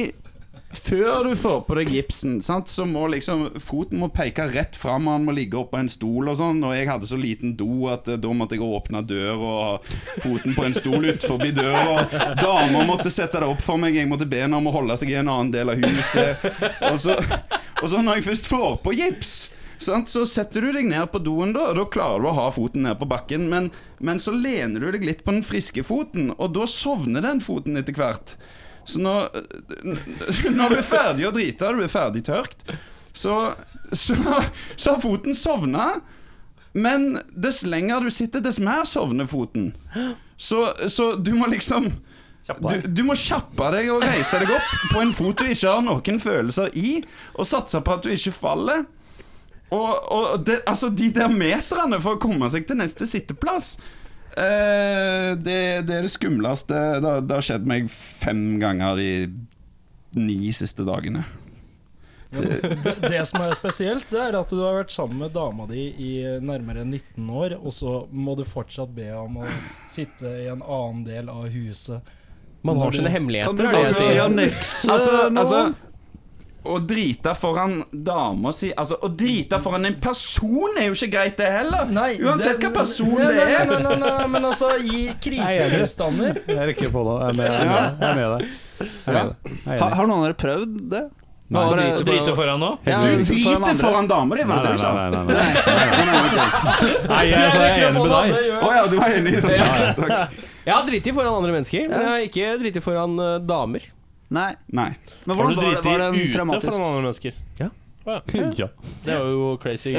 Speaker 7: før du får på deg gipsen, sant, så må liksom foten må peke rett fram. Han må ligge oppå en stol og sånn. Og jeg hadde så liten do at eh, da måtte jeg åpne døra og foten på en stol ut forbi døra. og Dama måtte sette det opp for meg. Jeg måtte be henne om å holde seg i en annen del av huset. Og så, og så når jeg først får på gips Sant? Så setter du deg ned på doen, da, og da klarer du å ha foten ned på bakken. Men, men så lener du deg litt på den friske foten, og da sovner den foten etter hvert. Så når, når du er ferdig å drite, du er ferdig tørkt, så, så, så har foten sovna. Men dess lenger du sitter, dess mer sovner foten. Så, så du må liksom du, du må kjappe deg og reise deg opp på en fot du ikke har noen følelser i, og satse på at du ikke faller. Og, og det, altså de der meterne for å komme seg til neste sitteplass eh, det, det er det skumleste. Det, har- det har skjedd meg fem ganger de ni siste dagene.
Speaker 8: det, det som er spesielt, det er at du har vært sammen med dama di i nærmere 19 år, og så må du fortsatt be om å sitte i en annen del av huset.
Speaker 4: Man har
Speaker 8: Når du-
Speaker 4: sine hemmeligheter,
Speaker 8: Kan du
Speaker 4: er
Speaker 8: bare
Speaker 4: det jeg sier.
Speaker 8: si
Speaker 4: Annekse
Speaker 7: altså,
Speaker 4: noen?
Speaker 7: altså, å drite foran dama si Altså, å drite foran en person er jo ikke greit, det heller. Uansett hva person
Speaker 8: nei,
Speaker 7: det
Speaker 8: nei,
Speaker 7: er.
Speaker 8: nei, nei, nei, nei, men altså, i krisetilstander
Speaker 2: Jeg rekker på det. Jeg er med, jeg er med, jeg er med deg. Jeg er med deg. Jeg er
Speaker 10: Har,
Speaker 2: enig.
Speaker 10: har noen av dere prøvd det?
Speaker 2: Nei.
Speaker 10: Bare-
Speaker 2: Drite-
Speaker 10: bare-
Speaker 2: drite foran nå?
Speaker 10: Ja,
Speaker 2: Du
Speaker 10: foran
Speaker 2: driter
Speaker 10: andre.
Speaker 7: foran damer, det var det du sa.
Speaker 2: Nei, nei, nei, nei, nei.
Speaker 7: Nei,
Speaker 2: jeg- så jeg er enig med deg.
Speaker 7: Å ja, du er enig. så Takk. takk.
Speaker 4: Jeg har driti foran andre mennesker, men jeg har ikke driti foran eh, damer.
Speaker 10: Nei.
Speaker 7: Nei.
Speaker 10: Men hvordan var det- var det en traumatisk-
Speaker 6: foran andre mennesker?
Speaker 4: Ja.
Speaker 6: ja. Det var jo crazy.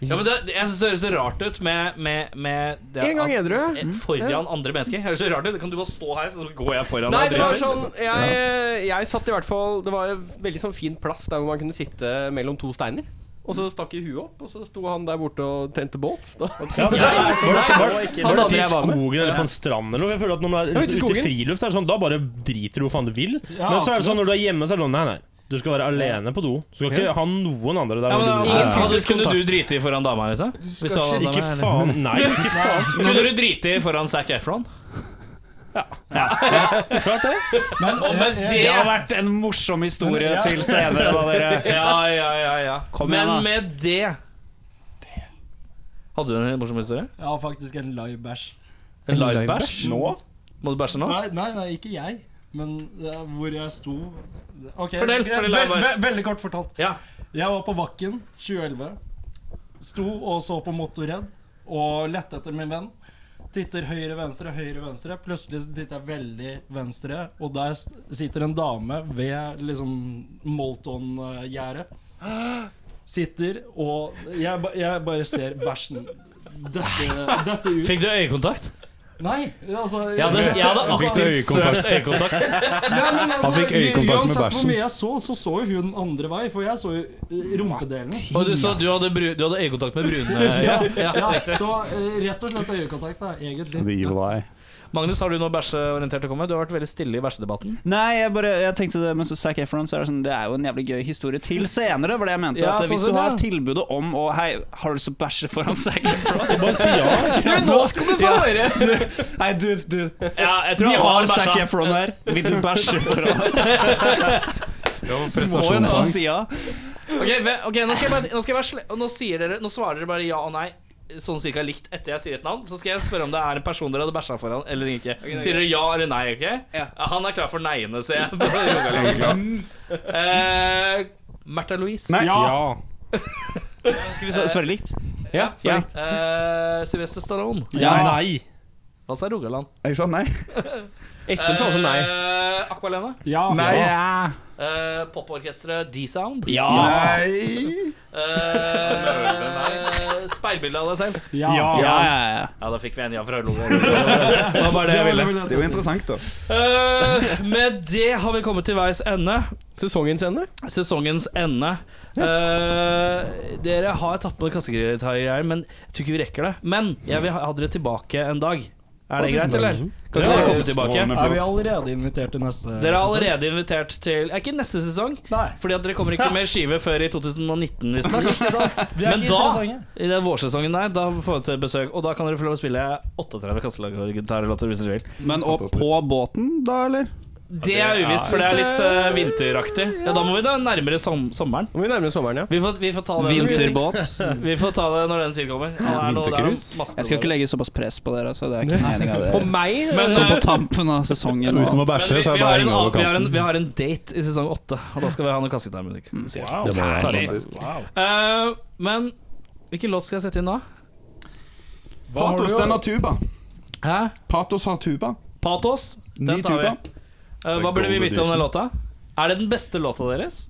Speaker 3: Ja, men det, det- jeg synes det høres så rart ut med, med, med det
Speaker 4: En gang
Speaker 3: at-
Speaker 4: edru, ja.
Speaker 3: eh, Foran
Speaker 4: Ja.
Speaker 3: andre mennesker. Høres så rart ut. Kan du bare stå her, så går jeg foran
Speaker 4: Nei,
Speaker 3: og
Speaker 4: det var
Speaker 3: driter,
Speaker 4: sånn
Speaker 3: liksom?
Speaker 4: jeg, jeg satt i hvert fall Det var en veldig sånn fin plass der hvor man kunne sitte mellom to steiner. Og så stakk jeg huet opp, og så sto han der borte og tente bål. Så-
Speaker 6: Ja, men det er sånn- var var- var det
Speaker 4: Han
Speaker 6: ikke i
Speaker 4: jeg var med.
Speaker 6: skogen eller på en strand eller noe? Jeg føler at når man er
Speaker 4: Ja, ute i
Speaker 6: ute i
Speaker 4: skogen.
Speaker 6: friluft, er det sånn, da bare driter du hvor faen du vil.
Speaker 4: Ja,
Speaker 6: Men så er det
Speaker 4: absolutt.
Speaker 6: sånn når du er hjemme, så er det sånn Nei, nei. Du skal være alene på do. Du skal
Speaker 3: Ja.
Speaker 6: ikke ha noen andre der.
Speaker 3: Ja, men,
Speaker 6: hvor du-
Speaker 3: altså,
Speaker 6: Nei, nei, nei.
Speaker 3: altså, kunne du drite i foran dama, liksom? Hvis du
Speaker 6: ikke-
Speaker 3: hadde dama,
Speaker 6: ikke
Speaker 3: eller?
Speaker 6: faen. Nei, ikke faen.
Speaker 3: Kunne du drite i foran Zac Efron?
Speaker 15: Men,
Speaker 3: Og med
Speaker 15: det,
Speaker 3: det-
Speaker 15: har vært en morsom historie
Speaker 3: Ja.
Speaker 15: til senere, da, dere.
Speaker 3: Ja, ja, ja, ja.
Speaker 15: Kom
Speaker 3: Men
Speaker 15: igjen, da.
Speaker 3: med det Hadde du en morsom historie?
Speaker 8: Jeg har faktisk en live bæsj.
Speaker 3: En live bæsj? Må du bæsje nå?
Speaker 8: Nei, nei, nei, ikke jeg. Men eh, hvor jeg sto Ok,
Speaker 3: Fortell,
Speaker 8: ve-
Speaker 3: fortell live
Speaker 8: ve-
Speaker 3: bæsj.
Speaker 8: ve- Veldig kort fortalt. Jeg var på Vakken 2011. Sto og så på Motorhead og lette etter min venn. Titter høyre, venstre, høyre, venstre. Plutselig så titter jeg veldig venstre, og der s- sitter en dame ved liksom Molton-gjerdet. Sitter, og jeg, ba- jeg bare ser bæsjen dette, dette ut.
Speaker 3: Fikk du øyekontakt?
Speaker 8: Nei, altså
Speaker 3: Jeg hadde- jeg hadde
Speaker 8: altså-
Speaker 3: aktivt Fikk du øyekontakt? søkt øyekontakt?
Speaker 8: Nei, men altså,
Speaker 3: Han fikk øyekontakt med
Speaker 8: Uansett hvor
Speaker 3: bæsjen.
Speaker 8: mye jeg så, så så jo hun andre vei, for jeg så jo eh, rumpedelen.
Speaker 3: Og du, så du hadde, bru- du hadde øyekontakt med brune?
Speaker 8: ja, ja, så eh, rett og slett øyekontakt, da, egentlig.
Speaker 3: Magnus, har du noe bæsjeorientert å komme med? Du har vært veldig stille i bæsjedebatten.
Speaker 10: Nei, jeg, bare, jeg tenkte det mens Zac Efron så er det sånn Det er jo en jævlig gøy historie til senere. Var det jeg mente
Speaker 3: Ja,
Speaker 10: at
Speaker 3: sånn
Speaker 10: Hvis
Speaker 3: som
Speaker 10: du har
Speaker 3: det.
Speaker 10: tilbudet om å Hei, har du lyst til å bæsje foran Zac Efron?
Speaker 3: bare si ja.
Speaker 10: Du, nå skal du få
Speaker 3: Ja.
Speaker 10: høre! Du, nei, du, du
Speaker 3: Ja, jeg tror
Speaker 10: Vi
Speaker 3: alle har
Speaker 10: har
Speaker 3: bæsja.
Speaker 10: Zac Efron her. Vil du bæsje foran Du må jo nesten si ja.
Speaker 3: Ok, ve- ok, nå, skal jeg bare, nå, skal jeg være sle- og nå, sier dere, nå svarer dere bare ja og nei. Sånn cirka likt etter jeg sier et navn. Så skal jeg spørre om det er en person dere hadde bæsja foran eller ikke.
Speaker 2: det er
Speaker 3: Sier dere ja eller nei? ok? Han er klar for neiene, ser jeg. Bare roer dere litt. Eh, Märtha Louise.
Speaker 10: Nei. Ja. Skal vi s- svare likt?
Speaker 3: Ja.
Speaker 10: Ja.
Speaker 3: Eh, Sylvester Stallone.
Speaker 10: Ja.
Speaker 3: Nei. Hva sa Rogaland?
Speaker 14: Jeg sa nei.
Speaker 3: Espen sa også nei. Aqualene?
Speaker 8: Ja.
Speaker 14: Nei.
Speaker 3: Eh, Poporkesteret D-Sound?
Speaker 14: Ja. Nei.
Speaker 3: Eh, Speilbilde av deg selv?
Speaker 14: Ja. Ja.
Speaker 3: ja, ja, ja. da fikk vi en ja fra Ølo. Det var bare det jeg ville.
Speaker 14: Det er jo interessant, da.
Speaker 3: Eh, med det har vi kommet til veis ende. Sesongens ende? Sesongens ende. Eh, dere har tatt på kassegreier, men jeg tror ikke vi rekker det. Men jeg vil ha ha dere tilbake en dag. Er det
Speaker 8: Å, tusen
Speaker 3: greit,
Speaker 8: takk.
Speaker 3: eller? Kan ikke
Speaker 8: Ja,
Speaker 3: dere komme
Speaker 8: det er
Speaker 3: tilbake?
Speaker 8: strålende flott. Er vi allerede invitert til neste
Speaker 3: Dere er
Speaker 8: sesong?
Speaker 3: allerede invitert til Er ikke neste sesong? Nei. Fordi at dere kommer ikke med skive før i 2019, visstnok.
Speaker 8: Vi er
Speaker 3: Men
Speaker 8: ikke
Speaker 3: da,
Speaker 8: interessante.
Speaker 3: i den vårsesongen der, da får dere besøk. Og da kan dere få lov å spille 38 kasselaggitarlåter hvis dere vil.
Speaker 10: Men og på båten, da, eller?
Speaker 3: Det er uvisst, for det er litt eh, vinteraktig. Ja, Da må vi da nærmere som sommeren. Vi, får, vi får ta det
Speaker 10: Vinterbåt.
Speaker 3: Vi får ta det når den tilkommer. Ja, det er noe- det er masse
Speaker 10: Jeg skal ikke legge såpass press på dere. Altså, det er ikke meningen av det.
Speaker 3: På meg? Men,
Speaker 10: Sånn
Speaker 3: eh,
Speaker 10: på tampen av sesongen.
Speaker 3: Men vi- vi, vi, har en, annen- vi, har en, vi
Speaker 10: har
Speaker 3: har en date i sesong åtte, og da skal vi ha noe kassegitarmusikk.
Speaker 10: Wow. Det må være
Speaker 3: Herlig.
Speaker 10: fantastisk.
Speaker 3: Eh, men hvilken låt skal jeg sette inn da? har
Speaker 14: Patos,
Speaker 3: du-
Speaker 14: den har tuba.
Speaker 3: Hæ?
Speaker 14: Patos har tuba.
Speaker 3: Patos?
Speaker 14: Ny
Speaker 3: Den tar vi.
Speaker 14: tuba.
Speaker 3: Eh, hva burde vi vite om den låta? Er det den beste låta deres?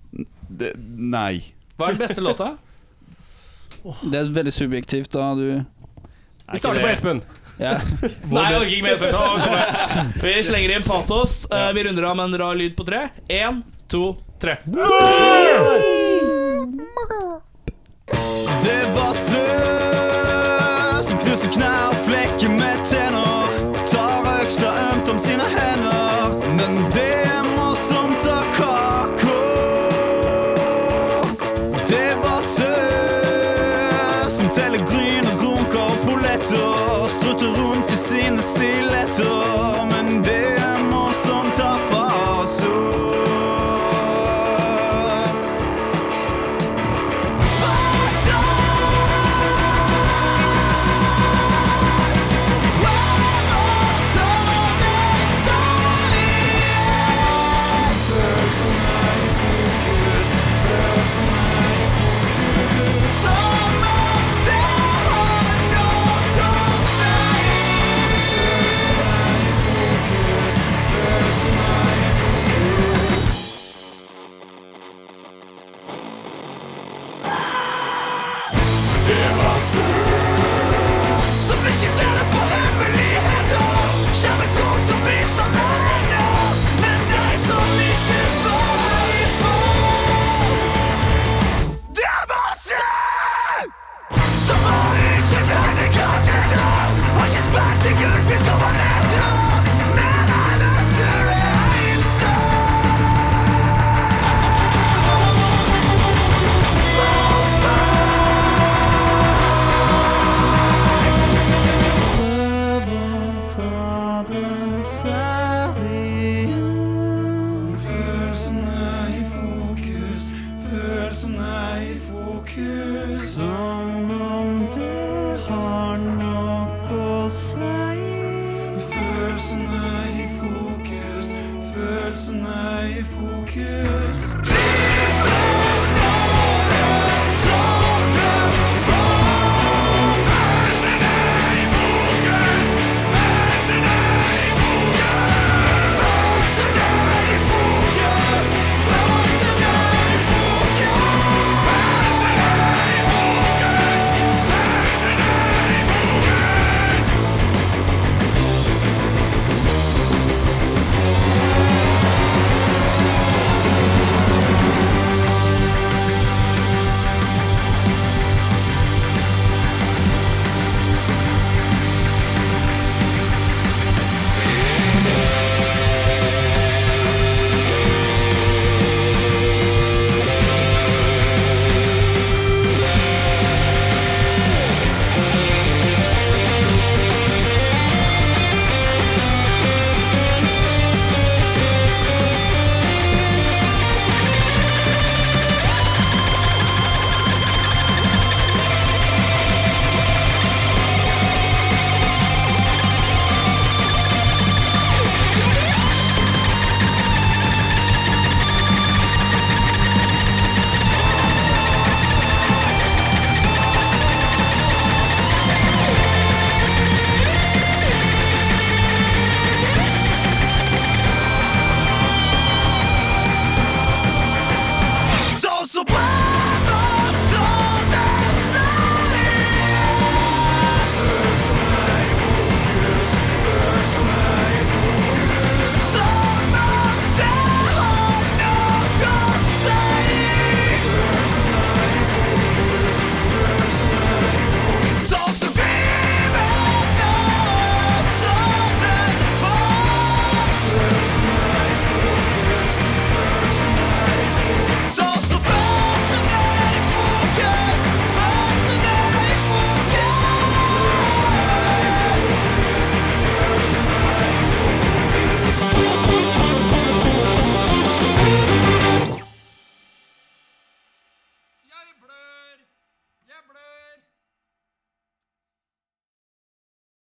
Speaker 14: Det- Nei.
Speaker 3: Hva er den beste låta?
Speaker 10: Det er veldig subjektivt, da. Du
Speaker 3: Vi starter på Espen.
Speaker 10: Ja.
Speaker 3: Nei, jeg orker ikke mer spørsmål. Kom igjen. Vi slenger inn Patos. Eh, vi runder av med en rar lyd på tre. Én, to, tre.
Speaker 15: Det var tø som knuste knærflekken med tenner. Tar øksa ømt om sine hender. Men det er morsomt å kake. Det var tø som teller gryn og grunker og polletter. Strutter rundt i sine stiletter. Men det er morsomt å farsott. Det var sør Som ikke deler på hemmeligheter Kjærlig kokt og viser næringer Men deg som ikke svarer for Det er bare sør Som har ikke denne kartene Har ikke spent en gullfisk over netter Men alle sør er en Følelsen er i fokus, følelsen er i fokus. Som om det har nok å si. Følelsen er i fokus, følelsen er i fokus. Livet!